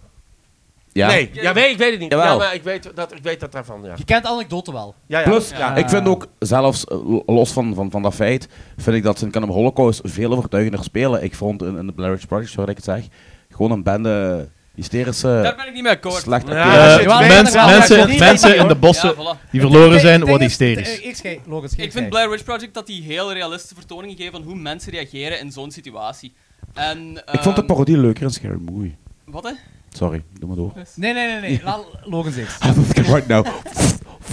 S3: ja.
S6: Nee. Ja, weet, ik weet het niet.
S3: Jawel.
S6: Ja, maar ik weet dat, ik weet dat daarvan, ja.
S5: Je kent de anekdote wel.
S6: ja, ja.
S3: Plus, ik vind ook, zelfs eh, lo- los van, van, van dat feit, vind ik dat Sint-Canum Holocaust veel overtuigender spelen. Ik vond in, in de Blair Witch Project, zoals ik het zeg, gewoon een bende
S7: Daar
S3: hysterische,
S7: ben ik niet mee akkoord.
S3: slecht
S6: Ja.
S3: acteurs.
S2: Eh,
S6: zit
S5: wel-
S2: mens-
S5: wel- wel-
S2: mensen
S5: wel-
S2: mensen
S5: wel-
S2: in de
S7: Ja,
S2: bossen
S7: voilà.
S2: die verloren
S5: Het
S2: zijn,
S5: ding
S2: worden
S5: is-
S2: hysterisch.
S5: eh, Ik schei, Logan, schei-
S7: Ik vind
S5: schei.
S7: Blair Witch Project dat die heel realistische vertoningen geven van hoe mensen reageren in zo'n situatie. En,
S3: Ik vond de
S7: ehm,
S3: parodie leuker in Scary Movie.
S7: Wat hè?
S3: Sorry, doe maar door.
S5: Nee, nee, nee, nee. Laat Logan zeggen.
S3: I'm looking right now.
S6: Oh,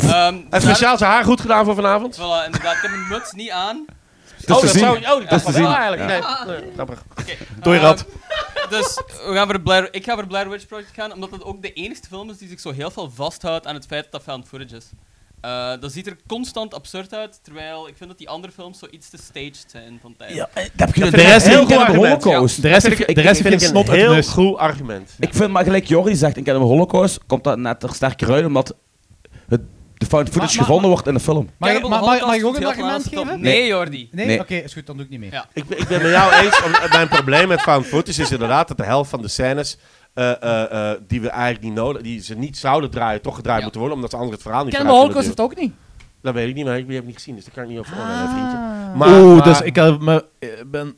S7: Ehm,
S6: Heeft
S7: daar-
S6: speciaal zijn haar goed gedaan voor vanavond?
S7: Voilà, inderdaad. Ik heb mijn muts niet aan.
S6: oh,
S3: te
S6: dat
S3: zien.
S6: zou... Oh, dat
S3: is
S6: kan
S3: te
S6: wel
S3: zien.
S6: eigenlijk. Nee, nee, grappig.
S2: Doei,
S7: Ehm,
S2: rat.
S7: dus we gaan voor de Blair, ik ga voor de Blair Witch Project gaan, omdat het ook de enige film is die zich zo heel veel vasthoudt aan het feit dat dat found footage is. Eh, dat ziet er constant absurd uit, terwijl ik vind dat die andere films zo iets te staged zijn van tijd.
S3: Ja, eh, dat heb je
S6: vind
S3: de
S6: ik
S3: rest
S6: een heel
S3: heel goed
S6: goed
S3: de
S6: argument,
S3: Holocaust.
S2: De rest,
S6: vind
S2: de rest vind ik snot
S6: een
S2: uit de
S6: heel
S2: neus.
S6: goed argument.
S3: Ik vind, maar gelijk Jordi zegt, in Cannibal Holocaust komt dat net er sterker uit, omdat het, de found footage
S5: maar-
S3: gevonden wordt in de film.
S5: Mag, ik-
S7: Cannibal
S5: mag, mag,
S7: Holocaust
S5: mag ik ook
S7: vond
S5: een
S7: heel
S5: argument
S7: Vlaamse top.
S5: geven?
S7: Nee, Jordi.
S5: Nee?
S3: Nee.
S5: Oké, is goed, dan doe ik niet mee.
S7: Ja.
S6: Ik, ben- ik ben met jou eens. om- [laughs] mijn probleem met found footage is inderdaad dat de helft van de scènes. eh, eh, eh, die we eigenlijk niet nodig, die ze niet zouden draaien, toch gedraaid
S7: Ja.
S6: moeten worden, omdat ze anders het verhaal niet
S5: Ken de
S6: vooruit
S5: Holocaust
S6: willen
S5: het ook niet.
S6: duwen. Dat weet ik niet, maar ik heb het niet gezien, dus daar kan ik niet over oordelen, vriendje.
S5: Ah.
S6: Maar,
S2: Oeh,
S6: maar-
S2: dus ik had me, eh, ben.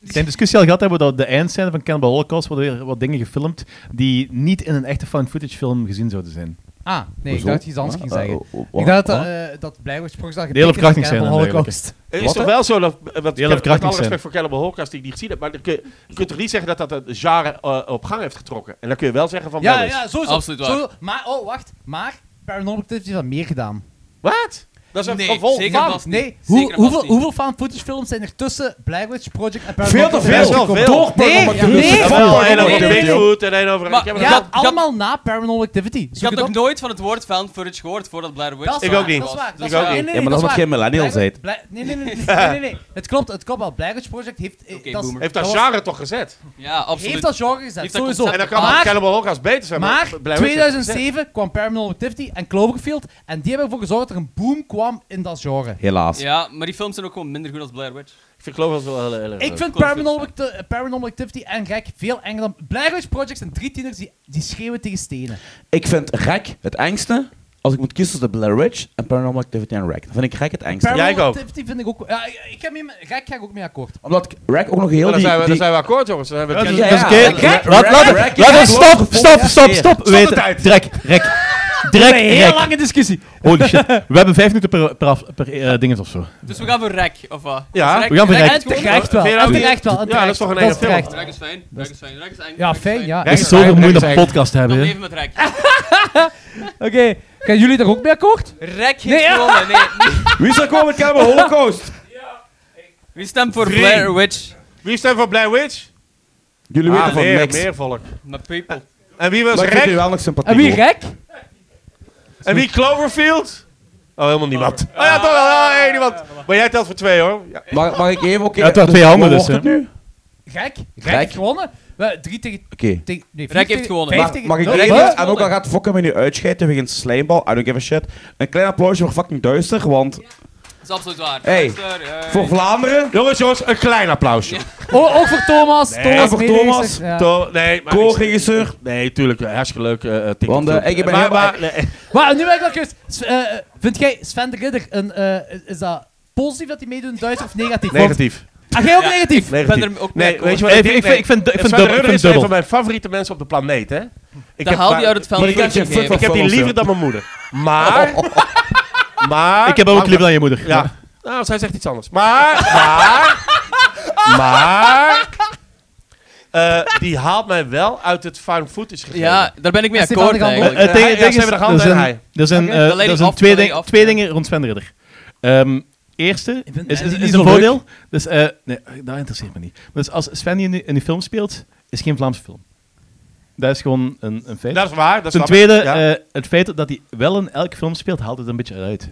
S2: Ik denk discussie al gehad hebben dat de eindscène van Cannibal Holocaust worden weer wat dingen gefilmd die niet in een echte found footage film gezien zouden zijn.
S5: Ah, nee, ik
S3: Hoezo?
S5: dacht dat je iets anders ging
S11: Ah,
S3: Eh,
S5: zeggen.
S11: oh,
S3: eh, wa-
S5: Ik dacht dat,
S3: wa-
S5: eh, dat Blair Witch Project dat
S2: De hele
S5: getekend is Cannibal
S2: verkrachting scène eigenlijk,
S5: Holocaust.
S6: Het is
S3: Wat,
S6: toch
S3: hè?
S6: wel zo dat. eh, Wat,
S2: Heel
S6: met
S2: verkrachting
S6: alle
S2: scène.
S6: respect voor Cannibal Holocaust, die ik niet gezien heb, maar dan kun je, je kunt toch niet zeggen dat dat het genre eh, op gang heeft getrokken. En dan kun je wel zeggen van.
S5: Ja,
S6: wel eens.
S5: ja, sowieso.
S7: Absoluut waar.
S5: Sowieso. Maar, oh, wacht. Maar Paranormal Activity heeft dat meer gedaan.
S6: Wat? Dat is een
S7: Nee,
S6: gevolg.
S7: zeker
S6: van-
S5: Van-
S7: vast niet.
S5: nee,
S7: Zeker
S5: hoe,
S7: vast
S5: hoeveel,
S7: niet.
S5: hoeveel fan footage films zijn er tussen Blair Witch Project
S3: Veel
S5: en Paranormal
S3: te
S5: Activity?
S6: Best
S3: veel!
S6: wel
S3: Komt
S6: veel.
S3: Door Paranormal
S5: Nee,
S3: Activity.
S5: nee,
S3: Van
S5: nee.
S3: Paranormal
S6: En over
S3: Activity.
S6: Bigfoot en een over.
S7: Maar-
S6: ik heb er
S7: ja,
S5: Ja,
S6: wel-
S7: dat-
S5: allemaal na Paranormal Activity.
S7: Ik
S5: Zoek
S7: had
S5: het
S7: nog
S5: op.
S7: nooit van het woord found footage gehoord voordat Blair Witch
S5: Dat is
S6: Ik
S5: waar,
S6: ook niet.
S5: Dat is waar.
S7: Dus
S5: Dat is
S6: ik ook
S5: waar. Nee,
S6: niet.
S5: nee,
S3: Ja, maar
S5: nee,
S3: dat is omdat
S5: is
S3: je geen
S5: waar.
S3: millennial
S5: Blair-
S3: bent.
S5: Blair- Nee, nee, nee, nee, nee, nee, nee. Het klopt, het klopt wel. Blair Witch Project heeft... eh,
S7: Oké,
S5: dat is-
S7: boomer.
S6: Heeft dat
S5: was-
S6: genre toch gezet?
S7: Ja, absoluut.
S5: Heeft dat genre gezet,
S7: Heeft dat
S5: sowieso.
S7: concept
S6: En dan kan
S5: maar,
S6: Cannibal Holocaust beter zijn.
S5: maar
S6: Blair Witch heeft het gezet.
S5: 2007 kwam Paranormal Activity en Cloverfield. En die hebben ervoor gezorgd dat er een boom kwam in dat genre.
S3: oh, Helaas.
S7: Ja, maar die films zijn ook gewoon minder goed als Blair Witch.
S6: Ik vind Cloverfield wel heel, heel erg leuk.
S5: Ik vind
S7: Cloverfield,
S5: Paranormal, Acti- eh, Paranormal Activity en Gek veel enger dan... Blair Witch Project zijn drie tieners die, die schreeuwen tegen stenen.
S3: Ik vind Rek het engste als ik moet kiezen tussen Blair Witch en Paranormal Activity en Rek. Dan vind ik Rek het engste.
S5: Paranormal
S6: ik ook.
S5: Activity vind ik ook... Ja, ik, ik heb mee, Gek ga ik ook mee akkoord.
S3: Omdat ik- Rek ook nog heel
S6: Nou, dan,
S3: die...
S6: zijn we, dan
S3: die-
S6: zijn we akkoord, jongens. Dan hebben we
S2: Ja,
S6: het-
S2: dat is
S3: ja,
S2: Dus oké.
S3: ja, ja.
S2: Laat- laat-
S3: Rek,
S2: laat-
S3: ja,
S2: Stop, stop, stop,
S3: ja.
S2: stop. We weten- Drek, rek. Drek, rek.
S5: lange discussie.
S2: Holy shit. We hebben vijf minuten per, per, af- per eh, ding of zo.
S7: Dus we gaan voor Rek, of wat?
S6: Ja,
S7: Is Rek-
S2: we gaan voor
S7: Rek
S2: Rek.
S7: is
S5: En
S7: goed?
S5: terecht wel.
S6: Vind je dat
S5: En
S6: niet-
S5: terecht wel. En
S6: Ja, dat is toch een eigen film?
S5: terecht.
S7: Rek is fijn. Rek is fijn. Rek is eng.
S5: Ja,
S7: Rek is
S5: fijn, ja.
S2: Er is
S6: is
S2: zoveel
S6: fijn,
S2: moeilijk
S6: rek
S2: een
S6: is
S2: podcast te
S7: Dan
S2: hebben. hè.
S7: leven met Rek.
S5: Oké, gaan jullie daar ook mee akkoord?
S7: Rek heeft
S5: Nee, ja.
S7: gewonnen. Nee, nee.
S3: Wie zou komen met Cannibal Holocaust?
S7: Wie stemt voor
S6: Drie.
S7: Blair Witch?
S6: Wie stemt voor Blair Witch?
S3: Jullie weten
S6: Ah,
S3: van
S6: meer,
S3: niks.
S6: meer volk.
S7: Met people.
S6: En wie was
S3: Maar ik vind jullie
S6: Rek?
S3: wel nog sympathiek.
S5: En wie
S3: hoor.
S5: gek?
S6: En wie Cloverfield? Oh, helemaal niemand. Oh ja, toch wel. Ah, één iemand. Maar jij telt voor twee, hoor. Ja.
S3: Mag, mag ik even... oké,
S2: Ja, het waren twee
S3: dus
S2: handen
S3: wat
S2: dus,
S3: wordt
S2: hè.
S3: het nu?
S5: Gek? Gek
S3: Gek.
S5: heeft gewonnen. We, drie tegen...
S3: Oké.
S5: tegen nee, vier
S7: heeft
S5: tegen-
S7: gewonnen.
S5: vijf
S7: Maar-
S5: tegen-
S3: Mag ik
S5: nul.
S3: even,
S5: Wat?
S3: en ook al gaat fokken me nu uitscheiden wegens slijmbal, I don't give a shit. Een klein applausje voor fucking Duister, want
S7: Dat is absoluut waar.
S3: Hey.
S7: Duister, eh,
S3: voor Vlaanderen,
S6: Jongens, jongens, een klein applausje.
S5: Oh, ook voor Thomas. Thomas,
S3: voor
S5: mede-
S3: Thomas.
S5: Ja.
S6: To- nee, maar ik-
S3: co-regisseur.
S6: Nee, tuurlijk. eh, Hartstikke leuk. eh, eh, TikTok
S3: Want, eh,
S6: filmpje.
S3: ik ben
S6: maar,
S3: helemaal-
S6: maar, nee,
S5: Maar nu ben ik wel curieus. S- eh, eh, vind jij Sven de Ridder een... eh, is- is dat positief dat hij meedoet in Duits of negatief?
S6: negatief.
S5: Want- Ah, jij ook
S7: Ja,
S5: negatief?
S7: Ik ben er ook
S6: Nee,
S7: mee akkoord.
S6: weet je wat
S2: Ik
S6: ik
S2: vind- ik
S6: denk?
S2: vind- ik vind- ik
S6: Nee,
S2: vind
S6: Sven de
S2: dubbel- ik
S6: Rudder
S2: vind
S6: is een
S2: dubbel.
S6: van mijn favoriete mensen op de planeet, hè? Ik
S7: Dat haalt
S6: maar-
S7: hij uit het veld.
S3: Maar ik had geen fuck van
S6: Ik heb die Oh.
S3: films,
S6: liever
S3: hè.
S6: dan mijn moeder. Maar. [laughs] Maar.
S2: Ik heb hem ook liever dan je moeder. Eh,
S6: Ja. Nou, zij zegt iets anders. Maar. [laughs] Maar. maar. eh, die haalt mij wel uit het found footage gegeven.
S7: Ja, daar ben ik mee
S5: En Stefan
S7: akkoord
S5: de Gandolf.
S2: Eh,
S7: eigenlijk.
S2: eh, tegen-
S6: Ja,
S2: tegen-
S6: ze hebben de hand
S2: er
S6: en
S2: zijn-
S6: hij.
S2: Er zijn,
S5: Oké.
S2: eh,
S7: Dat leid
S2: er
S7: ik
S2: zijn
S7: af,
S2: twee,
S7: dat leid ik
S2: ding-
S7: af,
S2: twee
S7: ja.
S2: dingen rond Sven de Ridder. Ehm, eerste
S5: Ik vind-
S2: is,
S5: eh,
S2: is,
S5: die
S2: is
S5: is
S2: een
S5: wel leuk.
S2: voordeel. Dus, eh, nee, dat interesseert me niet. Maar Dus als Sven in, in die film speelt, is geen Vlaamse film. Dat is gewoon een, een feit.
S6: Dat is waar.
S2: Ten
S6: Dat snap ik.
S2: tweede,
S6: ja.
S2: eh, het feit dat hij wel in elke film speelt, haalt het een beetje uit.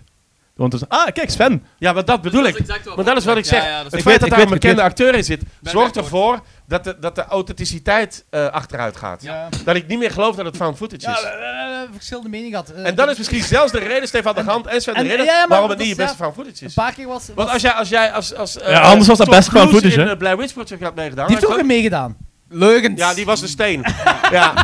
S2: Want dus, ah, kijk, Sven.
S6: ja, maar dat bedoel
S7: Dat is
S6: ik.
S7: exact wat
S6: Maar dat is wat ik zeg.
S7: Ja, ja, dat is
S2: Ik
S6: Het feit
S2: weet-
S6: dat
S2: ik
S6: daar een
S2: weet- ik
S6: bekende
S2: weet-
S6: akteur in zit,
S7: Ben
S6: zorgt
S7: ik
S6: ervoor dat de, dat de authenticiteit eh, achteruit gaat.
S7: Ja.
S6: Dat ik niet meer geloof dat het found footage is.
S5: verschillende meningen gehad. Eh,
S6: en dat is misschien zelfs de reden, Stefan de Hand en Sven de
S5: en-
S6: Ridder,
S5: ja, ja, maar
S6: waarom het
S5: dat
S6: niet je
S5: is- ja.
S6: beste found footage
S5: Een
S6: is.
S5: paar keer was...
S6: Want
S5: was
S6: als jij als, jij als, als eh,
S2: Ja, anders was dat
S6: Tom
S2: best found
S6: Cruise
S2: footage,
S6: in
S2: hè?
S6: de Blair Witch Project had meegedaan.
S5: die heeft
S6: had
S5: ook
S6: ik
S5: een meegedaan.
S6: ook- Ja, die was de
S2: [laughs]
S6: steen. ja.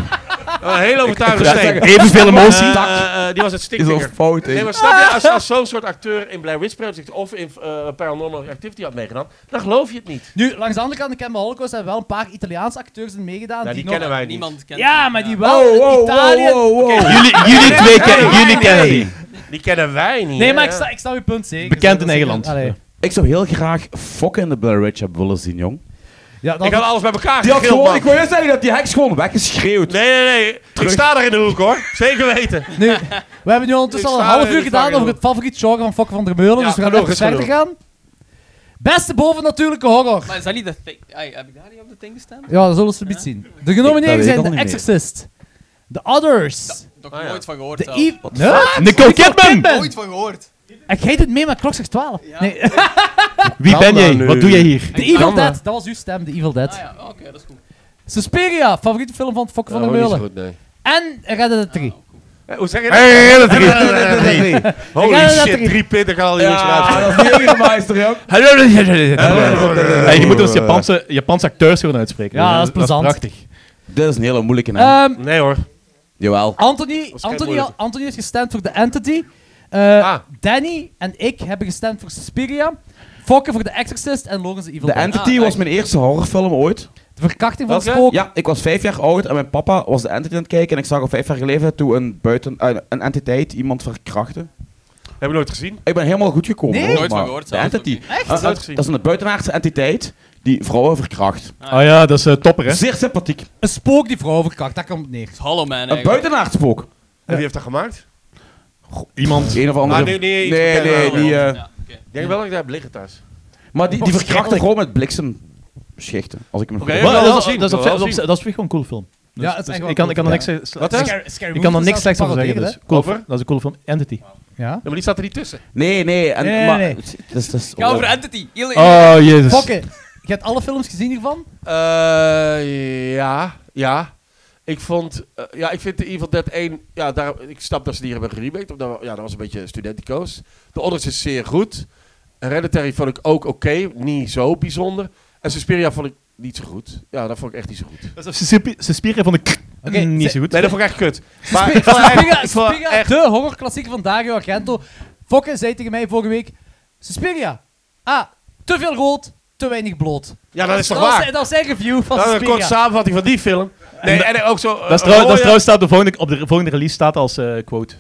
S6: Een heel overtuigende
S3: Ik- ik-
S6: steen.
S3: [laughs]
S2: Evenveel emotie.
S6: Eh, eh, eh, die was het
S3: Is al
S6: stinkvinger.
S3: fout, Oh, hè.
S6: Nee, maar snap je, als, als zo'n soort acteur in Blair Witch Project of in eh, Paranormal Activity had meegedaan, dan geloof je het niet.
S5: Nu, langs de andere kant, ik ken bij Holocaust hebben wel een paar Italiaanse acteurs in meegedaan.
S6: Nou, die
S5: nog-
S6: kennen Oh, wij niet.
S7: Niemand kent
S5: Ja,
S7: hem,
S5: maar die
S7: ja.
S5: wel. in Oh, Italië.
S2: Jullie, jullie twee kennen, jullie kennen die.
S6: Die kennen wij niet.
S5: Nee,
S6: hè?
S5: maar ik sta, ik snap je punt zeker.
S2: Bekend
S5: Dat
S2: in
S5: is-
S2: Engeland.
S5: Allee.
S3: Ik zou heel graag fokken in de Blair Witch hebben willen zien, jong.
S5: Ja, dat
S6: Ik had alles bij elkaar
S3: Die had
S6: gegild,
S3: gewoon, ik
S6: man.
S3: wil eerst zeggen dat die heks gewoon weggeschreeuwd.
S6: Nee, nee, nee.
S3: Terug.
S6: Ik sta daar in de hoek, hoor. Zeker weten. [laughs]
S5: Nu, we hebben nu ondertussen
S6: Ik
S5: al een
S6: sta
S5: half
S6: er
S5: uur
S6: niet
S5: gedaan
S6: van
S5: over het favoriet genre van Fokke van der Meulen,
S6: Ja,
S5: dus we gaan
S6: genoeg,
S5: even
S6: is
S5: verder gaan. Beste bovennatuurlijke horror.
S7: Maar is dat niet de thing? Ai, heb ik daar niet op de thing gestaan?
S5: Ja, dat zullen we zometeen zien. De genomineerden
S3: weet ik
S5: zijn
S3: al
S5: The
S3: niet meer.
S5: Exorcist, The Others,
S7: Nog
S6: Ah, ja.
S7: nooit van gehoord.
S5: The
S7: zelf.
S5: Evil...
S2: Nicole Kidman!
S7: Nooit van gehoord.
S5: Ik heet het mee, maar klok zegt 12. Nee,
S2: Wie
S6: Kan
S2: ben jij?
S3: Ah,
S6: nou nu?
S2: Wat doe jij hier?
S5: The Evil
S6: kan
S5: Dead, dat was uw stem, The Evil Dead.
S7: Ah ja, oké, dat is goed.
S5: Suspiria, favoriete film van Fokke van der Meulen. En Red 3.
S6: Eh, Hoe zeg je dat?
S2: Hey, dat is
S5: Ik
S6: Holy
S5: ga dat
S6: shit,
S5: erin.
S6: drie pitten gaan al die jongens
S3: Ja,
S6: uit.
S3: dat is niet de meister, jong.
S2: Hey, je moet ons Japanse, Japanse acteurs gewoon uitspreken.
S5: Ja, dat is plezant.
S2: prachtig.
S3: Dit is een hele moeilijke naam.
S5: Ehm
S6: Nee, hoor.
S3: Jawel.
S5: Anthony,
S6: geen
S5: Anthony,
S6: moeilijke.
S5: Anthony heeft gestemd voor The Entity. Eh,
S6: Ah.
S5: Danny en ik hebben gestemd voor Suspiria. Fokke voor The Exorcist en Logan's Evil
S3: The
S5: Dead.
S3: Entity
S7: Ah,
S3: was mijn eerste horrorfilm ooit.
S5: De verkrachting van
S6: Welke?
S5: Spook.
S3: Ja, ik was vijf jaar oud en mijn papa was de Entity aan het kijken. En ik zag al vijf jaar geleden toen een, buiten, eh, een entiteit iemand verkrachtte.
S6: Heb je nooit gezien?
S3: Ik ben helemaal goed gekomen.
S5: Nee?
S3: hoor,
S7: Nooit van
S3: maar
S7: gehoord
S3: The
S7: zelfs,
S3: Entity.
S7: ook
S5: Echt?
S3: Een-
S6: Nooit
S3: een-
S6: gezien.
S3: dat is een buitenaardse entiteit die vrouwen verkracht.
S2: Ah ja, dat is eh, topper, hè?
S3: Zeer sympathiek.
S5: Een spook die vrouwen verkracht, daar komt het neer.
S6: Dus-
S7: Het is Hollow Man
S3: Een
S7: eigenlijk.
S3: buitenaardspook.
S6: En wie heeft dat gemaakt?
S2: Iemand.
S3: Een of andere.
S6: Ah, nee, nee, iets
S3: nee,
S6: bekender
S3: nee,
S6: dan
S3: die, Oh,
S6: wel.
S3: eh,
S7: Ja, oké.
S6: Ik denk wel dat ik daar heb liggen thuis.
S3: Maar die, die verkrachten gewoon met bliksemschichten. Als ik hem
S6: Oké.
S2: Maar eh, dat,
S6: wel
S2: is-
S6: zien,
S2: dat is op
S6: wel
S2: zich- dat is
S6: zien.
S2: op zich gewoon een cool film. Dus-
S5: Ja, het is
S2: dus
S5: echt wel
S2: ik kan, ik kan er
S5: cool,
S2: niks eh, sla-
S6: Wat, hè?
S2: sla- Ik kan er niks slechts over zeggen. Dus. Cool,
S6: Over?
S2: dat is een cool film. Entity.
S5: Ja.
S6: Ja, maar die staat er niet tussen.
S3: Nee, nee. En,
S5: Nee, nee,
S3: maar,
S5: nee.
S3: Het, het is, het is-
S7: Ga over Entity. Heel
S2: Oh, jezus.
S5: Fokke, je hebt alle films gezien hiervan?
S6: Eh, ja, ja. Ik vond, eh, ja, ik vind de Evil Dead 1, ja, daar, ik snap dat ze die hebben geremaked, omdat, we- ja, dat was een beetje studentico's. De Others is zeer goed. Hereditary vond ik ook oké, niet zo bijzonder. En Suspiria vond ik niet zo goed. Ja, dat vond ik echt niet zo goed.
S2: Dat is Suspi- Suspiria vond ik
S5: Oké,
S2: niet
S5: ze-
S2: zo goed.
S6: Nee, dat vond ik echt kut. Maar ik vond
S5: Suspiria,
S6: echt, ik vond
S5: Suspiria,
S6: echt-
S5: de horrorklassieker van Dario Argento. Fokke zei tegen mij vorige week, Suspiria, ah, te veel rood, te weinig bloot.
S6: ja, dat is toch
S5: dat was-
S6: waar?
S5: dat was zijn review van
S6: Dat is een
S5: Suspiria.
S6: korte samenvatting van die film. Nee, en ook zo...
S2: Dat is trouw- dat is trouwens staat op, de volgende, op de volgende release staat als eh, quote.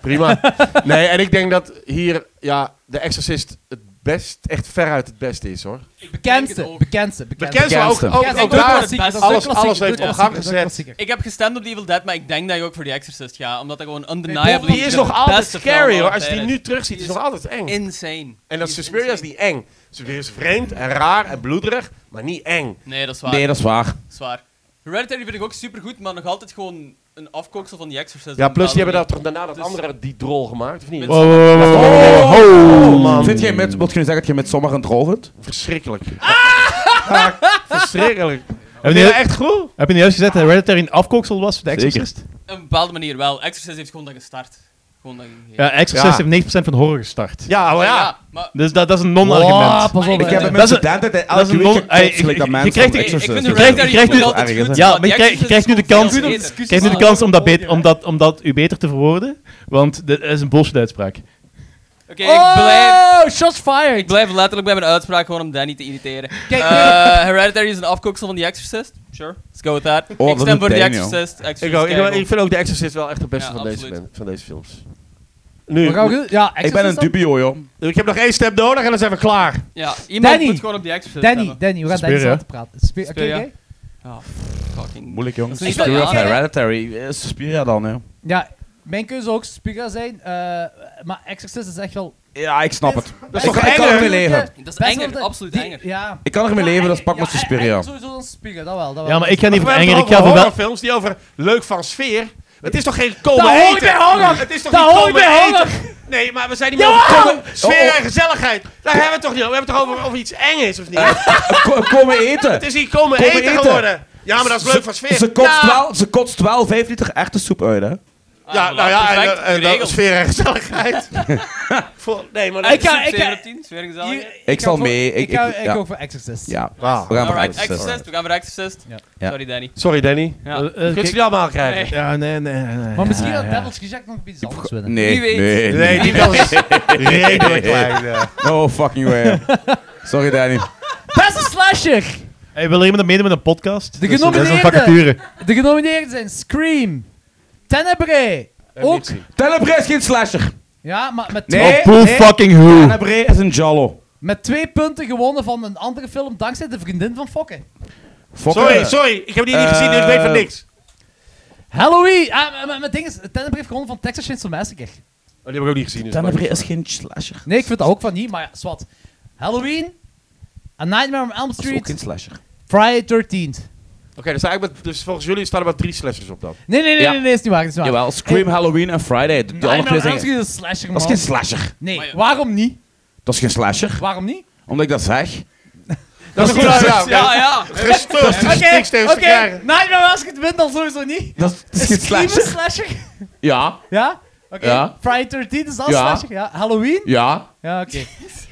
S6: Prima.
S7: [laughs]
S6: Nee, en ik denk dat hier, ja, de Exorcist het best, echt veruit het beste is, hoor.
S5: Bekendste, bekendste, bekendste.
S6: Bekend maar ook, ook,
S5: Bekendste,
S6: Oh, ook
S5: de
S6: daar
S5: klassieker,
S7: alles-
S5: dat is de klassieker,
S6: alles heeft
S5: de
S6: op
S5: klassieker, dat
S6: gang
S5: is de
S6: gezet.
S5: klassieker.
S7: Ik heb gestemd op The Evil Dead, maar ik denk dat je ook voor The Exorcist gaat. Omdat dat gewoon
S5: Nee,
S7: undeniably
S5: Bob,
S6: Die is nog
S7: de
S6: altijd
S7: beste film
S6: scary hoor.
S7: aller
S6: Als je die
S7: tijden
S6: nu terugziet, is
S7: Die
S6: het
S7: is
S6: nog altijd eng.
S7: Insane.
S6: En dat
S7: Die is
S6: Suspiria is
S7: insane.
S6: niet eng. Suspiria is vreemd en raar en bloederig, maar niet eng.
S7: Nee, dat is waar.
S3: Nee, dat is waar.
S7: Zwaar. Hereditary vind ik ook supergoed, maar nog altijd gewoon een afkooksel van The Exorcist.
S6: Ja, plus die hebben daar
S7: dat
S6: toch daarna dat andere die drol gemaakt, of niet?
S7: Met-
S3: Oh, Vind jij met, wat kun je zeggen dat je met sommigen drol vindt?
S6: Verschrikkelijk.
S7: Ah!
S6: Ah, Verschrikkelijk.
S2: Heb
S6: Nee,
S2: je,
S6: echt goed?
S2: heb je niet juist gezegd dat Hereditary een afkooksel was voor de Exorcist?
S7: Op een bepaalde manier wel. Exorcist heeft gewoon dat gestart. Gewoon dat gegeven.
S2: Ja, Exorcist
S6: Ja.
S2: heeft 90% van horror gestart.
S6: Ja, maar ja.
S7: maar
S2: Dus dat, dat is een non-argument.
S5: Wow, pas op,
S7: Ik
S5: hè.
S7: heb
S3: Ik heb
S2: dat
S3: met
S2: is een-
S3: studenten dat
S2: dat is
S3: elke
S2: een
S3: week
S2: non- Ey,
S3: gekotst
S2: ik-
S3: like dat
S2: je
S3: mensen
S2: krijgt-
S3: van
S2: ik-
S7: ik
S3: Exorcist.
S7: vind
S2: krijgt-
S7: Hereditary
S2: je krijgt
S7: nog
S2: nu-
S7: altijd goed,
S2: ja, maar
S7: The
S2: je krijgt, je
S7: Exorcist
S2: krijgt nu de
S7: is gewoon
S2: kans,
S7: veel
S2: je
S7: beter.
S2: krijgt nu de kans om dat, bet- om dat, om dat u beter te verwoorden, want dit is een bullshit uitspraak.
S7: Oké, ik blijf...
S5: Oh, shots fired.
S7: Ik blijf letterlijk bij mijn uitspraak gewoon om Danny te irriteren.
S5: Kijk,
S7: Eh, Hereditary is een afkooksel van The Exorcist. Sure. Let's go with that.
S11: Oh,
S3: dat
S7: ik
S3: is
S7: stem
S3: een
S7: voor The
S3: ding, joh.
S7: Exorcist. Exorcist
S6: Nou, Ik, ook, ik,
S7: kijk,
S6: ik vind ook de Exorcist wel echt de beste
S7: Ja,
S6: van, deze,
S7: absoluut.
S6: men- van deze films.
S5: Wat gaan we
S6: Nu,
S5: doen? Ja,
S3: Ik ben een
S5: Exorcist
S3: dubio, joh.
S6: ik heb nog één step nodig en dan zijn we klaar.
S7: Ja, iemand
S5: Danny.
S7: moet gewoon op The Exorcist
S5: dan? Danny,
S7: stemmen.
S5: Danny, we gaan
S2: Speer,
S5: Danny
S2: ja.
S5: laten praten. Speer, Oké,
S7: Speer, ja.
S5: oké.
S7: Ja, fucking...
S3: Moeilijk, jongen.
S7: niet Suspiria
S3: Spirit
S7: dat-
S3: of
S7: of ja.
S3: Hereditary. eh, Suspiria dan, hè.
S5: Ja, mijn keuze ook Spiga zijn. eh, maar Exorcist is echt wel
S11: Ja, ik snap het. Dat is toch,
S6: is
S11: ik kan ermee
S6: enger.
S11: leven.
S7: Dat is
S5: Best wel
S7: enger,
S5: dat-
S7: absoluut
S5: die-
S7: enger.
S5: Ja. eh,
S11: Ik kan ermee leven, dat is pak met zijn spier, ja.
S5: Sowieso een spiegel, dat wel. Dat wel.
S2: Ja, maar ik ga niet
S6: We
S2: voor
S6: hebben
S2: enger. Ik
S6: het
S2: ga
S6: over
S2: voor wel...
S6: horrorfilms die over leuk van sfeer. Het is toch geen komen
S5: Dat hoort
S6: eten?
S5: bij honger.
S6: Het is toch
S5: Dat
S6: niet
S5: hoort
S6: komen
S5: bij
S6: eten?
S5: honger.
S6: Nee, maar we zijn niet meer over komen, sfeer en gezelligheid. Daar hebben we het toch niet over. We hebben het toch over of iets eng is of niet.
S11: Ko- Komen eten. [laughs]
S6: het is hier komen,
S11: komen
S6: Eh. eten,
S11: eten.
S6: geworden. Ja, maar dat is leuk van sfeer.
S11: Ze kotst,
S6: ja.
S11: wel, ze kotst wel 5 liter echte soep uit, hè.
S7: Ah,
S6: Ja,
S7: voilà,
S6: nou ja, en,
S7: perfect,
S6: en, en dan
S7: geregeld.
S6: sfeer en gezelligheid. Voor- nee, maar dat
S5: Ik
S6: is...
S5: ga... Ik
S7: Zeven
S5: ga...
S7: op tien, sfeer en gezelligheid.
S5: hier-
S11: Ik
S5: ga
S11: zal
S5: voor-
S11: mee, ik-
S5: Ik ga-
S11: ik-
S5: ik
S11: ja.
S5: ook voor Exorcist.
S11: Ja.
S6: Wauw.
S11: We gaan voor
S7: Alright,
S11: Exorcist.
S7: Exorcist, we gaan voor Exorcist.
S11: Ja.
S7: Sorry Danny.
S6: Sorry, Danny.
S7: Ja.
S2: Eh, eh,
S6: Kun je
S2: kijk-
S6: die allemaal krijgen?
S7: Nee.
S2: Ja, nee, nee, nee, nee.
S5: Maar misschien
S2: Ja,
S5: had
S2: ja.
S5: Devil's Reject nog iets anders winnen.
S7: Wie
S11: Nee,
S7: weet.
S11: nee, [laughs]
S6: Nee, die was redelijk klein. ja.
S11: No fucking way. Sorry, Danny.
S5: Beste slasher!
S2: Hey, wil er iemand meedoen met een podcast?
S5: De
S2: Dat is- dat is een
S5: genomineerden.
S2: vacature.
S5: De genomineerden zijn Scream, Tenebrae, ook...
S11: Tenebrae is geen slasher.
S5: Ja, maar met twee,
S11: Nee,
S2: oh, poe
S11: nee.
S2: fucking who.
S11: Tenebrae is een jallo.
S5: met twee punten gewonnen van een andere film dankzij de vriendin van Fokke.
S11: Fokker.
S6: Sorry, sorry. Ik heb die niet
S11: Eh,
S6: gezien, dus ik weet van niks.
S5: Halloween! Ah, maar- maar mijn ding is, Tenebrae heeft gewonnen van Texas Chainsaw Massacre.
S6: Oh, die heb ik ook niet gezien.
S11: Tenebrae is geen slasher.
S5: Nee, ik vind dat ook van niet, maar ja, zwart. Halloween, A Nightmare on Elm
S11: Dat is ook geen
S5: Street,
S11: slasher.
S5: Friday 13th.
S6: Oké, dus, eigenlijk met- dus volgens jullie staan er maar drie slashers op dan.
S5: Nee, nee, nee,
S11: Ja.
S5: nee, nee, is niet waar, is niet waar.
S11: Jawel, Scream, Halloween en Friday. Die andere
S5: Nightmare
S11: twee
S5: on Elm
S11: zijn...
S5: Street is een slasher,
S11: Dat is
S5: man.
S11: geen slasher.
S5: Nee,
S7: Maar ja.
S5: waarom niet?
S11: Dat is geen slasher.
S5: Waarom niet?
S11: Omdat ik dat zeg.
S6: Dat is goed. Ja, ja.
S7: Ja, ja.
S6: Rustig.
S5: Oké,
S6: Niks tegen
S5: oké,
S6: te krijgen.
S5: Nightmare on Elm Street wint dan sowieso niet.
S11: Dat is, dat is geen
S5: Is Scream een
S11: slasher.
S5: slasher?
S11: Ja,
S5: Ja? Oké.
S11: Ja.
S5: Friday 13 is dat
S11: Ja.
S5: slasher? Ja. Halloween?
S11: ja.
S5: Ja, oké.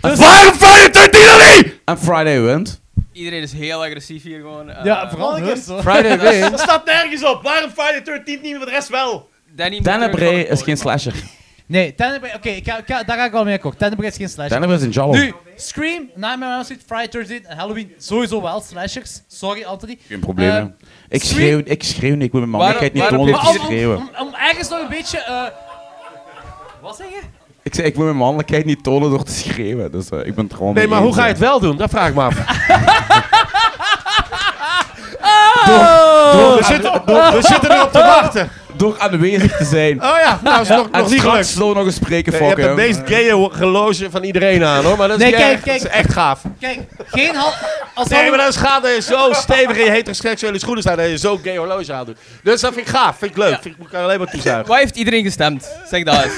S11: Waarom Friday 13 dan niet? En Friday wint.
S7: Iedereen is heel agressief hier gewoon. Eh,
S5: Ja, vooral hun.
S11: Friday wint.
S6: Dat staat nergens op. Waarom Friday 13 niet, maar de rest wel?
S7: Danny moet terug
S11: Tenebrae
S7: voor het
S11: is geen slasher.
S5: Nee, Tenebrae... Oké, ik ga- ik ga- daar ga ik wel mee akkoord. Tenebrae is geen slasher.
S11: Tenebrae is een jallo.
S5: Nu, Scream, Nightmare on Elm Street, Friday 13 en Halloween sowieso wel slashers. Sorry, Anthony.
S11: Geen probleem,
S5: Eh,
S11: hè. Ik
S5: Scream-
S11: schreeuw, ik schreeuw niet. Ik moet
S7: Waarom-
S11: mijn mannelijkheid niet
S7: waarom
S11: tonen
S7: heeft
S11: door te
S5: om, om,
S11: schreeuwen.
S5: om, om ergens nog een beetje... eh wat zeg je?
S11: Ik zei, ik moet mijn mannelijkheid niet tonen door te schreeuwen. Dus eh, ik ben het gewoon
S6: Nee,
S11: mee
S6: maar hoe
S11: eens,
S6: ga je
S11: hè.
S6: het wel doen? Dat vraag ik me [laughs] af.
S11: Door,
S6: Oh! We zitten, we zitten erop te wachten.
S11: door aanwezig te zijn.
S6: Oh ja, nou is nog,
S11: en
S6: nog niet
S11: straks
S6: gelukt.
S11: zullen we nog eens spreken,
S6: Je hebt
S11: fokken.
S6: het meest gaye geloge van iedereen aan hoor, maar dat is,
S5: Nee,
S6: niet
S5: kijk,
S6: erg.
S5: kijk.
S6: Dat is echt gaaf.
S5: Kijk, geen hal... Als
S6: Nee, maar
S5: Halloween-
S6: dat is gaaf dat je zo stevig in je heteroseksuele schoenen staat dat je zo'n gay horloge aan doet. Dus dat vind ik gaaf, vind ik leuk, vind ik moet ik alleen maar
S7: volgende.
S6: toezuigen.
S7: Waar heeft iedereen gestemd? Zeg dat eens.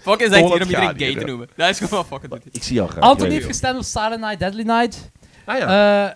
S7: Fuck is echt
S11: Volgend
S7: hier om
S11: jaar
S7: iedereen gay
S11: hier,
S7: te
S11: ja.
S7: noemen. Dat is gewoon wat fucking doet.
S6: Ik zie jou graag.
S5: Anthony heeft gestemd op Silent Night, Deadly Night.
S6: Ah ja.
S5: Eh,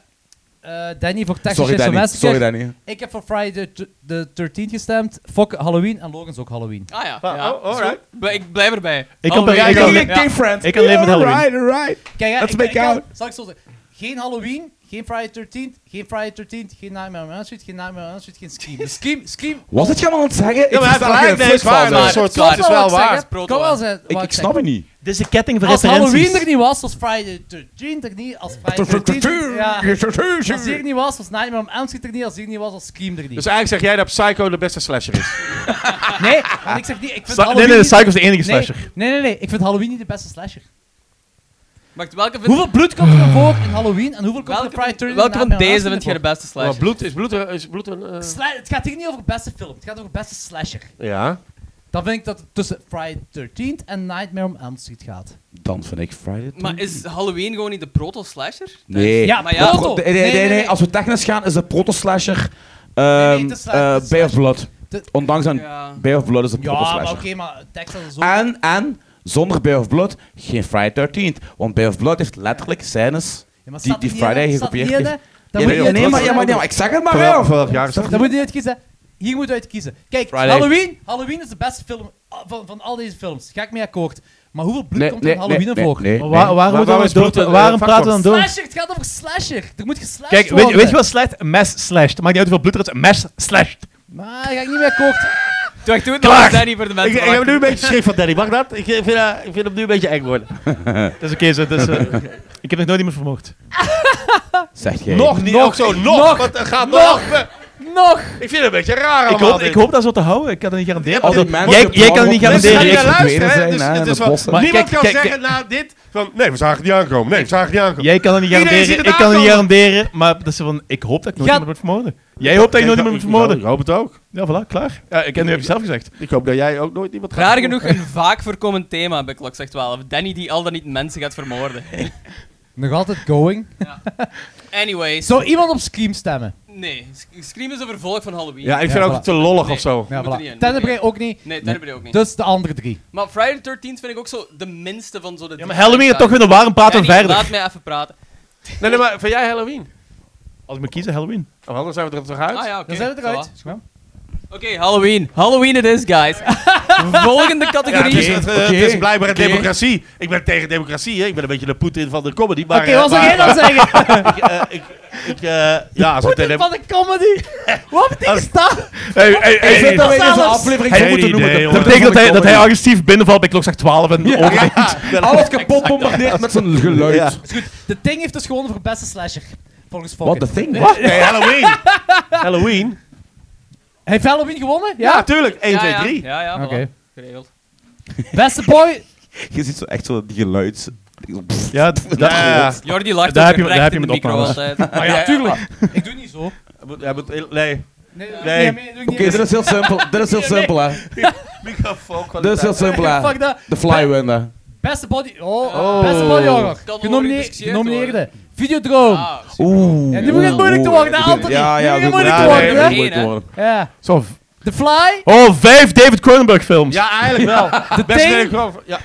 S5: eh, Danny voor Texas Chainsaw
S11: Sorry, Danny.
S5: Massacre.
S11: Sorry, Danny.
S5: Ik heb voor Friday de- de 13 gestemd. Fok Halloween en Logan's ook Halloween.
S7: Ah ja,
S6: Ah,
S7: ja.
S6: oh, alright.
S7: Zo, maar Ik blijf erbij.
S2: Ik kan
S7: Alweer.
S2: bij- ik kan-
S7: Ja.
S11: friends.
S2: Ik kan leven met Halloween.
S11: Alright, alright.
S5: Kijk, hè,
S11: Let's
S5: ik,
S11: make
S5: ik kan-
S11: out.
S5: zal ik zo zeggen. Geen Halloween, geen Friday 13, geen Friday 13, geen Nightmare on Elm Street, geen Nightmare on Elm Street, geen Scream. Scream, Scream.
S11: Was het je aan het zeggen?
S6: Ja, maar hij
S11: versta er
S6: gelijk,
S11: geen
S6: nee,
S11: flik
S6: is waar,
S11: van,
S6: maar-
S11: hè.
S6: Een soort
S7: het
S6: van,
S7: is
S6: is wel
S5: ik zeg,
S6: waar.
S5: hè.
S7: Proto
S5: Kan wel
S7: waar.
S5: zijn.
S11: Ik,
S5: wat
S11: ik
S5: zeg.
S11: snap het niet.
S2: Dit is de ketting van
S5: Als Halloween er
S2: referenties.
S5: niet was, was Friday 13 er niet, als Friday 13 ja. Als die er niet was, was Nightmare on Elm Street er niet, als die er niet was, was Scream er
S6: Dus
S5: niet.
S6: eigenlijk zeg jij dat Psycho de beste slasher is.
S5: Nee, want ik zeg niet, ik vind
S2: Sa-
S5: Halloween...
S2: Nee, nee,
S5: niet-
S2: Psycho is de enige
S5: nee,
S2: slasher.
S5: nee, nee, nee, ik vind Halloween niet de beste slasher.
S7: Maakt welke vind-
S5: Hoeveel bloed komt er voor in Halloween en hoeveel komt er in
S7: welke,
S5: Friday 13?
S7: welke van
S5: en Nightmare on Elm
S7: deze
S5: Street
S7: vind jij de
S5: ervoor?
S7: beste
S6: Maar
S7: slash?
S6: bloed is bloed, is bloed een... eh,
S5: Sla- het gaat hier niet over beste film, het gaat over beste slasher.
S6: Ja.
S5: Dan vind ik dat het tussen Friday 13 en Nightmare on Elm Street gaat.
S11: Dan vind ik Friday.
S7: Maar is Halloween gewoon niet de proto-slasher?
S11: Nee.
S5: Ja,
S7: maar ja.
S5: proto.
S11: Nee, nee, nee,
S5: Nee, nee,
S11: nee,
S5: nee.
S11: Als we technisch gaan, is de proto-slasher
S5: nee,
S11: ehm
S5: het is slasher,
S11: eh,
S5: het is
S11: Bay of
S5: slasher.
S11: Blood.
S5: De-
S11: Ondanks aan
S7: Ja.
S11: Bay of Blood is de
S5: Ja, maar oké,
S11: proto-slasher.
S5: maar Texas is ook...
S11: En, en, zonder Bay of Blood, geen Friday 13th. Want Bay of Blood heeft letterlijk scènes
S5: Ja, maar
S11: die,
S5: staat
S11: die
S5: er
S11: Friday
S5: niet, hè? Staat er
S11: gekopieerd
S5: niet,
S11: heeft.
S5: hè? Dan moet je
S11: nee, maar,
S5: uitkiezen.
S11: ja, maar, nee, maar [laughs] ik zeg het maar,
S6: Terwijl-
S11: hè.
S6: Vorig jaar is dat-
S5: Dan moet je niet kiezen. Hier moet je uit kiezen. Kijk,
S11: Friday.
S5: Halloween, Halloween is de beste film ah, van, van al deze films. Ga ik mee akkoord. Maar hoeveel bloed
S11: Nee,
S5: komt er
S11: nee,
S5: in Halloween
S11: nee,
S5: voor?
S11: nee, nee,
S2: Maar
S11: nee.
S2: waar- waarom moeten we
S6: waarom is
S2: door-
S6: bloed een, eh,
S2: Waarom praten we dan
S6: factor?
S2: door?
S5: Slasher, het gaat over slasher. Er moet geslashed
S2: Kijk, weet,
S5: worden.
S2: je- weet je wat slasht? Mes slasht. Maakt niet uit hoeveel bloed er is. Mes slasht.
S5: Maar daar ga ik niet mee akkoord.
S7: Doe ik doe het
S2: Klaar.
S7: nog Danny voor de mensen.
S6: Ik, ik heb nu een beetje schrik van Danny, mag dat? Ik vind, eh, ik vind hem nu een beetje eng worden.
S2: Dat is oké. zo, dat is, eh, ik heb nog nooit iemand vermoord.
S11: Zeg jij.
S6: Nog niet, ook zo, nog! Wat er gaat nog!
S5: Nog!
S7: nog!
S6: Ik vind het een beetje raar
S2: Ik
S6: allemaal
S2: hoop,
S6: dit.
S2: ik hoop dat zo te houden. Ik kan het niet garanderen.
S3: Al die
S2: Also,
S3: mensen
S2: jij,
S3: op de
S2: jij kan het
S3: plannen
S2: niet
S3: op
S6: Mensen
S3: mensen
S2: garanderen.
S6: gaan
S3: die
S6: niet
S3: echt
S2: Ik-
S6: luisteren, hè,
S3: verdwenen
S6: dus
S3: zijn, hè,
S6: het
S3: in
S6: is
S3: de
S6: wel-
S3: bossen.
S2: Maar
S6: Niemand
S2: kijk,
S6: kan
S2: kijk,
S6: zeggen na dit van nee, we zagen het niet aankomen. Nee, we zagen het niet aankomen.
S2: Jij kan het niet
S6: Iedereen
S2: garanderen.
S6: ziet het
S2: Ik kan het niet
S6: aankomen.
S2: garanderen. Maar dat is van, ik hoop dat ik nooit
S5: Ja.
S2: iemand moet vermoorden. Jij hoopt dat je nooit iemand moet
S6: Ik
S2: vermoorden.
S6: hoop het ook.
S2: Ja, voilà, klaar. Ja, ik heb nu even zelf gezegd.
S6: Ik hoop dat jij ook nooit iemand gaat
S7: Raar
S6: vermoorden.
S7: genoeg een vaak voorkomend thema bij Klokslag 12. Danny die al dan niet mensen gaat [laughs] vermoorden.
S5: Nog altijd going.
S7: Anyways,
S5: Zou iemand op Scream stemmen?
S7: nee. Sc- Scream is een vervolg van Halloween.
S6: Ja, ik
S5: Ja,
S6: vind het
S5: voilà.
S6: ook te lollig of zo.
S5: Ja,
S7: Moet er niet in,
S5: voilà.
S7: moet er niet
S5: Tenebrae
S7: in.
S5: ook niet.
S7: Nee, daar heb je ook niet.
S5: Dus de andere drie.
S7: Maar Friday the 13th vind ik ook zo de minste van zo de...
S2: Ja, maar Halloween gaat toch weer een warm
S7: Danny,
S2: praten
S7: Laat
S2: verder.
S7: mij even praten.
S6: Nee, nee, maar vind jij Halloween?
S2: Als ik moet kiezen, Halloween.
S6: Oh, anders zijn we er toch uit?
S7: Ah ja, oké.
S5: Dan zijn we eruit.
S7: voilà.
S5: Is goed.
S7: Oké, Halloween. Halloween it is, guys. [laughs] Volgende
S6: Ja, het,
S7: categorie.
S6: is, het, eh, het
S3: Oké.
S6: is blijkbaar een
S3: Oké.
S6: democratie. Ik ben tegen democratie, hè. Ik ben een beetje de Poetin van de comedy. maar,
S3: Ah,
S5: Oké,
S6: eh,
S5: wat zou
S6: maar-
S5: jij dan
S3: [laughs]
S5: zeggen?
S6: Ik, eh, ik, ik, eh, ja, als we tegen
S5: Van de
S3: [laughs]
S5: comedy. Wat betekent dat?
S2: Hey, hey,
S3: Ik
S2: hey,
S3: vind dat we in deze
S5: Zelfs-
S3: aflevering
S2: Hey,
S3: zo moeten
S6: idee,
S3: noemen. de-
S6: jongen.
S2: Dat
S3: de-
S2: betekent dat hij, dat hij
S3: comedy.
S2: agressief binnenvalt bij klokslag 12 en overdenkt. [laughs]
S3: alles kapot bombardeert met zijn geluid.
S6: Ja.
S5: De Ting heeft dus gewoon voor beste slasher. Volgens
S3: What
S5: Fokker.
S3: the thing?
S6: Nee, Halloween. Halloween?
S5: Heeft Halloween gewonnen?
S6: Ja, tuurlijk. 1,
S7: Ja,
S6: 2,
S7: ja.
S6: 3.
S7: Ja, ja, voilà.
S5: Oké.
S7: Geregeld.
S5: Beste boy.
S3: Je ziet zo echt zo die geluids...
S2: Ja, d- dat-
S6: Ja,
S7: Jordi lacht
S2: Daar heb
S7: ook
S2: je-
S7: recht
S2: daar heb je Ah,
S7: in de
S2: met
S7: micro
S2: opnames.
S7: altijd.
S2: [laughs]
S6: maar ja,
S5: Tuurlijk. Ik doe niet zo.
S6: Ja, moet- nee.
S5: Nee,
S6: Nee.
S3: Oké, dit is heel simpel. Dit is heel simpel,
S6: [laughs]
S3: hè.
S6: Microfoon
S3: Dit is heel simpel, hè.
S5: Fuck dat.
S3: De fly win, hè.
S5: Beste body... Oh, beste body
S7: Kan
S5: horror.
S7: wel
S5: Genomine
S7: gediscussieerd
S5: genomineerde. Videodroom.
S7: Ah, super.
S3: Oeh.
S5: Ja, nu begint het moeilijk te
S3: Oeh.
S5: worden,
S3: Ik
S5: Anthony.
S3: ben- Ja,
S5: Nu
S3: ja.
S5: begint het
S3: dit-
S5: moeilijk
S6: te
S3: ja,
S6: worden,
S3: nee,
S6: hè?
S3: het moeilijk te
S7: Eén, hè?
S3: worden.
S5: Ja.
S2: zo.
S5: The Fly.
S2: Oh, vijf David Cronenberg films.
S6: Ja, eigenlijk wel.
S5: The
S6: Best
S5: Thing.
S6: Nederlander- Ja,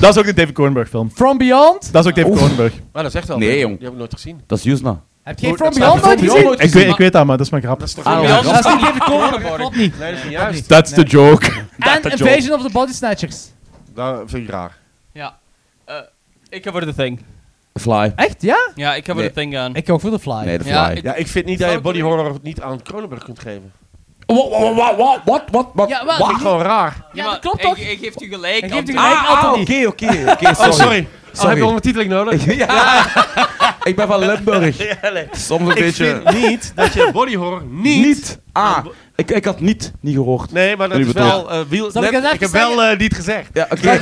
S2: Dat is ook een David Cronenberg film.
S5: From Beyond.
S2: Dat is ook David
S3: Oef.
S2: Cronenberg.
S6: maar dat zegt al.
S3: Nee,
S6: veel.
S3: jong.
S6: Die heb ik nooit gezien.
S3: Dat is Jusna.
S5: Heb jij
S6: Oh,
S5: From
S6: dat staat
S5: Beyond
S6: er
S5: nooit
S6: From
S5: gezien?
S2: Ik weet, ik weet dat, maar dat is mijn grap.
S6: Dat is toch
S7: Ah,
S6: niet
S7: ja.
S6: juist?
S7: Beyond.
S5: Dat is niet David Cronenberg, dat klopt niet.
S6: Nee, dat is niet juist.
S2: That's the joke.
S5: En Invasion of the Body Snatchers.
S6: Dat vind ik raar.
S7: Ja. Eh, ik ga voor The Thing.
S3: Fly.
S5: Echt, ja?
S7: Ja, ik ga voor
S3: Nee.
S7: The Thing gaan.
S5: Ik ga ook voor The Fly.
S3: Nee, de
S7: Ja,
S3: fly.
S7: ik-
S6: Ja, ik vind niet dat je body horror niet aan Cronenberg kunt geven.
S3: Wa- wa- wa- wa- Wat? Wat? Wat?
S5: Ja,
S6: Dat vind ik
S5: wat?
S6: gewoon Oh, raar.
S5: Ja,
S7: maar
S5: dat klopt
S7: ik-
S5: toch?
S7: Ik, geef u gelijk.
S5: Ik geef u
S7: Anthony.
S5: gelijk.
S7: Ah,
S5: Anthony.
S3: Ah, oké, oké. Oké,
S6: Oh, sorry. Oh, heb je
S3: Sorry.
S6: ondertiteling nodig? [laughs]
S3: Ja. [laughs] Ik ben van Limburg.
S6: Ja, nee.
S3: Soms een
S6: Ik
S3: beetje...
S6: vind niet dat je body horror niet...
S3: Niet. Ah, ik, ik had niet, niet gehoord.
S6: Nee, maar dat
S3: Jullie
S6: is wel... eh, wiel,
S5: Zal ik
S6: net-
S5: het even
S6: ik heb wel eh, niet gezegd.
S3: Ja, oké.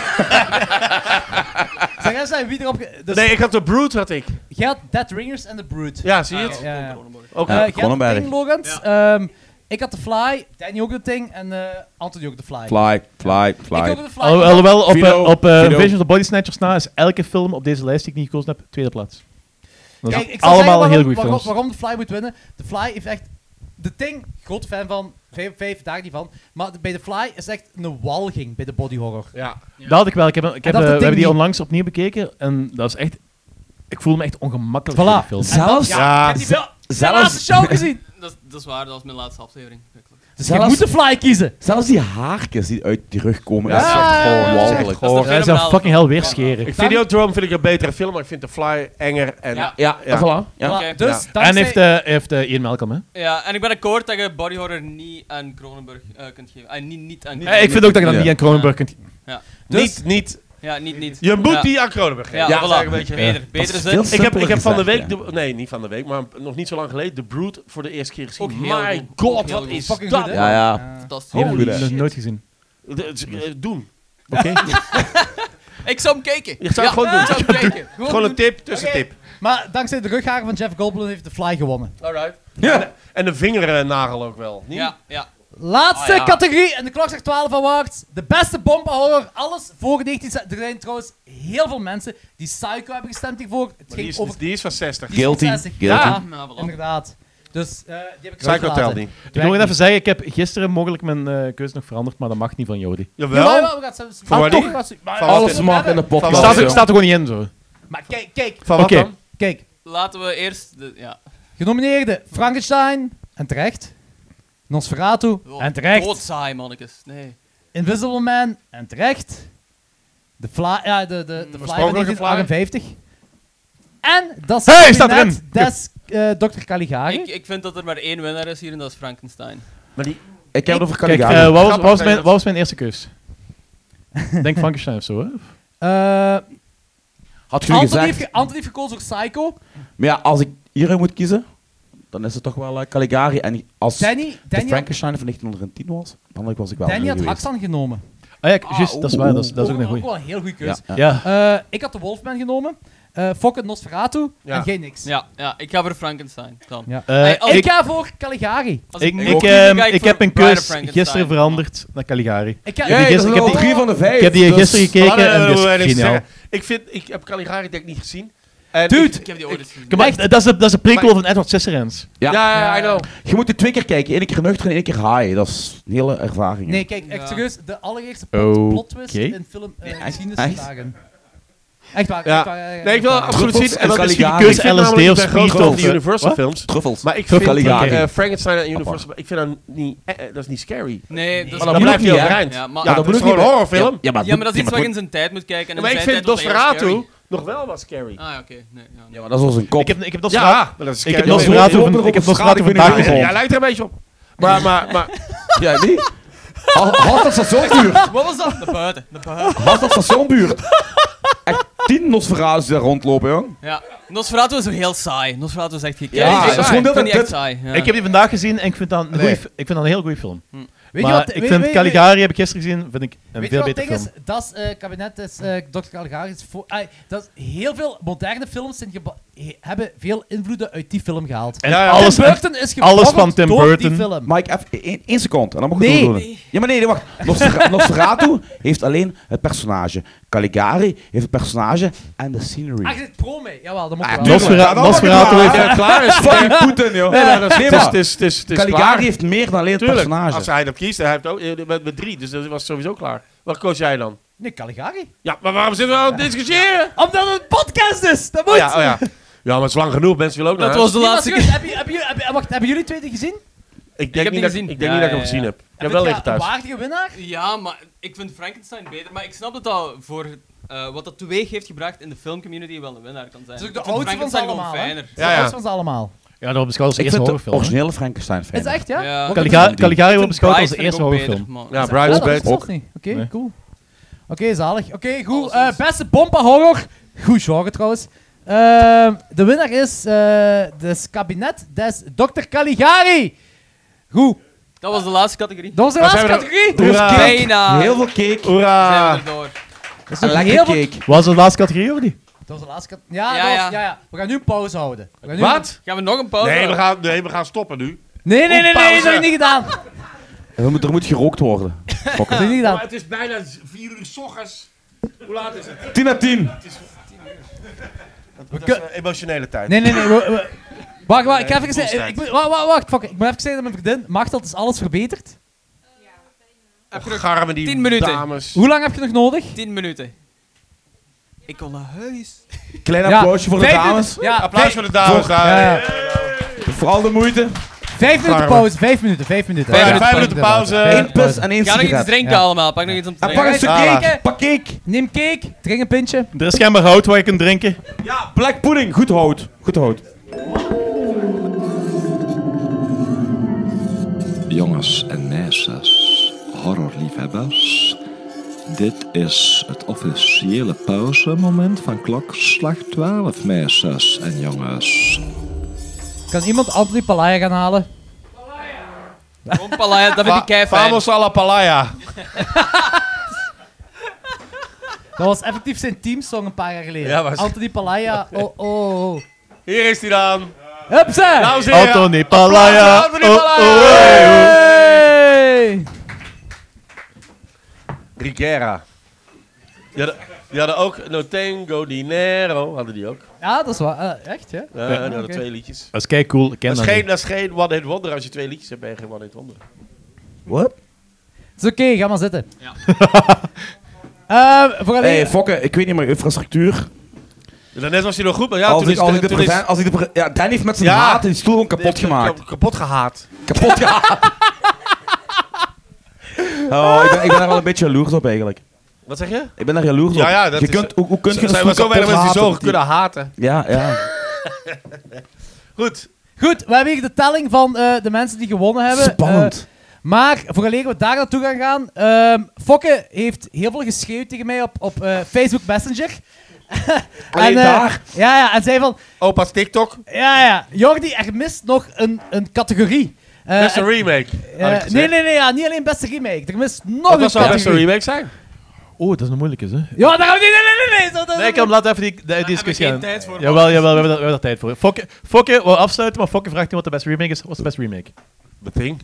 S5: Zeg eens, eh, wie erop... ge- Dus
S6: Nee, ik had de Brood, had ik.
S5: Jij had Dead Ringers en The Brood.
S6: Ja, zie je
S5: Ja,
S6: het?
S5: ja, ja.
S6: Ook
S3: Ja.
S5: Eh, jij had The
S3: Cronenberg.
S5: Thing, Logans. Ehm, ik had The Fly, Danny ook The Thing en eh Anthony ook The Fly. Oh,
S3: Fly, fly,
S5: Ik
S3: fly.
S5: ook The Fly.
S2: Al- Alhoewel, op, eh,
S3: Vino,
S2: op eh,
S3: Vino.
S2: Invasion of the Body Snatchers na is elke film op deze lijst die ik niet gekozen heb, tweede plaats. Dat
S5: Kijk,
S2: zijn
S5: ik zal zeggen
S2: allemaal
S5: waarom,
S2: heel goede
S5: waarom,
S2: films.
S5: waarom The Fly moet winnen. The Fly heeft echt... The Thing, groot fan van, vijf, vijf daar niet van. Maar de- bij The Fly is echt een walging bij de body horror.
S6: Ja.
S2: Dat had ik wel. Ik heb, ik heb,
S5: dat
S2: eh,
S5: ding
S2: we hebben die
S5: niet.
S2: onlangs opnieuw bekeken en dat is echt... Ik voel me echt ongemakkelijk
S5: Voilà.
S2: in die film.
S3: Zelfs,
S6: Ja.
S5: Ik heb die wel de laatste
S3: zelfs,
S5: show gezien.
S7: dat, is- dat is waar, dat was mijn laatste aflevering.
S5: Dus je moet The Fly kiezen.
S3: zelfs die haartjes die uit die rug komen,
S6: Ja.
S3: dat is echt gewoon
S5: Ja.
S3: walgelijk.
S7: Dat is toch
S2: Hij is
S7: fenomenaal.
S2: fucking hel weer scheren.
S6: Ik vind Videodrome vind ik een betere film, maar ik vind The Fly enger en...
S7: Ja.
S3: Ja,
S6: Ja.
S3: voilà. Ja.
S5: Voilà, dus
S2: En
S5: dankzij-
S2: heeft, eh heeft eh, Ian Malcolm, hè?
S7: Ja, en ik ben akkoord dat je body horror niet aan Cronenberg eh, kunt geven. Ah, niet, niet aan
S2: Eh, ik
S7: Cronenberg.
S2: vind ook dat je dan
S3: Ja.
S2: niet aan Cronenberg kunt...
S5: Dus-
S6: niet, niet...
S7: Ja, niet, niet.
S6: Je moet
S7: ja.
S6: die aan Cronenberg geven.
S7: Ja,
S3: Ja,
S7: voilà.
S3: zeg
S6: een beetje.
S7: Beter, beter
S3: is
S7: is
S3: veel
S7: het.
S6: Ik heb, ik heb van de week...
S3: Gezegd,
S6: de- nee, niet van de week, maar nog niet zo lang geleden... The Brood voor de eerste keer
S7: Ook
S6: gezien.
S7: heel
S6: My
S7: goed. Ook
S6: god,
S7: heel
S6: wat
S7: goed.
S6: is dat?
S5: Fucking goed, hè?
S3: Ja, ja.
S7: Fantastisch.
S3: Heel
S2: Holy
S3: goed, hè.
S2: shit. Nooit gezien.
S6: De- z- eh, Doen.
S7: Ik zou hem kijken.
S6: Je zou het gewoon doen.
S7: Ik zou hem kijken. Gewoon,
S6: Gewoon een
S7: doen.
S6: tip, tussen tip.
S5: Maar dankzij de rugharen van Jeff Goldblum heeft The Fly gewonnen.
S7: Alright.
S3: Ja.
S6: En de vingernagel ook wel. Niet?
S7: Ja, ja.
S5: Laatste
S7: Ah, ja.
S5: categorie en de klok zegt 12 awards. De beste bompenhouder, alles voor 19... Er zijn trouwens heel veel mensen die Psycho hebben gestemd hiervoor. Het
S6: Maar
S5: ging
S6: die, is,
S5: over...
S6: die is van 60.
S5: die is
S3: Guilty,
S5: 60.
S3: guilty.
S5: Ja,
S7: Nou, voilà.
S5: inderdaad. Dus eh, die heb ik
S6: Psycho
S5: uitgelaten.
S6: telt niet.
S2: Ik wil nog even zeggen, ik heb gisteren mogelijk mijn eh, keuze nog veranderd, maar dat mag niet van Jody.
S5: Jawel,
S6: Jawel.
S5: we gaan het
S6: Van
S5: maar
S6: wanneer?
S5: toch, we gaan het- maar-
S6: Van
S5: maar-
S3: Alles
S6: Wat
S3: mag in de
S2: Het
S3: podcast.
S6: Van
S2: staat,
S6: wel,
S2: er-
S6: ja.
S2: staat er gewoon niet in, zo.
S5: Maar kijk, kijk,
S6: Van wat
S2: Oké.
S6: dan?
S5: kijk.
S7: Laten we eerst... De, ja.
S5: Genomineerden Frankenstein en terecht. Nosferatu
S7: Oh,
S5: en terecht.
S7: Doodzaai, mannetjes. Nee.
S5: Invisible Man en terecht. De Fly, ja, de, de, de fly van
S6: oorspronkelijke
S5: 1958. En dat is
S2: Hey,
S5: het
S2: staat
S5: kabinet
S2: erin.
S5: des eh Dr. Caligari.
S7: Ik, ik vind dat er maar één winnaar is hier en dat is Frankenstein.
S3: Ik heb het over
S2: Kijk,
S3: Caligari.
S2: eh, wat, was,
S6: Grappig,
S2: wat, was
S6: hè,
S2: mijn,
S6: dat-
S2: wat was mijn eerste
S5: [laughs]
S2: keus? Denk Frankenstein of zo, hè?
S5: Eh,
S3: Had jullie
S5: Anthony, heeft,
S3: gezegd...
S5: ge- Anthony heeft gekozen voor Psycho.
S3: Maar ja, als ik hieruit moet kiezen... dan is het toch wel eh, Caligari. En als
S5: Danny,
S3: de
S5: Danny,
S3: Frankenstein van 1910 was, dan was ik wel
S5: Danny
S3: mee
S5: had
S3: geweest.
S5: Haksan genomen.
S2: Ah ja, k- juist, dat is waar, dat is, dat is ook
S5: Ook-
S2: een goeie.
S5: wel een heel goede
S3: Ja,
S5: keuze.
S3: ja.
S2: Ja,
S5: Eh, ik had de Wolfman genomen, eh Fokker Nosferatu
S6: Ja.
S5: en geen niks.
S7: Ja, ja, ik ga voor Frankenstein. Dan.
S5: Ja.
S2: eh,
S5: Hey, als ik
S2: ik,
S5: ga voor Caligari.
S7: Als
S2: ik,
S7: mocht
S2: ik,
S7: kiezen,
S2: ehm,
S7: ga ik
S2: ik
S7: voor
S2: heb een
S7: Bride of
S2: keus
S7: Frankenstein.
S2: gisteren veranderd naar Caligari.
S5: Ik ga,
S2: Ja,
S3: Hey,
S2: die
S3: dat
S2: gisteren-
S3: zijn
S2: ik heb
S3: al
S2: die-
S3: drie van de vijf.
S2: Ik heb die
S3: dus-
S2: gisteren
S6: Laat me-
S2: gekeken en
S6: laat me- laat
S2: dat is
S6: me even
S2: geniaal.
S6: eh, dus zeggen. Ik, vind, ik heb Caligari denk ik niet gezien. En
S7: Ik,
S6: ik-
S7: ik heb die ooit eens gezien.
S2: Kom op, dat is de- dat is de prequel van Edward Scissorhands.
S3: Ja.
S6: ja, ja, I know.
S3: Je moet die twee keer kijken. Eén keer nuchter en één keer high. Dat is een hele ervaring. hè.
S5: Nee, kijk, echt
S7: Ja.
S5: serieus, de allereerste plot, plot twist
S2: Oké.
S5: in film eh,
S3: echt-
S5: geschiedenis
S3: echt?
S5: vandaag. Echt waar,
S6: Ja.
S5: echt waar. eh,
S6: Nee, ik wil
S5: echt
S6: dat
S5: waar.
S6: absoluut zien. En dat is
S3: Caligari.
S6: ik vind
S2: Keuze LSD
S6: namelijk, ik
S2: of
S6: ben groot fan van
S2: Speedwolf.
S6: die Universal
S2: Wat?
S6: films.
S3: Truffels.
S6: Maar ik
S3: Truff
S6: vind
S3: Caligari.
S6: eh, Frankenstein en Universal... Ik vind dat niet... eh, eh, dat is niet scary.
S7: Nee, dat is
S6: Maar dan
S3: moet
S6: blijft
S3: niet,
S6: hij
S3: hè?
S6: overeind.
S7: Ja,
S6: Ja,
S7: maar-
S6: maar
S7: Ja,
S6: dat
S3: moet
S6: is
S3: ook
S6: gewoon een
S3: niet, hè?
S6: horrorfilm.
S3: Ja, maar,
S7: Ja, maar dat is
S3: ja,
S7: iets waar
S3: maar
S7: je in zijn tijd moet kijken. En in
S6: Maar ik
S7: zijn
S6: vind
S7: tijd was dat heel
S6: Nosferatu
S7: scary.
S6: nog wel wat scary.
S7: Ah, ja, oké. Nee, ja, nee.
S3: Ja, maar dat is als een kop.
S2: Ik heb, ik heb dat
S6: Ja, maar dat is
S2: Ik
S6: scary.
S2: heb
S3: Ja,
S2: nog
S3: maar-
S2: verraad
S3: Ja,
S2: over
S3: maar-
S2: ik heb
S3: schade
S2: nog verraad over
S3: voor de
S2: vandaag
S3: wereld.
S2: gezien.
S6: Ja, lijkt er een beetje op. Maar, maar, maar,
S3: Ja, die. Hal- Halstad stationbuurt.
S7: Wat was dat? De buiten. De
S3: [laughs]
S7: buiten.
S3: Halstad stationbuurt.
S7: [laughs]
S3: Echt tien Nosferatu's die daar rondlopen, jong.
S7: Ja. Nosferatu is ook heel saai. Nosferatu is echt gekend.
S3: Ja,
S7: ik
S3: dat is
S7: vind
S3: gewoon heel
S7: die echt
S3: dit-
S7: saai. Ja.
S2: Ik heb die vandaag gezien en ik vind dat een, goeie, ik vind dat een heel goede film.
S5: Weet je
S2: maar
S5: wat,
S2: ik
S5: weet-
S2: vind
S5: weet- weet-
S2: Caligari, heb ik gisteren gezien, vind ik een
S5: Weet je
S2: veel
S5: wat het
S2: beter
S5: ding
S2: film.
S5: is? Dat is, eh, kabinet is eh, Dr. Caligari. Is voor, ai, dat is heel veel moderne films zijn geba- he- hebben veel invloeden uit die film gehaald.
S2: En
S6: Ja, ja.
S2: alles,
S5: Tim Burton is
S2: alles
S5: gevormd
S2: van Tim
S5: door die
S2: Burton.
S5: film.
S3: Mike, even één, één seconde. En dan mag ik
S5: Nee.
S3: het doen. Ja, maar nee, nee, wacht. Nostra- Nosferatu heeft alleen het personage. Caligari heeft het personage en de scenery.
S5: Ah, je zit pro mee. Jawel, dat moet
S3: Ah,
S5: wel.
S3: tuurlijk.
S2: Nosfera-
S3: Ja, dat mag ik
S2: Nosferatu
S3: wel.
S2: heeft-
S3: [laughs] Ja, klaar is. Fucking Poetin, joh.
S6: Nee, nee, dat is-
S3: Nee,
S6: het is-
S3: maar
S6: het is- het is- het is klaar.
S3: Caligari heeft meer dan alleen het
S6: Tuurlijk, als
S3: personage.
S6: hij dat kiest, hij heeft ook eh, met, met drie, dus dat was sowieso klaar. Wat koos jij dan?
S5: Nee, Caligari.
S6: Ja, maar waarom zitten we aan het discussiëren?
S5: Omdat het een podcast is! Dat moet!
S6: Oh ja, oh ja. Ja, maar het is lang genoeg, mensen willen ook naar
S7: Dat
S6: huis.
S7: was de
S5: Nee, maar
S7: laatste
S5: serieus,
S7: keer.
S5: heb je- heb je- heb je- wacht, hebben jullie twee die gezien?
S6: Ik denk
S7: heb die
S6: niet dat
S7: gezien.
S6: ik denk
S7: Ja,
S6: niet dat ik
S7: ja,
S6: hem gezien
S7: ja.
S6: heb. Ik heb wel liggen
S5: Een
S6: thuis.
S5: waardige winnaar?
S7: Ja, maar ik vind Frankenstein beter. Maar ik snap dat dat voor eh, wat dat teweeg heeft gebracht in de filmcommunity wel een winnaar kan zijn.
S5: Dat is ook
S7: Ik
S5: de
S7: vind
S5: oudste van ze
S7: Frankenstein
S5: allemaal,
S7: gewoon
S5: hè?
S7: fijner.
S5: Ja,
S6: Ja, ja.
S5: van ze allemaal.
S2: Ja, dat wordt beschouwd als
S3: Ik
S2: eerste
S3: vind de
S2: horrorfilm. hè.
S3: originele Frankenstein
S5: Is
S3: fijn.
S5: het echt, ja?
S7: Ja.
S5: Oké.
S2: Caligari-
S3: Wat-
S2: Caligari wordt beschouwd
S7: Pride
S2: als de
S7: vind ik
S2: eerste
S7: ook
S2: horrorfilm.
S7: beter, man.
S6: Ja,
S5: Ah,
S6: Brian is
S5: dat wist ik
S6: beter.
S5: zelfs niet. Oké,
S2: Nee.
S5: cool. Oké, zalig. Oké, goed.
S7: Alles
S5: Eh, beste bompa horror. Goed genre trouwens. Ehm, de winnaar is eh des kabinet des Dr. Caligari. Goed.
S7: Dat was de laatste categorie.
S5: Dat was de
S6: Maar
S5: laatste
S6: zijn we er-
S5: categorie.
S3: Er was
S6: Hoera.
S3: cake,
S7: Bijna.
S3: Heel veel cake.
S7: Zijn we
S6: Hoera!
S7: erdoor.
S5: Dat is
S3: En
S5: nog
S3: lekker
S5: heel veel-
S3: cake.
S2: Was dat de laatste categorie of niet?
S5: Dat was de laatste categorie. Ja,
S7: Ja,
S5: dat was- ja.
S7: ja.
S5: ja, We gaan nu een pauze houden. We gaan nu-
S6: Wat?
S7: Gaan we nog een pauze?
S6: Nee we,
S7: houden?
S6: gaan, nee, we gaan stoppen nu.
S5: Nee, nee, nee, nee,
S6: pauze.
S5: dat heb je niet gedaan. Dat
S3: Er moet, er moet gerookt worden. Fokker.
S5: heb je niet gedaan.
S6: het is bijna 4 uur s ochtends. Hoe laat is het?
S3: 10 uit 10.
S6: Dat is eh, emotionele tijd.
S5: Nee, nee, nee. we- we- Wacht, wacht, ik ga even
S6: Nee,
S5: zeggen. Ik
S6: constant.
S5: moet- Wacht, wacht, wacht. fuck, Ik moet even zeggen dat mijn vriendin, Machteld, is alles verbeterd.
S6: Och, garmen die
S7: 10 minuten.
S6: dames.
S5: Hoe lang heb je nog nodig?
S7: 10 minuten. Ik wil naar huis.
S3: Klein
S5: Ja.
S3: applausje voor de
S5: Vijf
S3: dames.
S5: minuten- Ja,
S6: Applaus voor de dames daar.
S5: Ja, ja.
S3: Vooral de moeite.
S5: Vijf minuten
S6: Arme.
S5: pauze, vijf minuten, vijf minuten.
S6: Vijf,
S5: Ja.
S6: vijf minuten pauze.
S3: Eén pus en één
S7: Ga nog iets
S3: sigaret.
S7: drinken
S5: Ja.
S7: allemaal. Pak nog iets om te
S3: En pak een
S7: drinken.
S3: stuk
S6: Ah.
S3: cake. Pak cake.
S5: Neem cake, drink een pintje.
S2: Er is schijnbaar hout waar je kunt drinken.
S3: Ja, black pudding. Goed hout. Goed hout.
S8: Jongens en meisjes, horrorliefhebbers. Dit is het officiële pauzemoment van klokslag 12, meisjes en jongens.
S5: Kan iemand Anthony Palaya gaan halen?
S7: Kom, Palaya, dat vind ik kei fijn.
S6: Vamos a la palaya.
S5: Dat was effectief zijn teamsong een paar jaar geleden.
S6: Ja, was-
S5: Anthony Palaya, oh oh. oh.
S6: Hier is hij dan.
S5: Hupsa!
S6: Dames en heren.
S2: Anthony Palaya.
S6: Anthony
S2: oh,
S6: Palaya.
S2: oh, hey, oh.
S5: Hey!
S6: Rigera. Die hadden, die hadden ook No Tengo Dinero, hadden die ook.
S5: Ja, dat is waar. eh, echt, ja?
S6: Ja, die hadden
S5: oké.
S6: twee liedjes.
S2: Dat is kei cool. Ik ken
S6: Dat is,
S2: dat
S6: geen,
S2: niet.
S6: dat is geen One Hit Wonder. Als je twee liedjes hebt, ben je geen One Hit Wonder.
S3: Wat?
S5: Het is oké, ga maar zitten.
S7: Ja.
S5: [laughs] Ehm, voor alleen...
S3: hey, Fokke, ik weet niet meer infrastructuur.
S6: Ja, Net was hij nog goed, maar ja,
S3: als,
S6: toen
S3: ik,
S6: is...
S3: als, ik de
S6: toen is-
S3: present- als ik de pre- Ja, Dan heeft met zijn
S6: Ja.
S3: haat die stoel gewoon kapot gemaakt.
S6: Kap- Kapot gehaat.
S3: Kapot gehaat. [laughs] Oh, ik ben, ik ben daar wel een beetje jaloers op eigenlijk.
S6: Wat zeg je?
S3: Ik ben daar jaloers op.
S6: Ja, ja, dat
S3: je
S6: is-
S3: kunt, hoe, hoe kun
S6: Er
S3: je een
S6: zijn
S3: stoel
S6: maar zo weinig
S3: kapot
S6: mensen die zo
S3: haten?
S6: kunnen haten.
S3: Ja, ja.
S6: Goed.
S5: Goed, we hebben hier de telling van eh, de mensen die gewonnen hebben. eh,
S3: Spannend.
S5: Maar vooraleer we daar naartoe gaan gaan, ehm Fokke heeft heel veel geschreeuwd tegen mij op, op eh, Facebook Messenger. [laughs]
S3: Alleen
S5: eh,
S3: daar.
S5: Ja, ja, en zei van...
S6: Opa's TikTok.
S5: Ja, ja, Jordi, er mist nog een, een categorie. Eh,
S6: Beste
S5: en-
S6: remake.
S5: eh,
S6: had ik gezegd.
S5: nee, nee, nee, ja, niet alleen beste remake. Er mist nog
S6: Wat
S5: een
S6: was zou beste
S5: categorie.
S6: remake zijn?
S2: Oh, dat is een moeilijke, hè?
S5: Ja, daar gaan we niet... Nee, nee, nee, nee. zo- dat-
S2: Nee, ik kan laten even die, die die
S7: hebben
S2: discussie
S7: geen
S2: aan.
S7: tijd voor.
S2: Jawel, jawel, we hebben, daar- we hebben daar tijd voor. Fokke, Fokke wil afsluiten, maar Fokke vraagt niet wat de beste remake is. Wat is de beste remake?
S6: The Thing.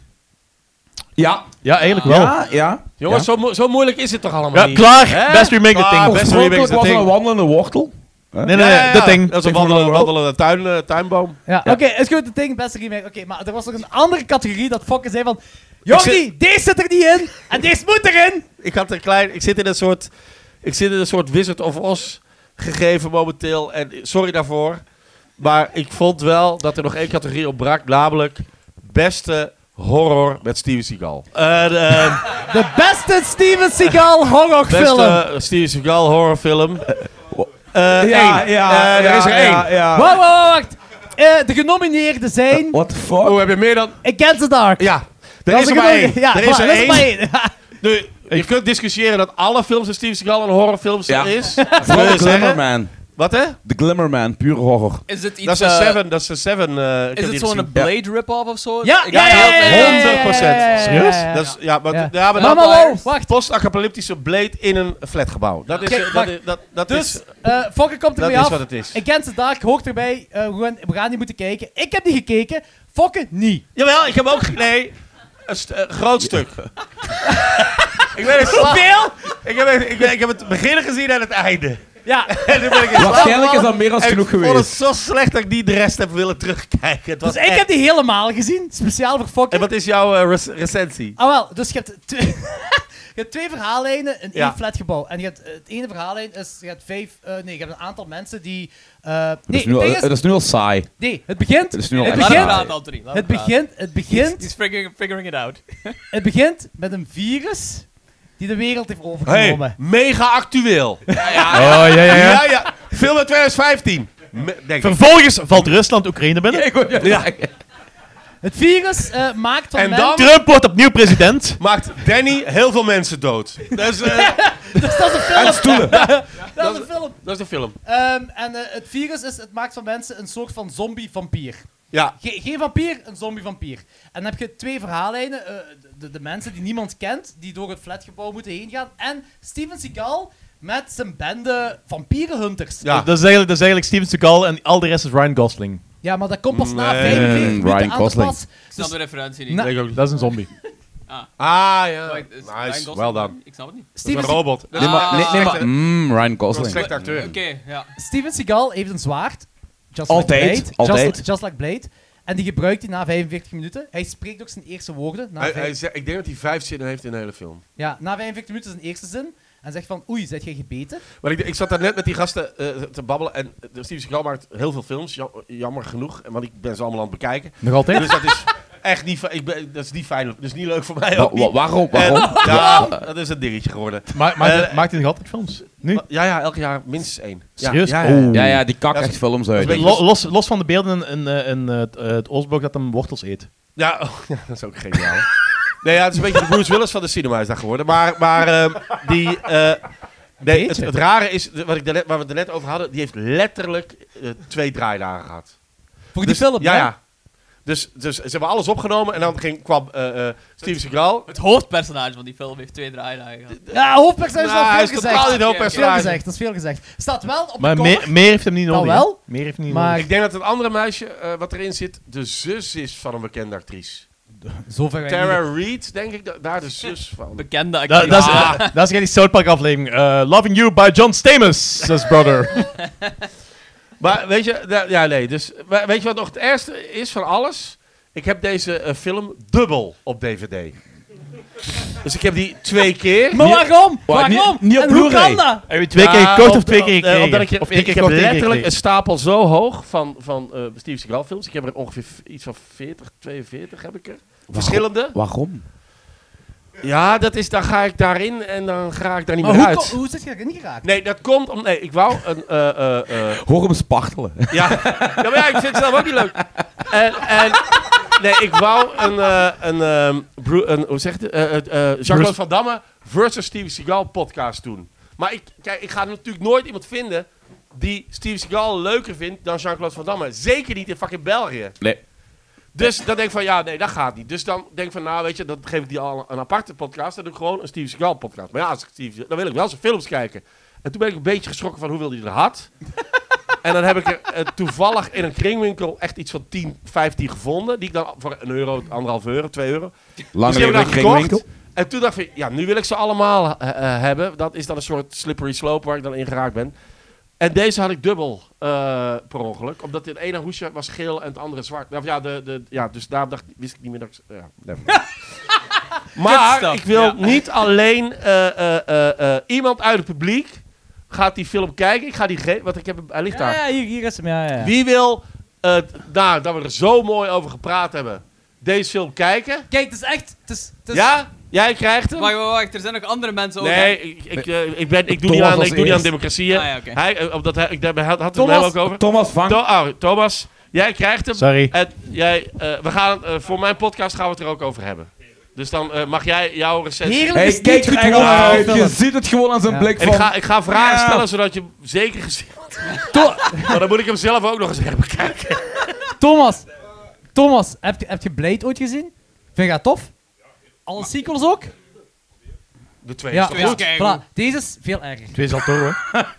S3: Ja.
S2: Ja, eigenlijk wel. Ja,
S3: Ja, Eh, ja.
S6: Jongens,
S3: Ja.
S6: zo, mo- zo moeilijk is het toch allemaal niet?
S2: klaar. Best remake, The
S6: Klaar.
S2: Thing. Best remake,
S3: Oorspronkelijk
S2: The
S3: was er een
S2: Thing.
S3: wandelende wortel.
S2: Nee, nee,
S6: Ja,
S2: nee,
S6: ja,
S2: The
S6: ja.
S2: Thing.
S6: Dat is
S2: Thing van
S6: een wandelende,
S2: Laurel.
S6: wandelende tuin, eh, tuinboom.
S5: Ja, oké, is goed, het ding, beste remake. Oké, maar er was nog een andere categorie dat Fokke zei van... Jordi, deze zit er niet in en deze moet erin.
S6: Ik, had een klein, ik, zit in een soort, ik zit in een soort Wizard of Oz gegeven momenteel. En sorry daarvoor. Maar ik vond wel dat er nog één categorie ontbrak. Namelijk beste horror met Steven Seagal. Eh, de, eh,
S5: De beste Steven Seagal horrorfilm.
S6: Beste Steven Seagal horrorfilm. Eh
S3: Ja,
S6: één.
S3: ja,
S6: Eh, er is er
S3: ja,
S6: één.
S3: ja, ja.
S5: Wacht, wacht, wacht. Eh, de genomineerden zijn...
S3: What the
S6: Oh,
S3: fuck?
S6: heb je meer dan...
S5: Against the Dark.
S6: Ja, er
S5: Dat
S6: is
S5: een
S6: er maar één.
S5: genomine- Ja,
S6: Er is er
S5: dat maar
S6: één.
S5: één. [laughs]
S6: Nu, je kunt discussiëren dat alle films van Steven Seagal een horrorfilm
S3: Ja.
S7: [laughs]
S6: is.
S3: Vooral de
S6: Wil je zeggen?
S3: Glimmerman.
S6: Wat hè?
S3: De Glimmerman, pure horror.
S7: Is het
S6: Dat
S7: iets...
S6: is een
S7: eh,
S6: Seven. Dat is een Seven. eh, ik
S7: Is
S6: heb
S7: het
S6: die
S7: zo'n
S6: gezien.
S7: Blade rip-off of zo?
S5: Ja,
S7: Ik
S5: ja,
S7: heb
S5: ja,
S7: heel
S5: ja, ja,
S7: veel-
S5: ja, ja.
S6: 100%.
S5: Serieus?
S6: Dat is, ja, maar,
S5: Ja.
S6: ja. maar
S5: Maar,
S6: dat
S5: maar, wow,
S7: Vampires.
S5: wacht.
S6: post-apocalyptische blade in een flatgebouw. Dat is,
S5: Kijk,
S6: eh, dat,
S5: wacht.
S6: is- dat, dat
S5: Dus,
S6: is,
S5: eh Fokke komt
S6: dat
S5: ermee
S6: is
S5: af.
S6: wat het is.
S5: Against the Dark hoort erbij. Eh, we, gaan, we gaan die moeten kijken. Ik heb die gekeken. Fokke niet.
S6: Jawel, ik heb ook... Nee, een st- een groot [laughs] stuk. ik, ben in slaap.
S5: Hoeveel?
S6: Ik, heb, ik, ben- ik heb het begin gezien en het einde. [laughs]
S5: Ja.
S6: En toen ben ik in slaap
S3: Waarschijnlijk is dat meer dan
S6: En
S3: genoeg
S6: Ik vond
S3: geweest.
S6: het zo slecht dat ik niet de rest heb willen terugkijken. Het was
S5: Dus ik
S6: echt-
S5: heb die helemaal gezien. Speciaal voor Fokke.
S6: En wat is jouw eh, rec- recensie?
S5: Ah wel, dus je hebt, twee- [laughs] je hebt twee verhaallijnen in
S6: Ja.
S5: één flatgebouw. En je hebt, eh, het ene verhaallijn is, je hebt vijf, eh, nee, je hebt een aantal mensen die... eh, nee,
S3: Het is
S5: het
S3: nu al-
S5: ding is-
S3: Het is nu al saai.
S5: nee, het begint...
S3: Het is nu al
S5: het
S3: echt
S7: Laat hem
S5: begint,
S3: saai.
S7: praten, Anthony. laat
S5: het
S7: hem praten.
S5: begint, het begint,
S7: He's figuring, figuring it out.
S5: het begint met een virus die de wereld heeft overgenomen.
S6: Hey, mega [laughs] actueel.
S2: Oh, ja, ja, ja.
S6: Ja, ja. Film uit 2015. Me- Denk ik.
S2: Vervolgens valt Rusland Oekraïne binnen.
S5: Het virus eh, maakt van
S6: En
S5: men-
S6: dan-
S2: Trump wordt opnieuw president.
S6: Maakt Danny heel veel mensen dood. Dat is, eh,
S5: Dus dat is een film.
S3: Stoelen.
S5: [laughs] Dat is een film.
S6: dat is de film.
S5: Ehm, en eh, het virus is, het maakt van mensen een soort van zombie-vampier.
S6: Ja.
S5: Ge- geen vampier, een zombie-vampier. En dan heb je twee verhaallijnen. eh, de, de mensen die niemand kent, die door het flatgebouw moeten heen gaan. En Steven Seagal met zijn bende vampierenhunters.
S6: Ja.
S2: Dat is eigenlijk, dat is eigenlijk Steven Seagal en al de rest is Ryan Gosling.
S5: Ja, maar dat komt pas na
S6: Nee,
S5: 45 minuten
S3: Ryan
S5: aan
S3: Gosling.
S5: de pas.
S7: Ik snap de referentie niet.
S5: Na-
S6: Denk ik ook niet.
S2: Dat is een zombie.
S6: Ah, ja.
S7: Maar ik- is Ryan
S6: Nice.
S7: Gosling
S6: Well
S7: dan?
S6: done.
S7: Ik snap het niet.
S6: Dat is
S5: Steven,
S6: een robot. Dat
S7: Nee, maar- nee, nee, maar-
S3: Mm, Ryan
S6: is een
S3: Gosling.
S6: slechte acteur.
S7: Oké, ja.
S5: Se- Steven Seagal heeft een zwaard. Just
S3: Altijd,
S5: Like Blade,
S3: altijd.
S5: Just, just like Blade. En die gebruikt hij na 45 minuten. Hij spreekt ook zijn eerste woorden. Na
S6: Hij,
S5: vijf-
S6: hij zegt- ik denk dat hij vijf zinnen heeft in de hele film.
S5: Ja, na 45 minuten zijn eerste zin. En zegt van, oei, zet jij gebeten?
S6: Maar ik, ik zat daar net met die gasten eh, te babbelen. En eh, Steven Seagal maakt heel veel films. jam- jammer genoeg. en Want ik ben ze allemaal aan het bekijken.
S2: Nog altijd?
S6: Dus dat is echt niet, fi- ik ben, dat is niet fijn. Dat is niet leuk voor mij.
S3: Wa-
S6: ook niet.
S3: wa- Waarom?
S6: En-
S3: Waarom?
S6: ja, dat is een dingetje geworden.
S2: Maakt
S6: Eh,
S2: maakt hij nog altijd films? Nu?
S6: Ja, ja, elk jaar minstens één. Ja,
S2: Serieus?
S6: Ja, ja.
S2: Oh.
S3: Ja, ja, die kak
S6: Dat is-
S3: echt films
S6: dat is
S3: uit.
S6: een
S2: Lo- los, los van de beelden in, in, eh, in, eh, het, eh, het Oostblok dat hem wortels eet.
S6: Ja, oh, [laughs] ja, dat is ook geniaal. hè. nee, ja, het is een beetje de Bruce Willis van de cinema is dat geworden. Maar, maar ehm, die... eh, nee, het,
S5: beetje.
S6: het rare is, de- wat ik daarnet, waar we het daarnet over hadden, die heeft letterlijk eh, twee draaidagen gehad.
S5: Voor
S6: Dus-
S5: die film,
S6: ja,
S5: hè?
S6: ja. Dus, dus ze hebben alles opgenomen en dan ging, kwam eh, eh, Steven Seagal.
S7: Het hoofdpersonage van die film heeft twee draaidagen gehad.
S5: Ja, hoofdpersonage is
S6: Nou,
S5: al
S6: hij
S5: veel
S6: is totaal
S5: gezegd.
S6: niet
S7: Oké, oké.
S5: Dat is veel
S6: hoofdpersonage.
S5: gezegd, dat is veel gezegd. Staat wel op
S2: Maar
S5: de
S2: meer,
S5: cover.
S2: meer heeft hem niet
S5: Dat
S2: nodig.
S5: wel.
S2: hè? Meer heeft hem niet
S5: Maar-
S2: nodig.
S6: Ik denk dat het andere meisje eh, wat erin zit, de zus is van een bekende actrice.
S5: Zover wij niet.
S6: Tara Reid, denk ik, da- daar de zus van.
S7: Bekende
S2: Da-
S7: acteur.
S2: Dat is eh, dat is geen die South Park aflevering. Eh, Loving You by John Stamos, says
S6: [laughs]
S2: brother.
S6: Maar weet je, da- ja nee, dus maar weet je wat nog het ergste is van alles? Ik heb deze eh, film dubbel op DVD. dus ik heb die twee keer.
S5: Maar waarom?
S3: Wa- niet-
S5: Waarom?
S3: niet op
S5: en hoe
S3: Blu-ray.
S5: kan dat?
S2: Heb je twee
S6: Ja,
S2: keer gekort of
S6: op-
S2: twee keer
S6: op- eh,
S2: gekregen?
S6: omdat ik,
S2: Of één
S6: ik,
S2: keer
S6: ik heb
S2: gekort, één keer
S6: letterlijk een
S2: gekregen?
S6: stapel zo hoog van, van eh Steven Seagal films. Ik heb er ongeveer v- iets van 40, 42 heb ik er. Verschillende.
S3: Waarom?
S6: Ja, dat is, dan ga ik daarin en dan ga ik daar niet
S5: Maar
S6: meer
S5: hoe,
S6: uit.
S5: ko- hoe zit je erin geraakt?
S6: Nee, dat komt om... Nee, ik wou een... eh, eh, eh,
S3: Hoor hem spartelen.
S6: ja. ja, maar ja, ik vind het zelf ook niet leuk. En... en nee, ik wou een... eh, een, ehm, Bru- een hoe zeg je het? Eh, eh, eh, Jean-Claude Van Damme versus Steven Seagal podcast doen. Maar ik, kijk, ik ga natuurlijk nooit iemand vinden die Steven Seagal leuker vindt dan Jean-Claude Van Damme. Zeker niet in fucking België.
S3: Nee.
S6: Dus dan denk ik van, ja, nee, dat gaat niet. Dus dan denk ik van, nou, weet je, dan geef ik die al een aparte podcast. Dan doe ik gewoon een Steven Seagal podcast. Maar ja, als ik Steven, dan wil ik wel zijn films kijken. En toen ben ik een beetje geschrokken van hoeveel hij er had. en dan heb ik er eh, toevallig in een kringwinkel echt iets van 10, 15 gevonden. Die ik dan voor een euro, anderhalf euro, twee euro.
S3: Lange
S6: Dus die
S3: leven in
S6: hebben we
S3: de
S6: dan
S3: kringwinkel.
S6: gekocht. En toen dacht ik, ja, nu wil ik ze allemaal eh, eh, hebben. Dat is dan een soort slippery slope waar ik dan in geraakt ben. En deze had ik dubbel eh, per ongeluk. Omdat het ene hoesje was geel en het andere zwart. Nou, ja, de, de, ja, dus daarom dacht, ik- wist ik niet meer dat ik... ze- Ja, never
S3: [laughs]
S6: mind. maar
S7: Kutstap,
S6: ik wil
S7: ja.
S6: niet alleen eh, eh, eh, eh, iemand uit het publiek gaat die film kijken. Ik ga die... ge- Want ik heb hem, hij ligt daar.
S10: Ja, hier, hier is hem. Ja, ja.
S6: Wie wil, eh, nou, dat we er zo mooi over gepraat hebben, deze film kijken?
S5: Kijk, het is echt... Het is, het is-
S6: Ja? Jij krijgt hem?
S7: Wacht, wacht, wacht, er zijn nog andere mensen ook.
S6: Nee, ik, ik, eh, ik, ben, ik
S3: Thomas
S6: doe niet aan,
S3: als
S6: ik doe niet aan
S3: eerst.
S6: democratieën.
S7: Ah, ja, oké.
S6: Hij, eh, omdat hij, ik daar had het
S3: Thomas.
S6: wel ook over.
S3: Thomas Vang.
S6: To- oh, Thomas, jij krijgt hem.
S2: Sorry.
S6: En jij, eh, we gaan, eh, voor mijn podcast gaan we het er ook over hebben. Dus dan eh, mag jij jouw recensie...
S5: Heerlijk
S3: Hey,
S5: is
S3: kijk
S5: niet
S3: er
S5: goed
S3: echt
S5: gedaan.
S3: uit. Je ziet het gewoon aan zijn
S5: Ja.
S3: blik
S6: En ik
S3: van...
S6: ga, ik ga vragen
S3: Ja.
S6: stellen, zodat je hem zeker gezien [laughs] wordt. Maar dan moet ik hem zelf ook nog eens even bekijken.
S5: Thomas, Thomas, heb je, heb je Blade ooit gezien? Vind je dat tof? Alle sequels ook?
S6: De twee
S5: Ja,
S6: is toch
S7: Ja.
S6: goed?
S7: keigoed.
S5: voilà. Deze is veel erger.
S2: Twee zal door, hoor.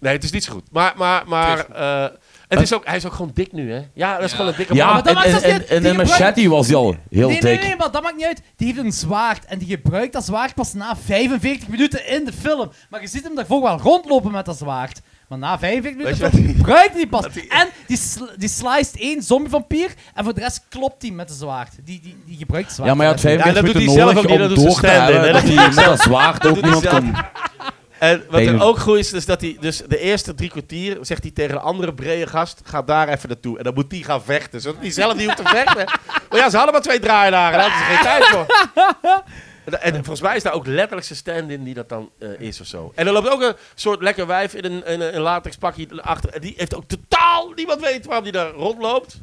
S6: Nee, het is niet zo goed. Maar, maar, maar eh, het is ook, hij is ook gewoon dik nu, hè? Ja, dat is gewoon een dikke man.
S5: maar dat maakt zelfs niet uit. Die gebruikt-
S3: was hij al heel
S5: nee, nee, nee, maar dat maakt niet uit. Die heeft een zwaard en die gebruikt dat zwaard pas na 45 minuten in de film. Maar je ziet hem daarvoor wel rondlopen met dat zwaard. Maar na 45
S6: Weet
S5: minuten
S6: je wat
S5: film
S6: die-
S5: gebruikt hij die pas. En die, sl- die sliced één zombie-vampier en voor de rest klopt hij met de zwaard. Die, die, die gebruikt het zwaard.
S3: Ja, maar je had
S5: hè.
S3: 45
S6: Ja, dat doet
S3: minuten
S6: hij zelf
S3: nodig
S6: ook niet, dat
S3: om
S6: doet zijn
S3: door te
S6: stand-in,
S3: hebben
S6: hè.
S3: dat hij met dat zwaard ook
S6: doet hij
S3: niemand
S6: zelf.
S3: kon...
S6: En wat
S3: Benen.
S6: er ook goed is, is dat hij dus de eerste drie kwartier zegt hij tegen een andere brede gast, ga daar even naartoe. En dan moet die gaan vechten, zodat hij zelf niet hoeft [laughs] te vechten. Maar ja, ze hadden maar twee draaidagen, daar hadden ze geen tijd voor. [laughs] En, en volgens mij is daar ook letterlijk zijn stand-in die dat dan eh, is of zo. En er loopt ook een soort lekker wijf in een, in een, een latex pakje achter. En die heeft ook totaal niemand weet waarom die daar rondloopt.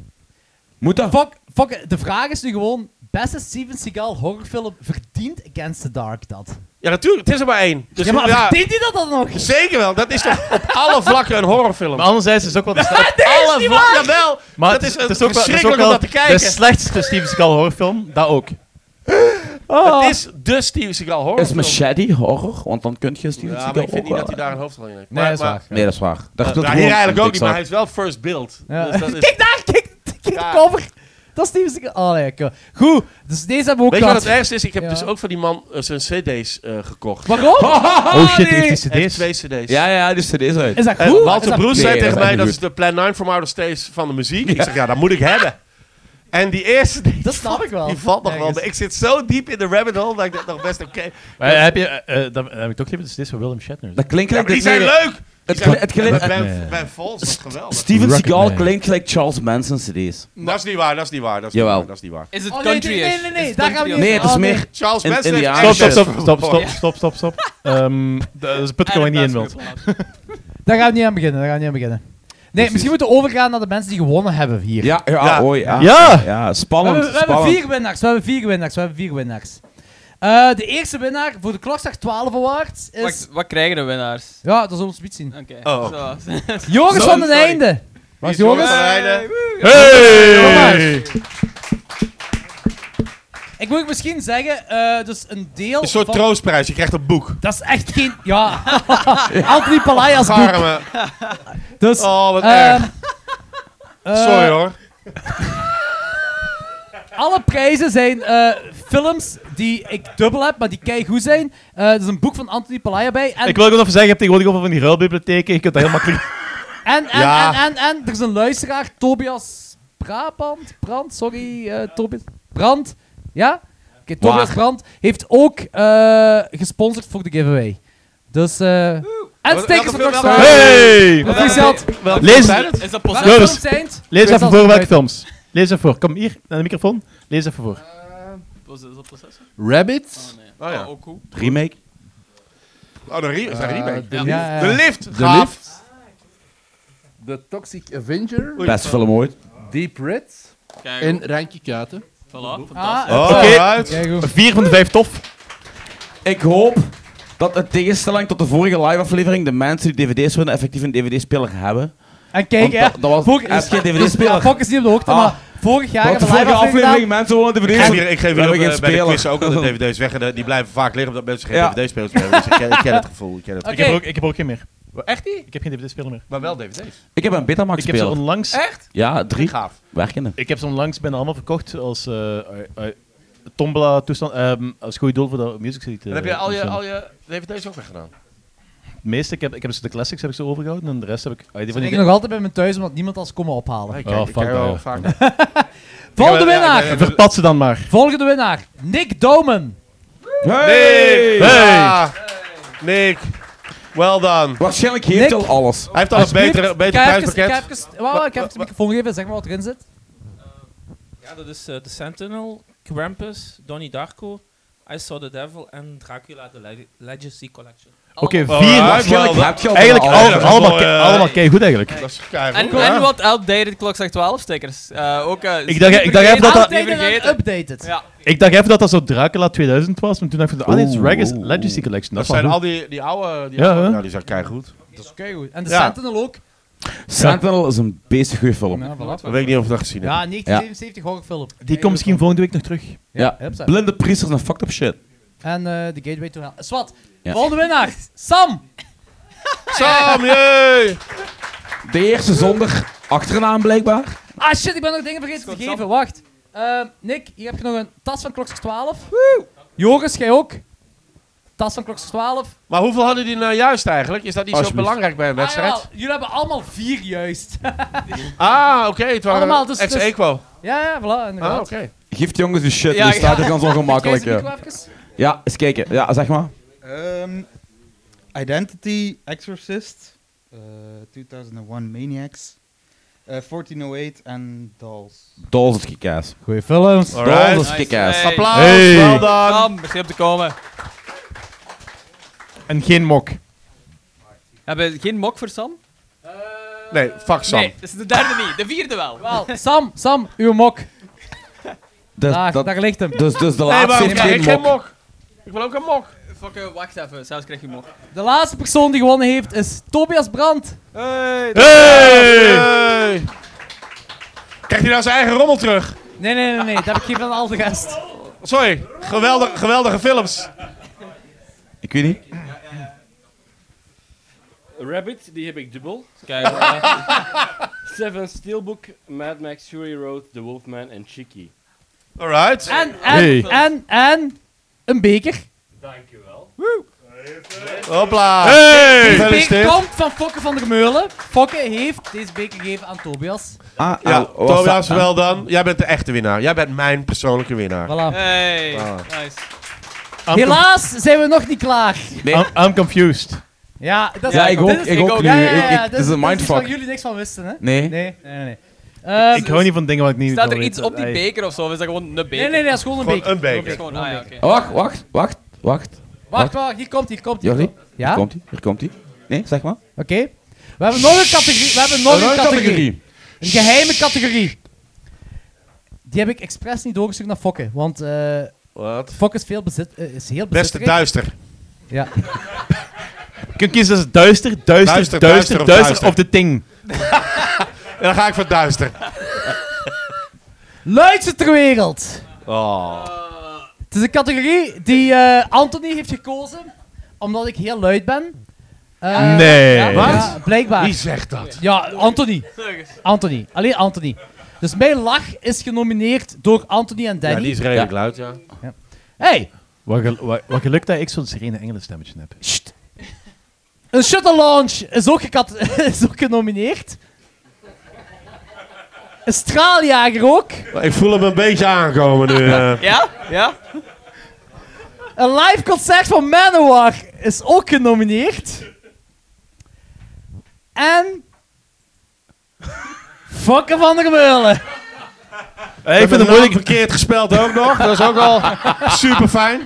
S3: Moet dat?
S5: Fuck, fuck, de vraag is nu gewoon... Beste Steven Seagal horrorfilm verdient Against the Dark dat?
S6: Ja, natuurlijk, het is er maar één. Dus
S5: ja, maar
S6: ja,
S5: verdient hij dat dan nog?
S6: zeker wel, dat is toch op alle vlakken een horrorfilm.
S2: Maar anderzijds is het ook wel... de-
S6: [laughs] alle vlakken wel.
S2: Maar
S6: dat
S2: het
S6: is, een
S2: ook wel- het
S6: verschrikkelijk
S2: ook
S6: om
S2: wel
S6: dat te kijken.
S2: De slechtste Steven Seagal horrorfilm, dat ook.
S6: Het is dus de Steven Seagal horror.
S3: Is Machete horror? Want dan kun je Steven
S6: Ja,
S3: Seagal
S6: maar ik vind niet
S3: ook
S6: dat hij
S3: wel-
S6: daar een hoofdrol in heeft.
S5: Nee,
S6: Maar-
S5: dat is
S6: maar-
S5: waar.
S3: Nee, dat is waar. Dat speelt
S6: eh, ja,
S3: gewoon
S6: hier eigenlijk
S3: een
S6: ook niet, maar hij
S3: dikzak.
S6: is wel first build.
S5: Ja. [laughs]
S6: Dus dat is...
S5: Kijk daar, kijk, kijk
S6: Ja.
S5: de cover. Dat is Steven Seagal. Allee, cool. Goed, dus deze hebben we ook
S6: Weet je wat
S5: gehad.
S6: het ergste is? Ik heb
S5: Ja.
S6: dus ook van die man eh, zijn cd's eh, gekocht.
S5: Waarom?
S2: Oh shit,
S5: nee.
S2: die heeft
S6: Hij
S2: die
S6: heeft
S2: cd's.
S6: twee cd's.
S3: Ja, ja, die is er is uit.
S5: Is dat
S6: En
S5: goed? Is
S6: Walter
S5: dat-
S6: Broes
S3: Nee,
S6: zei
S3: dat
S6: tegen
S3: is
S6: mij,
S3: niet
S6: dat
S3: goed.
S6: is de Plan 9 from Outer Space van de muziek. Ik zeg, ja, dat moet ik hebben. En die eerste, die,
S5: Dat snap ik wel.
S6: die valt nog wel.
S5: Ergens.
S6: mee. Ik zit zo diep in de rabbit hole dat ik dat nog best oké...
S2: Maar heb je... eh, eh, dan dan heb ik toch even de cd's van Willem Shatner.
S3: Dat klinkt
S6: Ja,
S3: gelijk...
S6: maar die zijn
S3: nee,
S6: leuk!
S3: Het,
S6: Die zijn-
S3: het klinkt...
S6: En bij-
S2: Nee.
S6: Bij Vols was geweldig.
S3: Steven
S2: Rocketman.
S3: Seagal klinkt gelijk Charles Manson CD's.
S6: Dat is niet waar, dat is niet waar. Dat is niet
S3: Jawel.
S6: waar, dat is niet waar.
S7: Is het
S5: Oh, nee,
S7: country
S5: nee, nee, nee, nee, daar gaan we niet
S3: Nee, het is
S5: Oh, nee.
S3: meer...
S6: Charles
S3: In-
S6: Manson
S3: in
S6: heeft
S3: de
S2: Stop,
S6: één
S2: stop,
S6: shit.
S2: stop, stop, stop, stop, stop, stop. Ehm, Dat is een put waar je niet in wilt.
S5: Daar gaan we niet aan beginnen. Daar gaan we niet aan beginnen. Nee, misschien moeten we overgaan naar de mensen die gewonnen hebben hier.
S3: Ja, ja,
S6: Ja.
S3: oh ja.
S2: Ja!
S3: Ja,
S5: we
S3: spannend,
S5: hebben, we hebben
S3: spannend.
S5: vier winnaars. We hebben vier winnaars. We hebben vier winnaars. Eh, de eerste winnaar voor de klokslag 12 Awards is...
S7: Wacht, wat krijgen de winnaars?
S5: Ja, dat zullen we zoiets zien.
S7: Oké.
S6: Oh.
S2: [laughs]
S7: zo.
S5: Joris
S6: Zo,
S5: van den
S6: sorry.
S5: Einde. Was Joris?
S2: Hey!
S5: Ik moet misschien zeggen, eh, dus een deel
S6: Een soort
S5: van...
S6: troostprijs, je krijgt een boek.
S5: Dat is echt geen... Ja. [laughs] Anthony Palai als boek.
S6: Arme.
S5: Dus,
S6: Oh, wat
S2: Eh,
S5: ehm,
S6: erg. Sorry
S5: eh,
S6: hoor.
S5: [laughs] Alle prijzen zijn eh, films die ik dubbel heb, maar die keigoed zijn. Eh, er is een boek van Anthony Palaya bij. En,
S2: Ik wil ook nog even zeggen, je hebt tegenwoordig ook wel van die ruilbibliotheken. Je kunt dat heel
S6: [laughs]
S2: makkelijk...
S5: en, en,
S6: Ja.
S5: en, en, en, er is een luisteraar, Tobias Brabant. Brand, sorry. eh, Tobias Brand. Ja? Oké, Tobias
S3: Waar?
S5: Brand heeft ook eh, gesponsord voor de giveaway. Dus, eh en
S6: Wat-
S5: stekers van
S6: welke film
S5: Rockstar.
S6: wel?
S2: Hey!
S5: Wat is dat?
S2: Lees,
S7: Is dat
S5: Welke
S7: positief?
S2: Joris.
S5: films zijn het?
S2: lees
S5: Ik weet
S2: even
S5: al
S2: voor
S5: niet
S2: welke
S5: uit.
S2: films. Lees even voor. Kom hier, naar de microfoon. Lees even voor.
S7: Is dat positief?
S10: Rabbit.
S7: Oh nee.
S6: Oh, ja.
S7: Oh, ook goed.
S3: Remake.
S6: Oh, de re- is dat
S10: eh,
S6: remake?
S10: de,
S7: Ja.
S10: Lift,
S5: Ja, Ah, ja.
S6: De lift,
S10: De
S6: gaaf.
S10: Lift. The Toxic Avenger.
S6: Oei.
S3: Best film ooit.
S10: Deep Red.
S7: Kijk,
S10: En Randje Kuiten.
S7: voilà, fantastisch.
S5: Ah,
S6: Oh,
S2: Oké.
S6: right.
S5: keigoed.
S2: Vier van de vijf tof.
S3: Ik hoop dat in tegenstelling tot de vorige live-aflevering, de mensen die dvd's winnen effectief een dvd-speler hebben.
S5: En kijk,
S3: Want
S5: hè.
S3: dat- dat was-
S5: vorig-
S3: hij heeft geen
S5: dus-
S3: DVD-speler.
S5: ja, Fok is niet op de hoogte,
S3: Ah.
S5: maar vorig jaar
S3: Want de
S5: hebben we live
S3: vorige aflevering,
S5: aflevering
S3: mensen wonen dvd's.
S6: Ik geef hier, ik geef
S3: We
S6: hier
S3: hebben
S6: ook,
S3: geen
S6: eh, bij de
S3: speler.
S6: quiz
S3: [laughs]
S6: ook al de dvd's weg. En de- die blijven vaak liggen omdat mensen geen
S3: Ja.
S6: dvd-spelers meer hebben. Dus ik ken, ik ken het gevoel. Ik ken het
S2: Ik, heb
S6: gevoel.
S2: er ook, ik heb er ook geen meer.
S6: Echt niet?
S2: Ik heb geen DVD-speler meer.
S6: Maar wel dvd's.
S3: Ik heb een Betamax
S2: Ik heb ze
S3: speler.
S2: onlangs,
S3: Ja, drie.
S6: Gaaf.
S3: Werkende.
S2: ik heb ze onlangs bijna allemaal verkocht als eh, eh, eh, Tombola-toestand. ehm, als goed doel voor de Music City.
S6: En
S2: eh,
S6: heb je al je,
S2: toestand.
S6: al je dvd's ook weggedaan?
S2: Het meeste, ik heb, ik heb ze de classics heb ik ze overgehouden en de rest heb ik... ah, die van die-
S5: Ik nog altijd bij mijn thuis, omdat niemand als komen ophalen.
S6: Ik
S2: Oh,
S6: kijk- ik
S2: fuck
S6: kijk wel
S2: dat,
S6: vaak.
S5: Volgende
S6: Ja, ja,
S5: winnaar!
S6: ja, ja.
S2: Verpat ze dan maar.
S5: Volgende winnaar! Nick Domen!
S3: Hey!
S6: Ja. Nick, well done.
S3: Waarschijnlijk heeft hij al alles.
S6: Hij heeft al een betere, beter
S5: Ik
S6: prijspakket.
S5: heb even, wauw, ik heb even de microfoon gegeven, zeg maar wat erin zit.
S12: Ja, dat is eh, The Sentinel, Krampus, Donnie Darko, I Saw the Devil en Dracula The Leg- Legacy Collection.
S2: Oké,
S6: Oh,
S2: vier.
S6: ja,
S3: Waarschijnlijk
S6: wel,
S3: heb je al
S2: Eigenlijk
S3: alles.
S2: al-
S6: dat is
S2: Oh, allemaal,
S6: wel,
S2: kei-
S6: eh,
S2: allemaal keigoed eigenlijk.
S6: Dat is
S7: En,
S6: keihard.
S7: en wat outdated klokslag 12 stickers. Eh, ook, eh,
S2: Ah. Ik dacht-
S7: niet
S2: ik dacht even dat dat-
S7: vergeten, niet
S5: Altijd
S7: vergeten.
S5: updated.
S7: Ja.
S2: Ik dacht even dat dat zo Dracula 2000 was, maar toen dacht ik van, ah nee, het is
S3: Oeh,
S2: Regis
S3: oeh,
S2: Legacy Collection. Dat,
S6: Dat zijn
S2: is wel
S6: al
S2: goed.
S6: die, die oude... Die
S2: Ja,
S6: oude-
S2: hè?
S6: nou, die zijn keihard.
S5: Dat is keigoed. En de
S6: Ja.
S5: Sentinel ook.
S3: Sentinel is een beest goede film.
S5: Ja, voilà.
S6: Dat weet ik niet of ik dat gezien heb.
S5: Ja, 1977 horrorfilm.
S2: Die komt misschien volgende week nog terug.
S3: Ja.
S5: hup, zo.
S3: Blinde priesters en fucked up shit.
S5: En eh The Gateway to Hell. Swat,
S3: Ja.
S5: volgende winnaar! Sam!
S6: Sam, jee!
S3: De eerste zonder achternaam blijkbaar.
S5: Ah shit, ik ben nog dingen vergeten te geven, wacht. Eh, Nick, hier heb je nog een tas van klokjes 12. Joris, jij ook? Tas van klokjes 12.
S6: Maar hoeveel hadden die nou juist eigenlijk? Is dat niet zo
S3: Alsjeblieft.
S6: belangrijk bij een wedstrijd?
S5: Ah, jawel, jullie hebben allemaal vier juist. [laughs]
S6: Ah, oké. het waren
S5: Allemaal, dus-
S6: ex
S5: dus-
S6: equo.
S5: ja, ja, voilà,
S6: Ah,
S5: inderdaad.
S6: oké.
S3: Geeft jongens
S6: dus
S3: die shit,
S7: Ja,
S3: die
S7: ja.
S3: staat er dan zo
S5: Geef
S3: gemakkelijk.
S5: ze de
S3: eh.
S5: micro even.
S3: Ja, eens kijken. Ja, zeg maar.
S11: Ehm, Identity, Exorcist, eh, 2001 Maniacs, eh, 1408 en Dolls.
S3: Dolls is kick-ass.
S5: Goeie films.
S6: Alright.
S3: Dolls is kick-ass.
S7: Hey.
S6: Applaus,
S2: Hey.
S6: wel dan.
S7: Sam, misschien op te komen.
S2: En geen mok.
S7: Hebben we geen mok voor Sam?
S6: Nee, fuck Sam.
S7: Nee, dat is de derde niet. De vierde wel. [laughs]
S5: Wel, Sam, Sam, uw mok.
S3: [laughs] Dus,
S5: Daar,
S3: dat-
S5: daar ligt hem.
S3: dus, dus de
S6: Nee,
S3: laatste
S6: waarom
S3: heeft
S6: krijg ik geen
S3: geen mok.
S6: mok? Ik wil ook een mok.
S7: Fuck, eh, wacht even. Zelfs krijg je mok.
S5: De laatste persoon die gewonnen heeft is Tobias Brandt.
S6: Hey.
S2: Hey!
S6: Hey. Krijgt hij nou zijn eigen rommel terug?
S5: Nee, nee, nee, nee, dat heb ik gegeven aan al de rest.
S6: Sorry, geweldig, geweldige films.
S3: Ik weet niet.
S9: Rabbit, die heb ik dubbel.
S7: Kijk, eh,
S9: Seven Steelbook, Mad Max, Fury Road, The Wolfman en Chicky.
S6: Alright.
S5: En, en,
S2: Hey.
S5: en, en, een beker.
S9: Dankjewel.
S6: Hopla.
S5: De beker
S6: Gefeliciteerd.
S5: komt van Fokke van der Meulen. Fokke heeft deze beker gegeven aan Tobias.
S3: Ah,
S6: Ja,
S3: ah, was
S6: Tobias,
S3: dat-
S6: wel dan. Jij bent de echte winnaar. Jij bent mijn persoonlijke winnaar.
S3: Eh,
S5: Voilà.
S7: hey,
S6: Ah.
S7: nice.
S2: I'm, com-
S5: Helaas zijn we nog niet klaar.
S2: I'm- I'm confused.
S5: Ja, dat is
S3: Ja, ik
S5: dit
S3: ook-
S5: is-
S3: ik ook nu.
S5: Ja, ja, ja,
S3: Ik- ik-
S5: dit
S3: dit is een
S5: dit
S3: mindfuck.
S5: waar jullie niks van wisten, hè?
S3: Nee.
S5: Nee, nee, nee. nee. Ehm,
S2: Ik hou niet van dingen wat ik niet
S7: Staat
S2: wil
S7: er iets
S2: weten.
S7: op die
S2: Ey.
S7: beker of zo? Of is dat gewoon een beker?
S5: nee, nee, nee, dat is gewoon een
S6: Gewoon
S3: eh,
S5: beker.
S6: een beker.
S7: Gewoon, ah, ja, oké.
S3: Ah, Wacht, wacht, wacht, wacht.
S5: Wacht, wacht, hier komt, hier komt. hier
S3: Jordi,
S5: komt. Ja?
S3: hier
S5: Oké.
S3: komt hij, hier komt hij. Nee, zeg maar.
S5: We hebben nog een categorie. We hebben nog een categorie. Een geheime categorie. Die heb ik expres niet doorgestuurd naar Fokke, want eh
S6: Wat?
S5: Fokke is, veel bezit, eh, is heel
S6: Beste
S5: bezitterig.
S6: duister.
S5: Ja.
S2: Je kunt kiezen tussen duister, duister, duister,
S6: Duister, duister
S2: duister,
S6: of
S2: of,
S6: duister.
S2: de ting.
S6: En dan ga ik voor duister.
S5: Luidste ter wereld.
S6: Oh.
S5: Het is een categorie die eh, Anthony heeft gekozen, omdat ik heel luid ben. Eh,
S2: Nee.
S5: ja,
S2: Wat?
S5: ja, blijkbaar.
S6: Wie zegt dat?
S5: Ja, Anthony. Anthony. Alleen Anthony. Dus mijn lach is genomineerd door Anthony en
S6: Ja,
S5: Danny.
S6: die is redelijk luid, ja.
S5: Hey,
S2: Wat, gel- wat, wat gelukt dat ik zo'n serene engelenstemmetje heb.
S5: sst. Een shuttle launch is ook, gecat- [laughs] is ook genomineerd. Een straaljager ook.
S6: Ik voel hem een beetje aankomen nu. eh.
S7: Ja? Ja?
S5: Een live concert van Manowar is ook genomineerd. En... Fokke van der Meulen.
S2: Eh, ik vind het
S6: naam
S2: moeilijk.
S6: verkeerd gespeld ook nog. Dat is ook
S3: [laughs]
S6: al super fijn.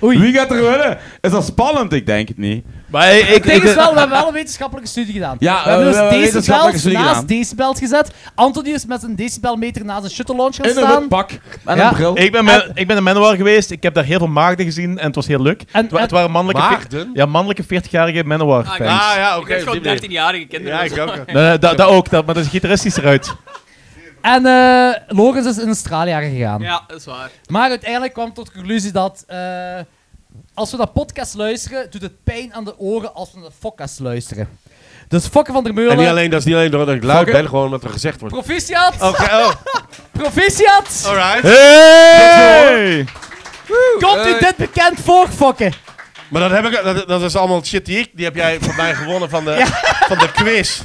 S3: Wie gaat er winnen? Is dat spannend? Ik denk het niet. Maar ik- ik-
S5: Het ding
S3: ik-
S5: is wel, we hebben wel een wetenschappelijke studie gedaan.
S3: Ja,
S5: we hebben
S3: we
S5: dus
S3: hebben een wetenschappelijke
S5: decibels
S3: studie
S5: naast
S3: gedaan.
S5: decibels gezet. Anthony is met een decibelmeter naast een shuttle launch gaan
S3: In een
S5: staan.
S3: wit pak. En
S2: Ja.
S3: een bril.
S2: Ik ben, met- ik ben in Manowar geweest, ik heb daar heel veel maagden gezien en het was heel leuk. het, wa- het waren mannelijke, veer-
S6: Maagden?
S2: ja, mannelijke 40-jarige Manowar
S7: Ah,
S2: fans.
S6: Ah ja, oké.
S7: heb
S6: op die
S7: gewoon
S6: manier.
S7: 13-jarige kinderen.
S6: Ja, ik ook. ja.
S2: Nee, nee, dat, dat ook, dat, maar de gitarist is eruit.
S5: En eh Logans is in Australië gegaan.
S7: Ja, dat is waar.
S5: Maar uiteindelijk kwam tot de conclusie dat eh, als we dat podcast luisteren, doet het pijn aan de oren als we naar de podcast luisteren. Dus fokken van der Meulen.
S6: En niet alleen, dat is niet alleen doordat ik luid
S5: Fuck it.
S6: ben, gewoon omdat er gezegd wordt.
S5: Proficiat!
S6: Oké, oh.
S5: [laughs] Proficiat!
S3: Oh,
S6: Alright.
S2: Hey!
S5: Komt u
S6: Hey.
S5: dit bekend voor, fokken?
S6: Maar dat, heb ik, dat, dat is allemaal shit die ik... Die heb jij van mij gewonnen van de, van de quiz.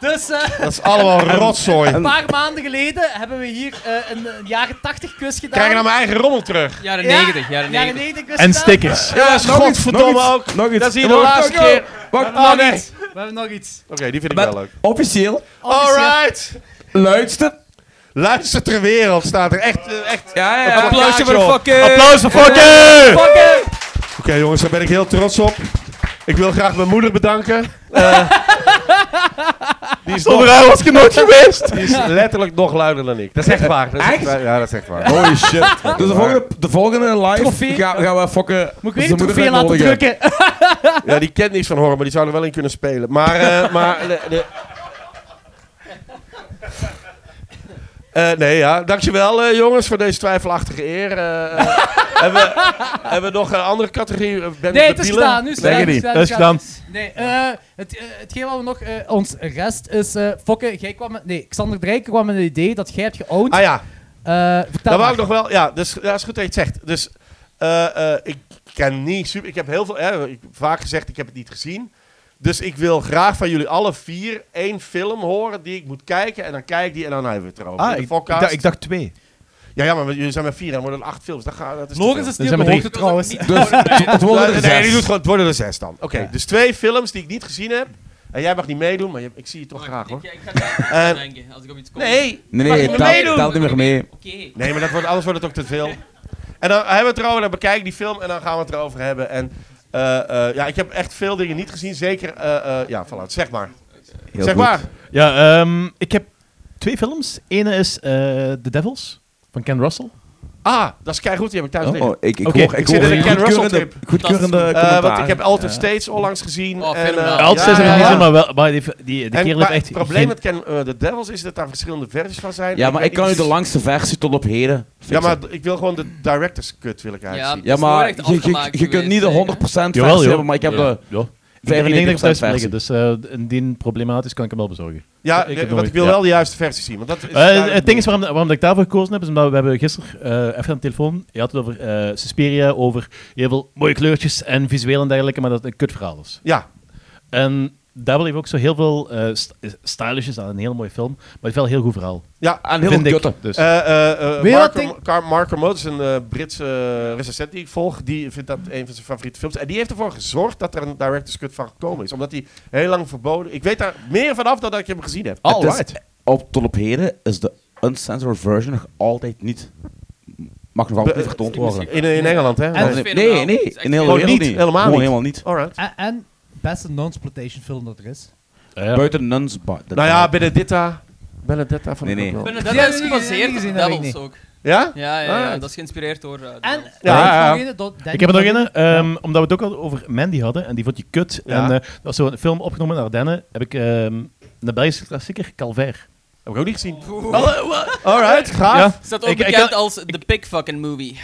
S5: Dus, eh,
S6: Dat is allemaal rotzooi.
S5: Een paar maanden geleden hebben we hier eh, een, een jaren 80 quiz gedaan.
S6: Krijg je nou mijn eigen rommel terug?
S7: Jaren
S5: Ja,
S7: 90, jaren 90.
S5: quiz
S2: En
S5: gedaan.
S2: stickers.
S6: Ja, dat is
S3: nog iets,
S6: godverdomme
S3: nog
S6: ook.
S3: iets, nog iets.
S6: Dat is hier
S3: En
S6: de
S3: nog-
S6: laatste
S3: nog-
S6: keer.
S3: wacht,
S6: Oh,
S3: nog
S6: nee.
S3: iets.
S6: Oké,
S5: We hebben nog iets.
S6: die vind ik
S3: Maar
S6: wel leuk.
S3: Officieel,
S5: Oh,
S6: Alright.
S3: luidste.
S6: Luister ter wereld staat er echt... eh, echt
S3: Ja,
S6: een
S3: ja.
S6: plakkaatje
S7: voor
S6: op.
S7: fucking-
S6: Applaus voor fucking! Oké
S5: Fokken!
S6: jongens, daar ben ik heel trots op. Ik wil graag mijn moeder [laughs] bedanken. Eh, die is nog-
S2: Zonder haar was ik er nooit geweest.
S6: Die is letterlijk nog luider dan ik. Dat is echt waar. Dat is echt? waar. Ja, dat is echt waar.
S3: Holy shit. Dus de volgende, de volgende live
S5: Trofee.
S3: ga- gaan we fokken.
S5: Moet ik weer
S3: zijn moeder
S5: een trofee laten
S3: uitnodigen.
S5: drukken?
S6: Ja, die kent niks van horror, maar die zou er wel in kunnen spelen. Maar, eh, [laughs] maar de, de- Eh, nee, ja. Dankjewel, eh, jongens, voor deze twijfelachtige eer. Eh, eh, [laughs] hebben, we, hebben we nog een andere categorie? Eh, Ben
S5: Nee, het is
S6: debielen?
S5: gedaan. Nu is het
S2: Denk
S5: gedaan,
S2: je niet.
S5: nu is het
S2: Dat is
S5: Nee, eh, het, eh, hetgeen wat we nog... eh, ons rest is... eh Fokke, jij kwam met... Nee, Xander Drijken kwam met het idee dat jij hebt geowned.
S6: Ah ja,
S5: Eh, vertel
S6: dat wou
S5: maar.
S6: ik nog wel. Ja, dus, ja, is goed dat je het zegt. Dus eh, eh, ik ken niet super... Ik heb heel veel... eh, ik, heb vaak gezegd, ik heb het niet gezien. Dus ik wil graag van jullie alle vier één film horen die ik moet kijken. En dan kijk ik die en dan hebben we het erover.
S2: Ah,
S6: De
S2: ik, ik,
S6: Fokkaast.
S2: dacht, ik dacht twee.
S6: Ja, ja, maar jullie zijn met vier en worden er acht films. Dat gaat, dat is te
S5: Logans
S6: veel.
S5: is niet
S2: Dan
S5: op de
S2: zijn we
S5: hoogte trouwens.
S3: Dus het- het worden er
S6: Nee, nee,
S3: zes.
S6: die doet gewoon, het worden er zes dan. Oké,
S5: Ja.
S6: dus twee films die ik niet gezien heb. En jij mag niet meedoen, maar je- ik zie je toch
S7: Wacht,
S6: graag hoor.
S7: Ik, ik ga het
S6: Eh,
S7: denken als ik op iets kom.
S6: Nee,
S3: Nee,
S6: Mag ik
S3: nee,
S6: me
S3: telt,
S6: meedoen?
S3: telt niet meer mee.
S7: Oké.
S6: nee, maar dat wordt, anders wordt het ook te veel. En dan hebben we het erover, dan bekijk ik die film en dan gaan we het erover hebben. En eh, eh, ja, ik heb echt veel dingen niet gezien. Zeker, eh, eh, ja, voilà, zeg maar.
S3: Heel
S6: zeg
S3: goed.
S6: maar.
S2: Ja, ehm, ik heb twee films. Ene is eh, The Devils van Ken Russell.
S6: Ah, dat is keigoed, die heb ik thuis
S3: Oh,
S6: liggen.
S3: oh, ik, ik
S2: Oké,
S3: hoor,
S6: ik
S3: ik
S6: zit
S3: hoor
S6: in een
S3: een
S6: Ken Russell
S3: goedkeurende,
S6: trip.
S3: goedkeurende
S6: Eh,
S3: commentaar.
S6: want ik heb Altered States onlangs gezien.
S7: Oh,
S6: en,
S7: fenomenaal.
S6: eh,
S2: Altijd
S6: ja,
S2: steeds heb
S6: ja,
S2: ik
S6: ja.
S2: niet gezien, maar wel, maar die, die, de
S6: En-
S2: kerel
S6: maar
S2: heeft echt
S6: het probleem
S2: geen-
S6: met Ken, eh, The Devils is dat daar verschillende versies van zijn.
S3: Ja, maar
S6: weet
S3: ik kan u
S6: niet-
S3: de langste versie tot op heden.
S6: Ja, maar d- ik wil gewoon de director's cut wil ik
S7: Ja.
S6: eigenlijk zien.
S3: Ja,
S7: is nooit
S3: maar
S7: echt
S3: je, je,
S7: afgemaakt
S3: je kunt niet de 100%
S7: geweest,
S3: versie
S2: Jawel, joh.
S6: eh,
S3: hebben, maar ik heb
S2: Ja.
S3: de
S2: Ja. Ik denk- ik denk dat ik
S3: 95%
S2: thuis
S3: versie.
S2: liggen, dus eh, indien problematisch kan ik hem wel bezorgen.
S6: Ja,
S2: Ik heb
S6: eh,
S2: nooit-
S6: want ik wil
S2: ja.
S6: wel de juiste versie zien. Want dat is
S2: Eh,
S6: duidelijk-
S2: het ding is waarom, waarom ik daarvoor gekozen heb, is omdat we hebben gisteren eh, even aan de telefoon. Je had het over eh Suspiria, over heel veel mooie kleurtjes en visueel en dergelijke, maar dat het een kut verhaal is.
S6: Ja,
S2: En Devil heeft ook zo heel veel eh st- stylish is aan een heel mooie film, maar het is wel een heel goed verhaal.
S6: ja.
S3: Aan heel veel
S2: vind ik.
S3: kutten.
S2: Dus.
S6: Eh, eh, eh,
S5: Weet je wat
S6: Marco, Car- Marco Moot is een eh, Britse eh, recensent die ik volg. Die vindt dat een van zijn favoriete films. En die heeft ervoor gezorgd dat er een director's cut van gekomen is. Omdat hij heel lang verboden... Ik weet daar meer vanaf dan dat ik hem gezien heb.
S3: Het is-
S2: Alright.
S3: op, tot op heden is de uncensored version nog altijd niet... Mag nog altijd
S6: Be- eh,
S3: niet vertoond
S7: misschien-
S3: worden.
S6: In, in Engeland, hè?
S5: En-
S3: Nee, nee,
S7: fenomenaal.
S3: nee,
S7: Het is echt
S3: in heel de
S6: Gewoon
S3: wereld
S6: niet,
S3: niet.
S6: helemaal
S3: Gewoon
S6: niet.
S3: helemaal niet.
S6: Alright.
S5: En, en beste non-exploitation film dat er is.
S2: Eh, ja.
S3: Buiten Nuns. ba- dat-
S6: Nou ja, Benedetta... Benedetta van
S3: Nee,
S6: de
S3: nee.
S6: Cocktail.
S7: Binnen dat
S5: Die
S7: is
S5: hebben we niet
S7: gebaseerd op
S5: gezien, dat weet ik
S7: Devils
S5: niet.
S7: ook.
S6: Ja?
S7: Ja, ja, ja,
S6: Ah.
S7: dat is geïngeïnspireerd door... eh,
S5: En
S7: Devils.
S6: Ja,
S5: Denk
S6: ja, ja.
S5: nog ene, dat- denk
S2: Ik heb er nog
S5: nog
S2: een, ehm, omdat we het ook al over Mandy hadden en die vond je kut.
S6: Ja.
S2: En eh, dat was zo'n film opgenomen naar Ardennen. Heb ik ehm de Belgische klassieker Calvair.
S6: Heb ik ook niet gezien. Alright, gaaf.
S2: Ja.
S7: Is dat ook
S2: Ik- ik
S7: bekend
S2: had-
S7: als The Pig Fucking Movie?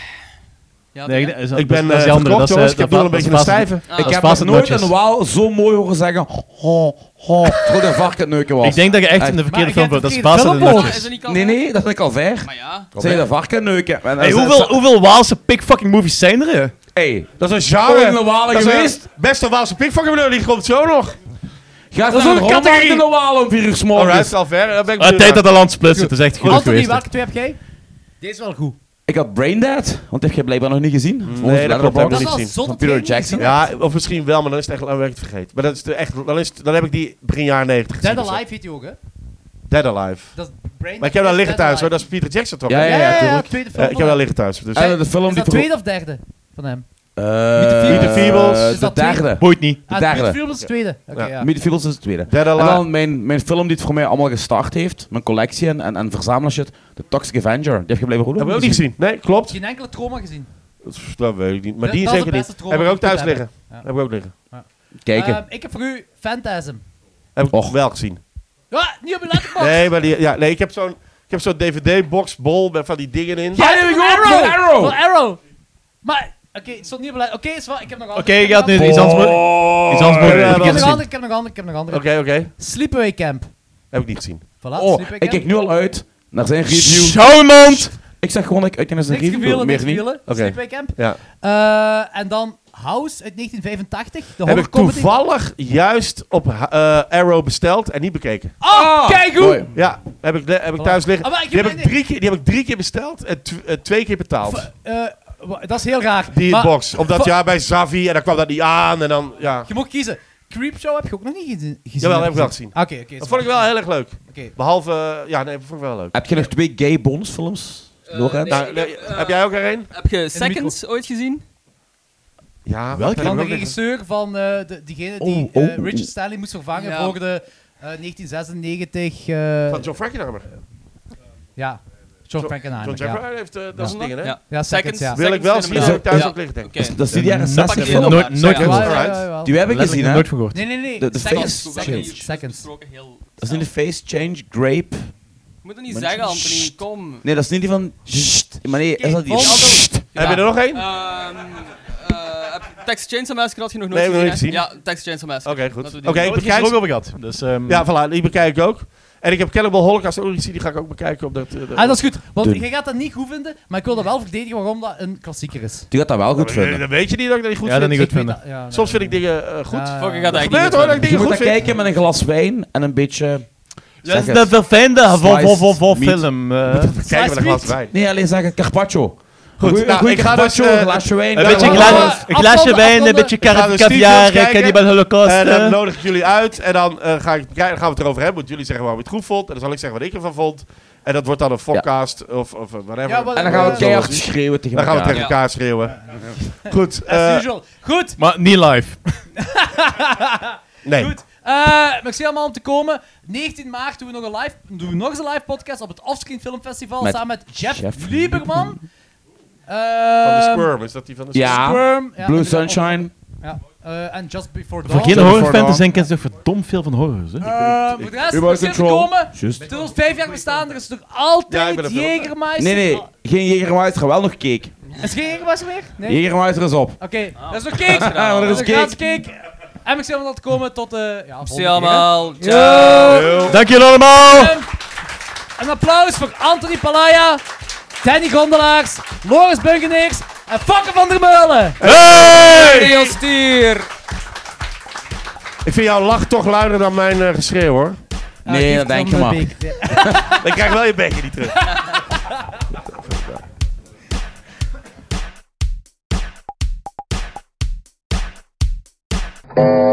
S7: Ja,
S2: Nee,
S7: toch, hè?
S2: dat is- dat
S6: Ik ben
S2: is die
S6: eh,
S2: andere,
S6: verkocht,
S2: dat is, eh,
S6: jongens. Ik
S2: dat
S6: heb nog een
S2: va- dat
S6: beetje
S2: is
S6: een
S2: Fast-
S6: stijve.
S7: Ah,
S3: Ik
S2: dat
S3: heb
S2: is
S3: nog
S2: Fast and
S3: nooit een
S2: Dutchess.
S3: waal zo mooi horen zeggen... "Oh, Ho, ho, terwijl de varken neuken was.
S2: Ik denk dat je echt in
S5: Maar
S2: de verkeerde
S5: je
S2: film
S5: hebt
S2: vond. Dat
S5: de verkeerde
S2: is Fast and
S5: film
S2: the
S5: gehoord.
S7: Ah,
S2: Dutchess.
S7: is dat niet
S3: Nee,
S7: Calvert?
S3: nee, dat is een calvair.
S7: Maar ja.
S3: Zeg de varken neuken. En dat
S2: Hey,
S3: is-
S2: hoeveel, hoeveel Waalse pickfucking movies zijn er? hè?
S3: Hey,
S6: Dat is een
S3: Ooit
S6: genre.
S3: in de Walen
S6: dat is
S3: geweest?
S6: een beste Waalse pikvakker, die komt zo nog.
S3: Ga
S6: Dat
S3: eens
S6: is
S3: naar
S6: ook
S3: een
S6: een
S3: rommelmarkt
S6: categorie.
S3: in de Walen om vier uur 's morgens.
S6: Alright, al ver. Daar eh,
S3: Eh,
S6: ben ik
S2: Ah,
S6: benieuwd
S2: tijd
S6: naar.
S2: dat de land splits zit. Dat is echt goed
S5: Anthony,
S2: geweest. hè.
S5: welke twee heb jij? Deze is wel goed.
S3: Ik had Braindead, want die heb je blijkbaar nog niet gezien. Volgens
S6: dat
S3: Letterboxd.
S6: klopt, dat heb ik
S5: Dat
S6: niet
S5: is al
S6: gezien.
S3: Van
S5: zot dat
S3: Peter
S5: jij niet
S3: Jackson.
S5: gezien hebt.
S6: Ja, of misschien wel, maar dan is het echt lang werk vergeten. Maar dat is de- echt, dan, is, het- dan heb ik die begin jaren 90 gezien.
S5: Dead Alive heet die ook, hè?
S6: of zo. Dead Alive.
S5: Dat is Brain
S6: Maar ik heb dat
S5: Dead Alive.
S6: liggen thuis hoor, dat is Peter Jackson toch?
S3: Ja, ja,
S5: Ja, ja,
S3: tuurlijk.
S5: tweede
S6: Eh,
S5: film.
S6: ik heb dat liggen thuis. Dus.
S3: En de film
S5: Is
S3: die
S5: dat tweede of derde van hem?
S11: Eh,
S2: Meet the Feebles. Is
S11: De
S2: dat twee?
S11: derde.
S2: Boeit niet.
S11: De
S5: Ah,
S11: derde.
S5: Meet the Feebles is de tweede. Oké, ja.
S11: Meet the Feebles is de tweede.
S5: Dead
S11: en
S5: Alive.
S11: dan mijn, mijn film die het voor mij allemaal gestart heeft, mijn collectie en, en, en verzamelshit, The Toxic Avenger. Die heb je blijven roepen.
S6: Hebben we ook niet gezien. Nee, klopt.
S5: Geen enkele trauma gezien.
S6: Pff, Dat weet ik niet. Maar
S5: Dat-
S6: die
S5: dat is
S6: zeker
S5: de
S6: niet.
S5: beste
S6: Heb ik
S5: trauma
S6: ook
S5: die
S6: thuis
S5: ik
S6: liggen.
S5: heb. Ja.
S6: Heb ik ook liggen.
S5: Ja.
S3: Dus
S6: Kijken.
S5: Ehm, ik heb voor u Phantasm.
S6: heb ik wel gezien.
S5: Ah, niet op mijn letterbox.
S6: Nee, maar die, ja, nee, ik heb zo'n ik heb zo'n DVD-box bol met van die dingen in.
S5: Ja, van Arrow. Van Arrow. Maar, oké, het stond niet op mijn letterbox. Oké, is wel- ik heb nog altijd...
S2: Oké, je gaat nu
S5: ik heb
S2: iets
S5: nog
S2: anders
S5: altijd-
S2: mo- iets anders
S6: Boy.
S2: moeten
S6: Ja,
S5: Ik
S2: doen.
S5: heb nog andere, ik heb nog andere, ik heb nog andere.
S6: Oké, oké.
S5: Sleepaway Camp.
S6: Heb ik niet gezien.
S5: Voilà,
S11: Oh,
S5: Sleepaway
S11: ik
S5: Camp.
S11: kijk nu al uit naar zijn review.
S6: Showmand!
S11: Ik zeg gewoon dat ik uit naar zijn
S5: Niks
S11: review
S5: gevielen,
S11: wil, meer
S5: niks
S11: niet.
S5: gevielen.
S11: Oké.
S5: Sleepaway Camp.
S6: Ja.
S5: Eh, en dan House uit 1985. De
S6: Heb ik
S5: horrorcomedy.
S6: toevallig juist op eh, Arrow besteld en niet bekeken.
S5: Oh, kijk hoe!
S6: Ja, heb ik, heb ik thuis liggen.
S5: Ah, maar ik
S6: die,
S5: heb
S6: heb ik drie keer, die heb ik drie keer besteld en tw- eh, twee keer betaald.
S5: Eh, wa- dat is heel raar.
S6: Die
S5: Maar
S6: box. Omdat
S5: va-
S6: ja, bij Zavi en dan kwam dat niet aan en dan ja.
S5: Je moet kiezen. Creepshow heb je ook nog niet gezien. gezien
S6: Jawel,
S5: heb
S6: heb ik wel
S5: gezien.
S6: gezien.
S5: Oké, oké. is
S6: Dat vond ik wel heel erg leuk.
S5: Oké.
S6: Behalve, eh, ja, nee, dat vond ik wel leuk.
S11: Heb je nog twee gay bonusfilms? Nog
S7: nee,
S11: eens?
S7: ik
S6: Nou,
S7: heb,
S6: nee,
S7: eh,
S6: heb jij ook er een?
S7: Heb je
S5: de
S7: Seconds ooit gezien?
S6: Ja,
S11: Welke?
S6: wat
S5: Van
S6: heb ik
S5: de
S6: ook nog-
S5: regisseur van eh, de, diegene die
S11: Oh, oh,
S5: eh,
S11: oh,
S5: Richard
S11: oh.
S5: Stanley moest vervangen
S7: Ja.
S5: voor de eh, 1996... eh,
S6: Van John Frankenheimer.
S5: ja, John Frankenheimer.
S6: John
S5: ja.
S6: Frankenheimer heeft eh, dat
S5: Ja.
S6: soort dingen, hè?
S5: Ja, Seconds, ja. Dus
S6: Wil ik wel zien,
S7: Cinema.
S6: heb ik thuis
S7: Ja.
S6: ook liggen, denk ik.
S7: Oké.
S11: Dat is die jaren
S2: Dat pak
S11: 60
S2: ik
S11: film.
S2: nooit- nooit
S7: Ja,
S5: Ja,
S2: gezien.
S5: ja,
S6: Alright.
S5: ja, ja.
S11: Die heb ik
S2: Letterlijk
S11: gezien, hè?
S2: nooit van gehoord.
S5: Nee, nee, nee.
S11: De- de
S5: seconds.
S11: face
S5: seconds.
S11: change.
S5: Seconds.
S7: Gesproken heel
S11: Dat is niet de Face Change, Grape.
S7: Ik moet het niet
S11: Maar-
S7: zeggen, Anthony. Kom.
S11: Nee, dat is niet die van. Sst. Maar nee, is dat die?
S7: Oké, volgende.
S11: Sst.
S6: Heb je er nog één?
S7: Ehm, eh, heb- Texas Chainsaw Massacre had je nog
S6: Nee,
S7: nooit
S6: heb ik nog
S7: gezien,
S6: niet
S7: hè? Ja, Texas Chainsaw Massacre.
S6: Oké, goed.
S7: Laten we
S6: Oké,
S7: die
S2: Daar hebben
S6: ik [laughs]
S2: we het gisteren
S6: bekijk...
S2: ook over gehad. Dus, ehm,
S6: Ja, voilà, die bekijk ik ook. En ik heb Cannibal Holocaust ook nog gezien, die ga ik ook bekijken op dat... eh, dat-
S5: Ah, dat is goed. Want
S11: Doen.
S5: je gaat dat niet goed vinden, maar ik wil dat wel verdedigen waarom dat een klassieker is.
S11: Die gaat dat wel goed
S6: Ja, maar, eh,
S11: vinden.
S6: Dan weet je niet dat ik dat niet goed
S2: Ja, dat
S6: vind.
S2: niet goed
S5: Ik weet
S2: vinden.
S5: dat- ja, nee,
S6: Soms vind
S5: nee,
S6: ik dingen eh, goed.
S5: nee. Ja, ja, ja.
S7: Fucking gaat
S6: Dat
S7: eigenlijk niet
S6: gebeurt
S7: goed
S6: hoor, dat ik
S7: vinden.
S11: Je
S6: dingen
S11: moet
S6: goed
S11: dat
S6: vind.
S11: kijken met een glas wijn en een beetje.
S2: Dat is
S11: Zeg
S2: dat
S11: het.
S2: verfijnde van, van, van, van
S11: Sliced
S2: film. eh.
S6: Kijken met een glas wijn.
S11: Nee, alleen zeggen Carpaccio.
S6: Goed,
S11: Goeie-
S6: nou,
S11: goeie
S6: ik ga dus,
S11: Carpaccio,
S6: eh,
S11: een glasje wijn.
S2: Een beetje
S6: Ja,
S2: een
S6: gla-
S2: gla-
S5: afronden,
S2: een glaasje wijn, een
S5: afronden.
S2: beetje
S6: Ik ga
S2: kar-
S6: dus Steve Jobs
S2: kaviaar, eh,
S6: kijken.
S2: cannibal holocaust.
S6: En dan
S2: eh.
S6: nodig ik jullie uit en dan eh, ga ik, bekijken- dan gaan we het erover hebben. Want jullie zeggen waarom je het goed vond. En dan zal ik zeggen wat ik ervan vond. En dat wordt dan een podcast of, of eh, whatever.
S5: Ja, wat-
S11: En dan gaan we
S5: Eh,
S11: keihard schreeuwen tegen
S6: Dan gaan we
S11: elkaar.
S6: tegen
S7: Ja.
S6: elkaar schreeuwen. Goed.
S5: As
S6: eh,
S5: usual. Goed.
S2: Maar niet live.
S6: nee.
S5: Goed. Eh merci allemaal om te komen. 19 maart doen we nog, een live, doen we nog eens een live podcast op het Offscreen Film Festival
S11: Met
S5: samen met Jeff,
S11: Jeff
S5: Lieberman.
S6: Van de
S5: Ehm,
S6: Squirm, is dat die van de Squirm?
S11: Ja.
S5: Squirm, Ehm, ja,
S11: Blue
S5: en-
S11: Sunshine.
S5: Ja, eh, en Just Before Dawn.
S2: Voor geen
S11: Dawn.
S2: horrorfan te zijn, kent ze verdomd veel van horrors. Hè?
S5: Eh, voor de rest,
S11: Remote
S5: merci om te
S11: control.
S5: komen.
S11: Juist.
S5: Het is ons vijf jaar bestaan, er is nog
S6: Ja, ik
S5: altijd
S6: ben er veel-
S5: Jägermeister.
S11: Nee, nee, geen Jägermeister, wel nog cake.
S5: Is er geen Jägermeister meer? Nee?
S11: Jägermeister is op.
S5: Oké, dat is nog cake.
S11: Ah, maar er is
S5: een gratis
S11: cake.
S5: cake. En merci allemaal om te komen tot de... Ja,
S7: Zie
S5: volgende keer,
S7: je
S5: hè.
S7: allemaal. Ciao.
S2: Dank jullie allemaal!
S5: Ehm, Een applaus voor Anthony Palaya, Danny Gondelaars, Loris Bungeneers en Fokke van der Meulen.
S6: Hey!
S7: Theo Stier.
S6: Ik vind jouw lach toch luider dan mijn eh, geschreeuw hoor.
S11: Nee, dat denk je maar.
S6: Ik krijg wel je bekje niet terug.
S13: Thank you.